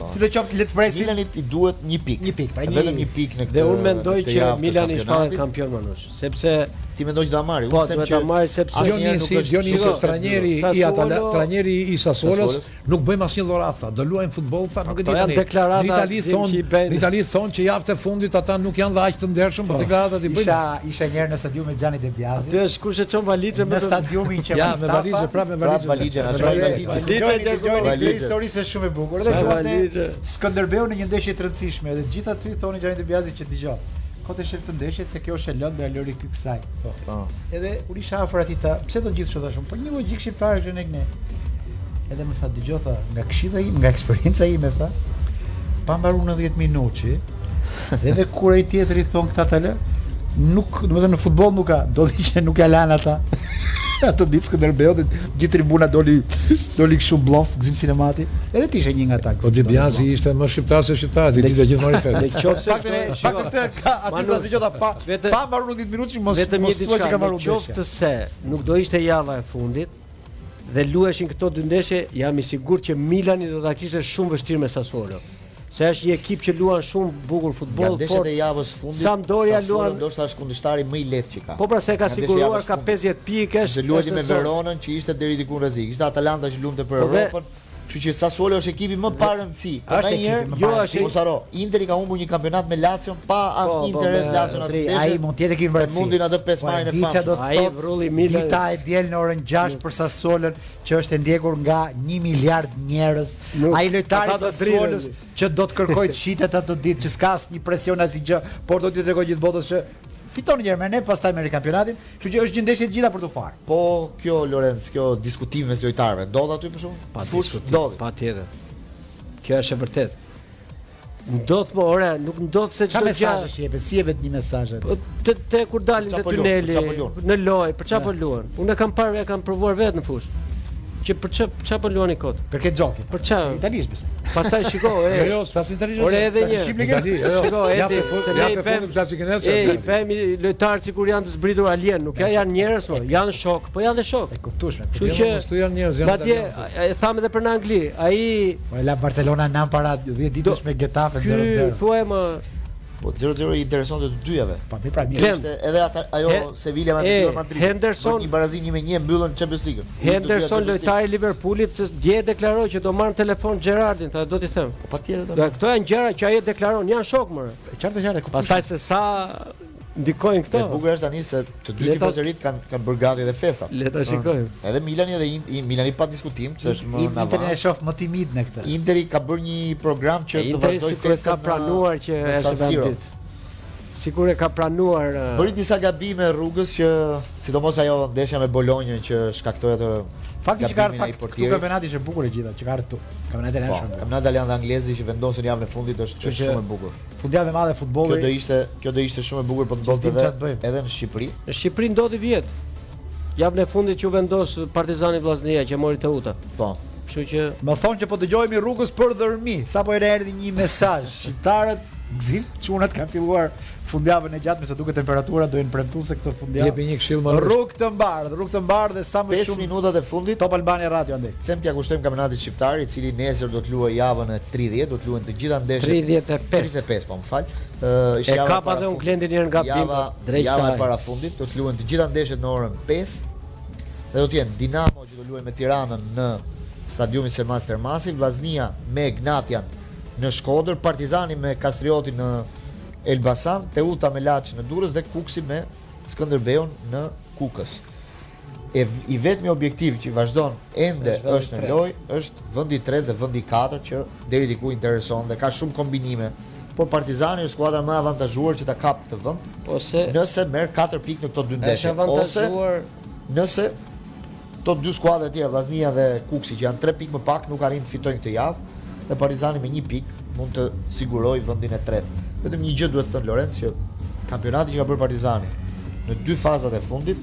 [SPEAKER 1] Po.
[SPEAKER 2] Si do qoftë, le të presim.
[SPEAKER 1] Milanit i duhet një pikë.
[SPEAKER 2] Një pikë, pra një-
[SPEAKER 1] vetëm një pikë në këtë.
[SPEAKER 10] Dhe unë mendoj
[SPEAKER 1] në këtë
[SPEAKER 10] që
[SPEAKER 1] javë të
[SPEAKER 10] Milani shpallet
[SPEAKER 1] kampionatit.
[SPEAKER 10] kampion manush, sepse
[SPEAKER 1] Ti mendoj që do ta marrë.
[SPEAKER 10] po duhet ta marrë sepse
[SPEAKER 1] asnjëherë
[SPEAKER 7] Dionisi,
[SPEAKER 1] nuk
[SPEAKER 7] si
[SPEAKER 1] është-
[SPEAKER 7] Dionisi
[SPEAKER 1] Shiko,
[SPEAKER 7] është trajneri i
[SPEAKER 10] Sassuolo-
[SPEAKER 7] Atala, trajneri i Sassuolos,
[SPEAKER 1] Sassuolos.
[SPEAKER 7] nuk bëjmë asnjë llorat, tha, do luajmë futboll, tha, nuk e di
[SPEAKER 10] Ato
[SPEAKER 7] tani.
[SPEAKER 10] janë deklarata,
[SPEAKER 7] Në Itali
[SPEAKER 10] Zim,
[SPEAKER 7] thon,
[SPEAKER 10] që i bëjnë.
[SPEAKER 7] në Itali thon që javët e fundit ata nuk janë dha aq të ndershëm,
[SPEAKER 10] Po.
[SPEAKER 7] por deklaratat i
[SPEAKER 2] Isha
[SPEAKER 7] bëjnë.
[SPEAKER 2] isha një herë në stadium me Xhani De Biasi.
[SPEAKER 10] Ty është kush e çon valixhe me
[SPEAKER 2] Në stadiumin që
[SPEAKER 7] Ja, me valizhe, prapë me
[SPEAKER 1] Prapë
[SPEAKER 7] valizhe.
[SPEAKER 1] valizhe, na shkojnë valizhe.
[SPEAKER 2] Dëgjoni,
[SPEAKER 10] Valixhe,
[SPEAKER 2] dëgjoni,
[SPEAKER 1] valixhe.
[SPEAKER 2] kjo histori është shumë e bukur. Edhe
[SPEAKER 10] Sa
[SPEAKER 2] duante
[SPEAKER 10] valixhe.
[SPEAKER 2] Skënderbeu në një ndeshje të rëndësishme, edhe gjithë aty thonin Xhani De Biasi që dëgjoj. Kot e shef të ndeshjes se kjo është e lëndë e alori ky kësaj.
[SPEAKER 1] Po.
[SPEAKER 2] Edhe u isha afër atij ta, pse do gjithë kështu tashun? Për Po një logjik shqiptare që ne ne. Edhe më tha dëgjoj tha, nga këshilla im, nga eksperjenca ime tha, pa mbaruar 90 minuçi, dhe edhe kur ai tjetri thon këta ta lë, nuk, domethënë në futboll nuk ka, do të ishte nuk ja lan ata. Ato ditë Skënderbeu dhe gjithë tribuna doli doli kështu bllaf, gzim sinemati. Edhe ti ishe një nga ata.
[SPEAKER 7] Po Di Biazi ishte më shqiptar se shqiptar, ti ditë gjithmonë i
[SPEAKER 10] Në
[SPEAKER 7] fet.
[SPEAKER 10] qoftë se
[SPEAKER 2] Paktën e- paktën të ka aty ta
[SPEAKER 10] Manush,
[SPEAKER 2] dëgjota pa
[SPEAKER 10] vetëm-
[SPEAKER 2] pa mbaruar 10 minutë mos
[SPEAKER 10] vetëm një
[SPEAKER 2] mos thua
[SPEAKER 10] diçka,
[SPEAKER 2] që ka
[SPEAKER 10] në
[SPEAKER 2] mbaruar
[SPEAKER 10] qoftë
[SPEAKER 2] ndeshja.
[SPEAKER 10] se nuk do ishte java e fundit dhe luheshin këto dy ndeshje, jam i sigurt që Milani do ta kishte shumë vështirë me Sassuolo. Se është një ekip që luan shumë bukur
[SPEAKER 1] Nga
[SPEAKER 10] futboll,
[SPEAKER 1] ndeshjet
[SPEAKER 10] por
[SPEAKER 1] e javës fundit.
[SPEAKER 10] Po, Sampdoria
[SPEAKER 1] Sassuolo
[SPEAKER 10] luan-
[SPEAKER 1] ndoshta është kundërshtari më i lehtë që ka.
[SPEAKER 10] po pra se ka
[SPEAKER 1] Nga ndeshja e
[SPEAKER 10] siguruar
[SPEAKER 1] javës
[SPEAKER 10] ka
[SPEAKER 1] fundit.
[SPEAKER 10] 50 pikë,
[SPEAKER 1] Sepse luajti
[SPEAKER 10] është
[SPEAKER 1] me
[SPEAKER 10] zonë.
[SPEAKER 1] Veronën që ishte deri diku në rrezik. Ishte Atalanta që lumte për
[SPEAKER 10] Po dhe-
[SPEAKER 1] Europën. Kështu që Sassuolo është ekipi më pa rëndësi. Po
[SPEAKER 2] Është
[SPEAKER 1] ndonjëherë-
[SPEAKER 2] ekipi më
[SPEAKER 10] pa Jo, rëndësi. është-
[SPEAKER 1] Mos haro, Interi ka humbur një kampionat me Lazio pa as
[SPEAKER 10] po,
[SPEAKER 1] interes
[SPEAKER 10] me-
[SPEAKER 1] Lazio në atë
[SPEAKER 2] Andrej,
[SPEAKER 1] ndeshje.
[SPEAKER 2] ai mund të jetë ekip vërtetësi.
[SPEAKER 1] Mundin atë
[SPEAKER 10] Po,
[SPEAKER 2] Po,
[SPEAKER 1] 5 majën e
[SPEAKER 2] Dita do
[SPEAKER 1] famshme.
[SPEAKER 2] të
[SPEAKER 10] Ai
[SPEAKER 2] thotë
[SPEAKER 10] vrulli Milan.
[SPEAKER 2] Dita e diel në orën 6 për Sassuolën që është e ndjekur nga 1 miliard njerëz.
[SPEAKER 10] Nuk,
[SPEAKER 2] Ai lojtari i
[SPEAKER 10] ata do
[SPEAKER 2] Sassuolës
[SPEAKER 10] dridhen.
[SPEAKER 2] që do të kërkojë shitet atë ditë që s'ka asnjë presion asnjë gjë, por do t'ju tregoj gjithë botës që fiton një herë me ne, pastaj merr kampionatin, kështu që është një ndeshje e gjitha për të parë.
[SPEAKER 1] Po kjo Lorenz, kjo diskutim mes lojtarëve. Ndodh aty për shkak?
[SPEAKER 10] Pa diskutim,
[SPEAKER 1] Ndodhi.
[SPEAKER 10] pa tjetër. Kjo është e vërtet. Ndodh më ora, nuk ndodh se
[SPEAKER 2] Çfarë
[SPEAKER 10] çdo gjë.
[SPEAKER 2] mesazhe si jepet? Si jepet një mesazh atë?
[SPEAKER 10] Po, Te, te kur dalim
[SPEAKER 1] Për
[SPEAKER 10] te
[SPEAKER 1] qa po luan,
[SPEAKER 10] tuneli
[SPEAKER 1] për qa po luan.
[SPEAKER 10] në lojë, për çfarë po luan? Unë e kam parë, e kam provuar vetë në fushë. Që për çfarë për çfarë po luani kot?
[SPEAKER 2] Për këtë gjokit.
[SPEAKER 10] Për çfarë?
[SPEAKER 2] Italisht besoj.
[SPEAKER 10] Pastaj shiko,
[SPEAKER 7] Jo,
[SPEAKER 10] e.
[SPEAKER 7] jo, flasin italisht.
[SPEAKER 10] Ore edhe një.
[SPEAKER 7] Itali, jo, jo.
[SPEAKER 10] Shiko,
[SPEAKER 7] Jaftë
[SPEAKER 10] edi,
[SPEAKER 7] fund,
[SPEAKER 10] se ne i
[SPEAKER 7] jaftë
[SPEAKER 10] pem-
[SPEAKER 7] fund flasin kinez.
[SPEAKER 10] E, i pemi lojtarë sikur janë të zbritur alien, nuk ja, janë njerëz më, janë shok, po janë dhe shok.
[SPEAKER 2] E kuptueshme.
[SPEAKER 10] Kështu
[SPEAKER 7] Jo,
[SPEAKER 10] që
[SPEAKER 7] mos tu janë njerëz, janë
[SPEAKER 10] Madje
[SPEAKER 7] italianë.
[SPEAKER 10] e tham edhe për në Angli, ai
[SPEAKER 2] Po e la Barcelona nan para 10 ditësh me Getafe
[SPEAKER 10] ky
[SPEAKER 2] 0-0.
[SPEAKER 10] thuaj më
[SPEAKER 1] Po 0-0 i intereson të të dyjave.
[SPEAKER 2] Pa mi pra mirë.
[SPEAKER 10] Glenn.
[SPEAKER 1] Ishte edhe ata ajo
[SPEAKER 10] He-
[SPEAKER 1] Sevilla me
[SPEAKER 10] e,
[SPEAKER 1] Atletico Madrid.
[SPEAKER 10] Henderson-
[SPEAKER 1] Bërë Një barazim 1-1 mbyllën Champions League.
[SPEAKER 10] Henderson lojtari i Liverpoolit të- dje deklaroi që do marr në telefon Gerardin, tha do t'i them.
[SPEAKER 1] Patjetër.
[SPEAKER 10] Dhe këto janë gjëra që ai e deklaron, janë shok më.
[SPEAKER 2] E qartë e qartë e kuptoj.
[SPEAKER 10] Pastaj se sa ndikojnë
[SPEAKER 1] Dhe
[SPEAKER 10] këto.
[SPEAKER 1] bukur është tani se të dy
[SPEAKER 10] Le ta-
[SPEAKER 1] tifozërit kanë kanë bërë gati dhe festat.
[SPEAKER 10] Le ta shikojmë.
[SPEAKER 1] Edhe Milani edhe In- I- Milani pa diskutim se është më në
[SPEAKER 2] Interneti e
[SPEAKER 1] avans.
[SPEAKER 2] shoh më timid në këtë.
[SPEAKER 1] Interi ka bërë një program që të
[SPEAKER 10] Interi
[SPEAKER 1] vazhdoj
[SPEAKER 10] sikur
[SPEAKER 1] festat.
[SPEAKER 10] ka
[SPEAKER 1] në-
[SPEAKER 10] pranuar që
[SPEAKER 1] në
[SPEAKER 10] është
[SPEAKER 1] San Siro.
[SPEAKER 10] vendit. Sikur e ka pranuar uh,
[SPEAKER 1] Bëri disa gabime rrugës që sidomos ajo ndeshja me Bolonjën që shkaktoi atë
[SPEAKER 2] Fakti që ka ardhur
[SPEAKER 1] gabimin ai
[SPEAKER 2] fakt këtu
[SPEAKER 1] portierit.
[SPEAKER 2] kampionati është e bukur e gjitha që ka ardhur këtu. Kampionati
[SPEAKER 1] Po,
[SPEAKER 2] është shumë.
[SPEAKER 1] kampionati italian dhe anglezi që vendosën javën e fundit është
[SPEAKER 2] Kështu që- po
[SPEAKER 1] shumë e bukur.
[SPEAKER 2] Fundjavë e madhe e
[SPEAKER 1] Kjo do
[SPEAKER 2] futbollit.
[SPEAKER 1] ishte, kjo do ishte shumë e bukur po të
[SPEAKER 2] s'dim
[SPEAKER 1] bënte
[SPEAKER 2] çfarë të
[SPEAKER 1] edhe
[SPEAKER 2] bëjmë.
[SPEAKER 1] edhe në Shqipëri.
[SPEAKER 10] në Shqipëri ndodhi vjet. Javën e fundit që u vendos Partizani Vllaznia që mori Teuta.
[SPEAKER 1] Po.
[SPEAKER 10] Kështu që
[SPEAKER 2] Më thonë që po dëgjohemi rrugës për dhërmi, sapo era erdhi një mesazh. Shqiptarët gzim, çunat kanë filluar fundjavën e gjatë, me sa duket temperatura do jenë premtuese këtë
[SPEAKER 7] Jepi
[SPEAKER 2] fundjavë.
[SPEAKER 7] një këshill më rrugë.
[SPEAKER 2] Rrugë të mbarë, rrugë të mbarë dhe sa më
[SPEAKER 1] 5
[SPEAKER 2] Po, shumë
[SPEAKER 1] minutat e fundit
[SPEAKER 2] Top Albania Radio andaj.
[SPEAKER 1] Them t'ja kushtojmë kampionatin shqiptar, i cili nesër do të luajë javën e 30, do të luajnë të gjitha ndeshjet.
[SPEAKER 10] 35.
[SPEAKER 1] 35, po më fal. Ë,
[SPEAKER 10] E kapa dhe unë Glendin një herë nga
[SPEAKER 1] java,
[SPEAKER 10] bimba, drejt
[SPEAKER 1] java
[SPEAKER 10] shtaj.
[SPEAKER 1] e parafundit, do të luajnë të gjitha ndeshjet në orën 5. Dhe do të jenë Dinamo që do luajë me Tiranën në stadiumit Selman Stermasi, Vllaznia me Gnatian në Shkodër, Partizani me Kastriotin në Elbasan, Teuta me Laçin në Durrës dhe Kuksi me Skënderbeun në Kukës. E v- i vetmi objektiv që vazhdon ende
[SPEAKER 10] Është vendi
[SPEAKER 1] është në
[SPEAKER 10] tretë.
[SPEAKER 1] lojë është vendi 3 dhe vendi 4 që deri diku intereson dhe ka shumë kombinime. Por Partizani është skuadra më e avantazhuar që ta kap të vend
[SPEAKER 10] Ose
[SPEAKER 1] nëse merr 4 pikë në këto dy
[SPEAKER 10] është
[SPEAKER 1] ndeshje ose
[SPEAKER 10] avantazhuar
[SPEAKER 1] nëse to dy skuadra të tjera Vllaznia dhe Kuksi që janë 3 pikë më pak nuk arrin të fitojnë këtë javë dhe Partizani me 1 pikë mund të sigurojë vendin e tretë. Vetëm një gjë duhet të thënë Lorenz që kampionati që ka bërë Partizani në dy fazat e fundit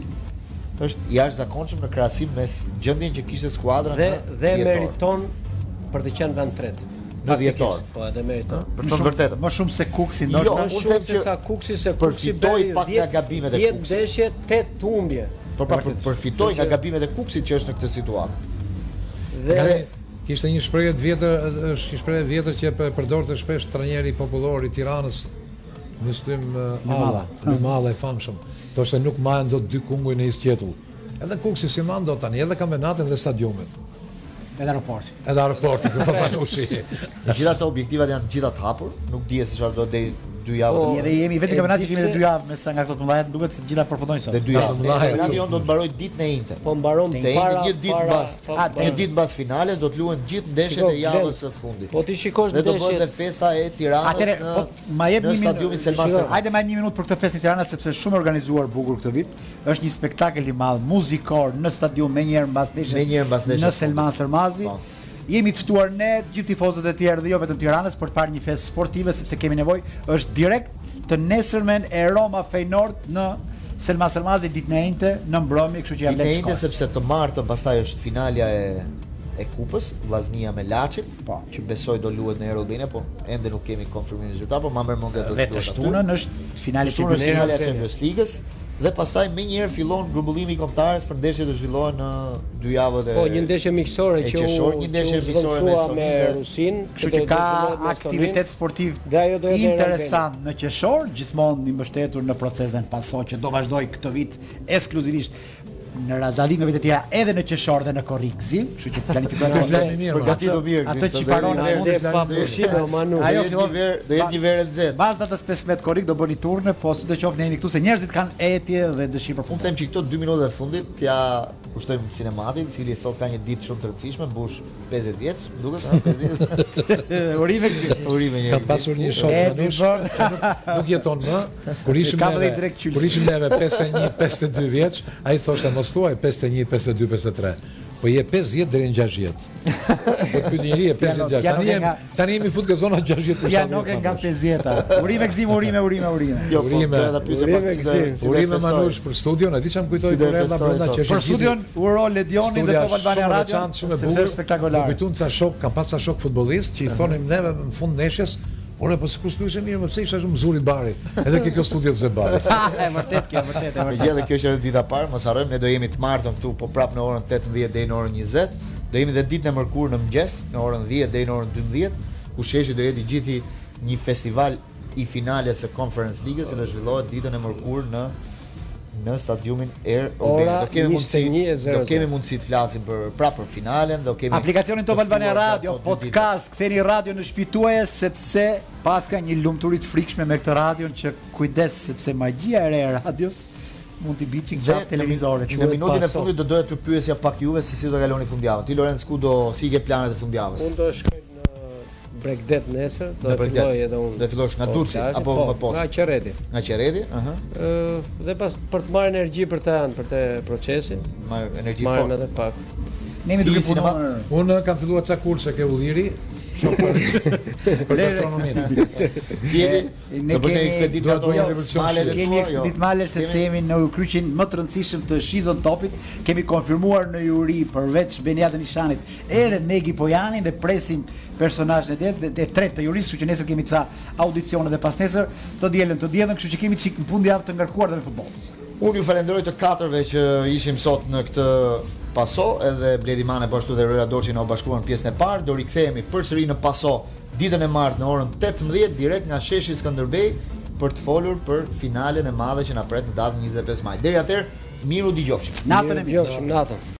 [SPEAKER 1] është jashtëzakonshëm në krahasim me s- gjendjen që kishte skuadra
[SPEAKER 10] dhe dhe
[SPEAKER 1] në dhjetor.
[SPEAKER 10] meriton për të qenë vend tretë.
[SPEAKER 1] Në dhjetor.
[SPEAKER 10] Faktikisht, Po, edhe meriton.
[SPEAKER 1] Për të thënë vërtetë.
[SPEAKER 2] Më shumë se Kuksi
[SPEAKER 1] Jo,
[SPEAKER 2] ndoshta.
[SPEAKER 10] Më
[SPEAKER 1] unë
[SPEAKER 10] shumë
[SPEAKER 1] them
[SPEAKER 10] se
[SPEAKER 1] që
[SPEAKER 10] sa Kuksi se Kuksi
[SPEAKER 1] përfitoi
[SPEAKER 10] bëri
[SPEAKER 1] pak nga
[SPEAKER 10] 10
[SPEAKER 1] gabimet e
[SPEAKER 10] 10
[SPEAKER 1] Kuksit.
[SPEAKER 10] ndeshje, 8 humbje.
[SPEAKER 1] Por pra për- përfitoi nga gabimet e Kuksit që është në këtë situatë.
[SPEAKER 10] Dhe
[SPEAKER 1] Edhe-
[SPEAKER 7] Kishte një shprehje të vjetër, është një shprehje e vjetër që e përdorte shpesh trajneri popullor i Tiranës, në stim Alla, në Malla i famshëm. Thoshte nuk mahen dot dy kunguj në isë qetull. Edhe Kuksi si man do tani, edhe kampionatin dhe stadiumet.
[SPEAKER 2] Edhe aeroporti.
[SPEAKER 7] Edhe aeroporti, ku thotë Anushi.
[SPEAKER 1] Të gjitha ato objektivat janë të gjitha të hapur, nuk dihet se çfarë do deri dy javë.
[SPEAKER 2] Po, edhe jemi vetëm
[SPEAKER 10] e
[SPEAKER 2] kampionat që
[SPEAKER 10] di
[SPEAKER 2] kemi edhe
[SPEAKER 10] pse-
[SPEAKER 2] dy javë me sa nga këto të mëdha, duket se të gjitha përfundojnë sot.
[SPEAKER 1] dhe dy javë.
[SPEAKER 7] Vllai,
[SPEAKER 1] Kampionati jon do të mbaroj ditën e Inter.
[SPEAKER 10] po mbaron
[SPEAKER 1] Te Inter
[SPEAKER 10] para
[SPEAKER 1] një ditë
[SPEAKER 10] para-
[SPEAKER 1] mbas,
[SPEAKER 10] po,
[SPEAKER 2] A,
[SPEAKER 10] po,
[SPEAKER 1] një ditë mbas finales do të luhen gjithë ndeshjet
[SPEAKER 10] Shiko,
[SPEAKER 1] e javës së
[SPEAKER 10] Glenn,
[SPEAKER 1] fundit.
[SPEAKER 10] po ti shikosh
[SPEAKER 1] Dhe do
[SPEAKER 10] ndeshjet-
[SPEAKER 1] bëhet edhe festa e Tiranës
[SPEAKER 2] Atëre,
[SPEAKER 1] në
[SPEAKER 2] po ma jep
[SPEAKER 1] në
[SPEAKER 2] një minutë.
[SPEAKER 1] stadiumin Selman
[SPEAKER 2] Shiko,
[SPEAKER 1] Stermas.
[SPEAKER 2] Hajde ma jep një minutë për këtë festë në Tiranë sepse është shumë e organizuar bukur këtë vit. Është një spektakël i madh muzikor në stadium me një herë mbas ndeshjes.
[SPEAKER 1] Me një herë mbas ndeshjes.
[SPEAKER 2] Në Selman Stërmazi.
[SPEAKER 1] Po.
[SPEAKER 2] Jemi të ftuar ne, gjithë tifozët e tjerë dhe jo vetëm Tiranës për të parë një festë sportive sepse kemi nevojë. Është direkt të nesërmen e Roma Feyenoord në Selman Stërmazi ditën e njëjtë në mbrëmje, kështu që jam
[SPEAKER 1] Ditën e
[SPEAKER 2] lehtë.
[SPEAKER 1] Inter sepse të martën pastaj është finalja e e kupës, Vllaznia me Laçin,
[SPEAKER 2] Po.
[SPEAKER 1] që besoj do luhet në Erodinë, po ende nuk kemi konfirmim rezultat, por po ma mërë mendja do
[SPEAKER 2] Dhe
[SPEAKER 1] të
[SPEAKER 2] të
[SPEAKER 1] luhet aty.
[SPEAKER 2] shtunën është finali i
[SPEAKER 1] Kështu është
[SPEAKER 2] Champions
[SPEAKER 1] finalja e
[SPEAKER 2] League.
[SPEAKER 1] Champions League-s dhe pastaj më njëherë fillon grumbullimi i kombëtarës për ndeshjet që zhvillohen në dy javët e
[SPEAKER 10] Po një ndeshje miqësore
[SPEAKER 1] e
[SPEAKER 10] që u
[SPEAKER 1] qeshor, një ndeshje
[SPEAKER 10] që u
[SPEAKER 1] miqësore me
[SPEAKER 10] zvendësua me
[SPEAKER 1] Estoninë dhe-
[SPEAKER 10] Rusin,
[SPEAKER 2] Kështu
[SPEAKER 10] do-
[SPEAKER 2] që
[SPEAKER 10] do
[SPEAKER 2] ka
[SPEAKER 10] zhvillohet me Estoninë.
[SPEAKER 2] aktivitet sportiv
[SPEAKER 10] Dhe ajo do jetë e
[SPEAKER 2] interesant në qeshor, gjithmonë i mbështetur në procesin paso që do vazhdoj këtë vit ekskluzivisht në razdallimeve të tjera edhe në qeshor dhe në korrik zim, kështu që planifikojmë
[SPEAKER 7] është lajmi mirë,
[SPEAKER 1] Përgati
[SPEAKER 2] atë-
[SPEAKER 1] do mirë.
[SPEAKER 2] atë
[SPEAKER 1] gjithë,
[SPEAKER 2] që
[SPEAKER 1] do
[SPEAKER 2] paron
[SPEAKER 1] jetë-
[SPEAKER 10] Na
[SPEAKER 2] Mundi
[SPEAKER 10] dhe
[SPEAKER 7] flan-
[SPEAKER 10] pa pushim o Manu.
[SPEAKER 1] Ajo
[SPEAKER 2] Ajo
[SPEAKER 1] do jetë një
[SPEAKER 2] fillon-
[SPEAKER 1] verë, do jetë një verë e nxehtë.
[SPEAKER 2] Pas datës 15 korrik do bëni turne, po si do qoftë ne jemi këtu se njerëzit kanë etje dhe dëshirë për
[SPEAKER 1] Unë
[SPEAKER 2] fund.
[SPEAKER 1] them që këto 2 minuta e fundit t'ja kushtojmë sinematit, i cili sot ka një ditë shumë të rëndësishme, mbush 50 vjeç, më duket ha, 50.
[SPEAKER 2] Urime gzim.
[SPEAKER 1] Urime
[SPEAKER 7] Ka
[SPEAKER 1] njerëzit.
[SPEAKER 7] pasur një shok
[SPEAKER 2] E, ti
[SPEAKER 7] Anush,
[SPEAKER 2] bërë.
[SPEAKER 7] që nuk, nuk jeton më. Kur ishim
[SPEAKER 2] Kam
[SPEAKER 7] neve,
[SPEAKER 2] dhe i drejt qylsi.
[SPEAKER 7] kur ishim neve 51, 52 vjeç, ai thoshte mos thuaj 51, 52, 53. Po je 50 deri në 60. Po pyet njëri e 56.
[SPEAKER 2] Piano
[SPEAKER 7] Tani
[SPEAKER 2] ke
[SPEAKER 7] jam
[SPEAKER 2] nga-
[SPEAKER 7] tani jemi fut ke zona 60 për
[SPEAKER 2] Ja nuk e nga 50-ta. Urime gzim, urime, urime, urime.
[SPEAKER 1] Jo, po,
[SPEAKER 7] urime.
[SPEAKER 1] doja ta pyesja pak
[SPEAKER 10] Urime
[SPEAKER 1] si do-
[SPEAKER 10] gzim.
[SPEAKER 1] si do
[SPEAKER 7] Urime
[SPEAKER 1] festoj.
[SPEAKER 7] Manush për studion, e di çam kujtoi
[SPEAKER 1] Si do e
[SPEAKER 7] Lorena
[SPEAKER 1] festoj
[SPEAKER 7] Brenda
[SPEAKER 1] sot?
[SPEAKER 7] që
[SPEAKER 2] Për
[SPEAKER 7] është
[SPEAKER 2] studion uro Ledionin dhe
[SPEAKER 7] Studia
[SPEAKER 2] Top Albania
[SPEAKER 7] shumë
[SPEAKER 2] Radio,
[SPEAKER 7] veçantë, shumë e
[SPEAKER 2] sepse
[SPEAKER 7] bukur.
[SPEAKER 2] është spektakolar.
[SPEAKER 7] Më kujtuan ca shok, kam pas ca shok futbollist që i thonim neve në fund ndeshjes, ore po sikur s'luajse mirë, më pse isha shumë zuri bari. Edhe ke kjo studio të zë bari.
[SPEAKER 2] Ah, e vërtet kjo, vërtet
[SPEAKER 1] Me
[SPEAKER 2] e vërtet.
[SPEAKER 1] gjithë dhe kjo është edhe dita e parë, mos harrojmë ne do jemi të martën këtu po prap në orën 18 deri në orën 20. Do jemi edhe ditën e mërkurë në mëngjes, në orën 10 deri në orën 12, ku sheshi do jetë i gjithi një festival i finales së Conference League-s që do zhvillohet ditën e mërkurë në në stadiumin Air Albania.
[SPEAKER 10] Ora
[SPEAKER 1] Do kemi mundësi,
[SPEAKER 10] 21:00.
[SPEAKER 1] do kemi mundësi të flasim për prapë për finalen, do kemi
[SPEAKER 2] Aplikacionin Top
[SPEAKER 1] të
[SPEAKER 2] Albania
[SPEAKER 1] ftuar
[SPEAKER 2] Radio,
[SPEAKER 1] gjatë ato dy ditëve.
[SPEAKER 2] podcast, ktheni radio në shpituaje sepse pas ka një lumturi të frikshme me këtë radion që kujdes sepse magjia e re e radios mund t'i biçi
[SPEAKER 1] Dhe
[SPEAKER 2] gjatë televizorit.
[SPEAKER 1] Në minutin e
[SPEAKER 10] pasto.
[SPEAKER 1] fundit do doja të pyesja pak juve se si do kaloni fundjavën. Ti Lorenz ku do si i ke planet e fundjavës?
[SPEAKER 10] Unë do shkoj në Bregdet nesër, do
[SPEAKER 1] Në
[SPEAKER 10] e
[SPEAKER 1] Bregdet.
[SPEAKER 10] filloj edhe unë.
[SPEAKER 1] Do e fillosh nga
[SPEAKER 10] po,
[SPEAKER 1] Durrësi,
[SPEAKER 10] plazhin,
[SPEAKER 1] apo më poshtë?
[SPEAKER 10] Nga Qerreti.
[SPEAKER 1] Nga Qereti, ëhë,
[SPEAKER 10] Ë, dhe pas për të marrë energji për të anë, për të procesin,
[SPEAKER 1] marr energji
[SPEAKER 10] marrëm
[SPEAKER 1] fortë.
[SPEAKER 10] edhe pak.
[SPEAKER 2] Ne jemi duke
[SPEAKER 1] Ti sinema-
[SPEAKER 2] punuar.
[SPEAKER 7] Unë kam filluar ca kurse ke Ulliri, shoh për për gastronominë.
[SPEAKER 1] Djeli,
[SPEAKER 2] Ne
[SPEAKER 1] do bëjmë
[SPEAKER 2] kemi-
[SPEAKER 1] ekspedit
[SPEAKER 7] duhet
[SPEAKER 1] ato
[SPEAKER 7] bëjmë
[SPEAKER 1] janë
[SPEAKER 7] revolucion.
[SPEAKER 1] malet e
[SPEAKER 2] Kemi
[SPEAKER 1] tua,
[SPEAKER 2] ekspedit
[SPEAKER 1] jo.
[SPEAKER 2] male sepse jemi në kryqin më të rëndësishëm të Shizon Topit. Kemi konfirmuar në juri përveç Beniat Nishanit, edhe Megi Pojanin dhe presim personazhin e det- dhe- dhe tretë të jurisë, kështu që nesër kemi ca audicione dhe pas nesër të dielën të diellën, kështu që kemi çik në fundjavë të ngarkuar dhe me futboll.
[SPEAKER 1] Unë ju falenderoj të katërve që ishim sot në këtë paso edhe Bledi Mane po ashtu dhe Rera Dorçi na u bashkuan në pjesën e parë. Do rikthehemi përsëri në paso ditën e martë në orën 18 direkt nga sheshi Skënderbej për të folur për finalen e madhe që na pret në datën 25 maj. Deri atëherë, miru dëgjofshim.
[SPEAKER 2] Natën e mirë.
[SPEAKER 10] Jo, Gjofshim natën.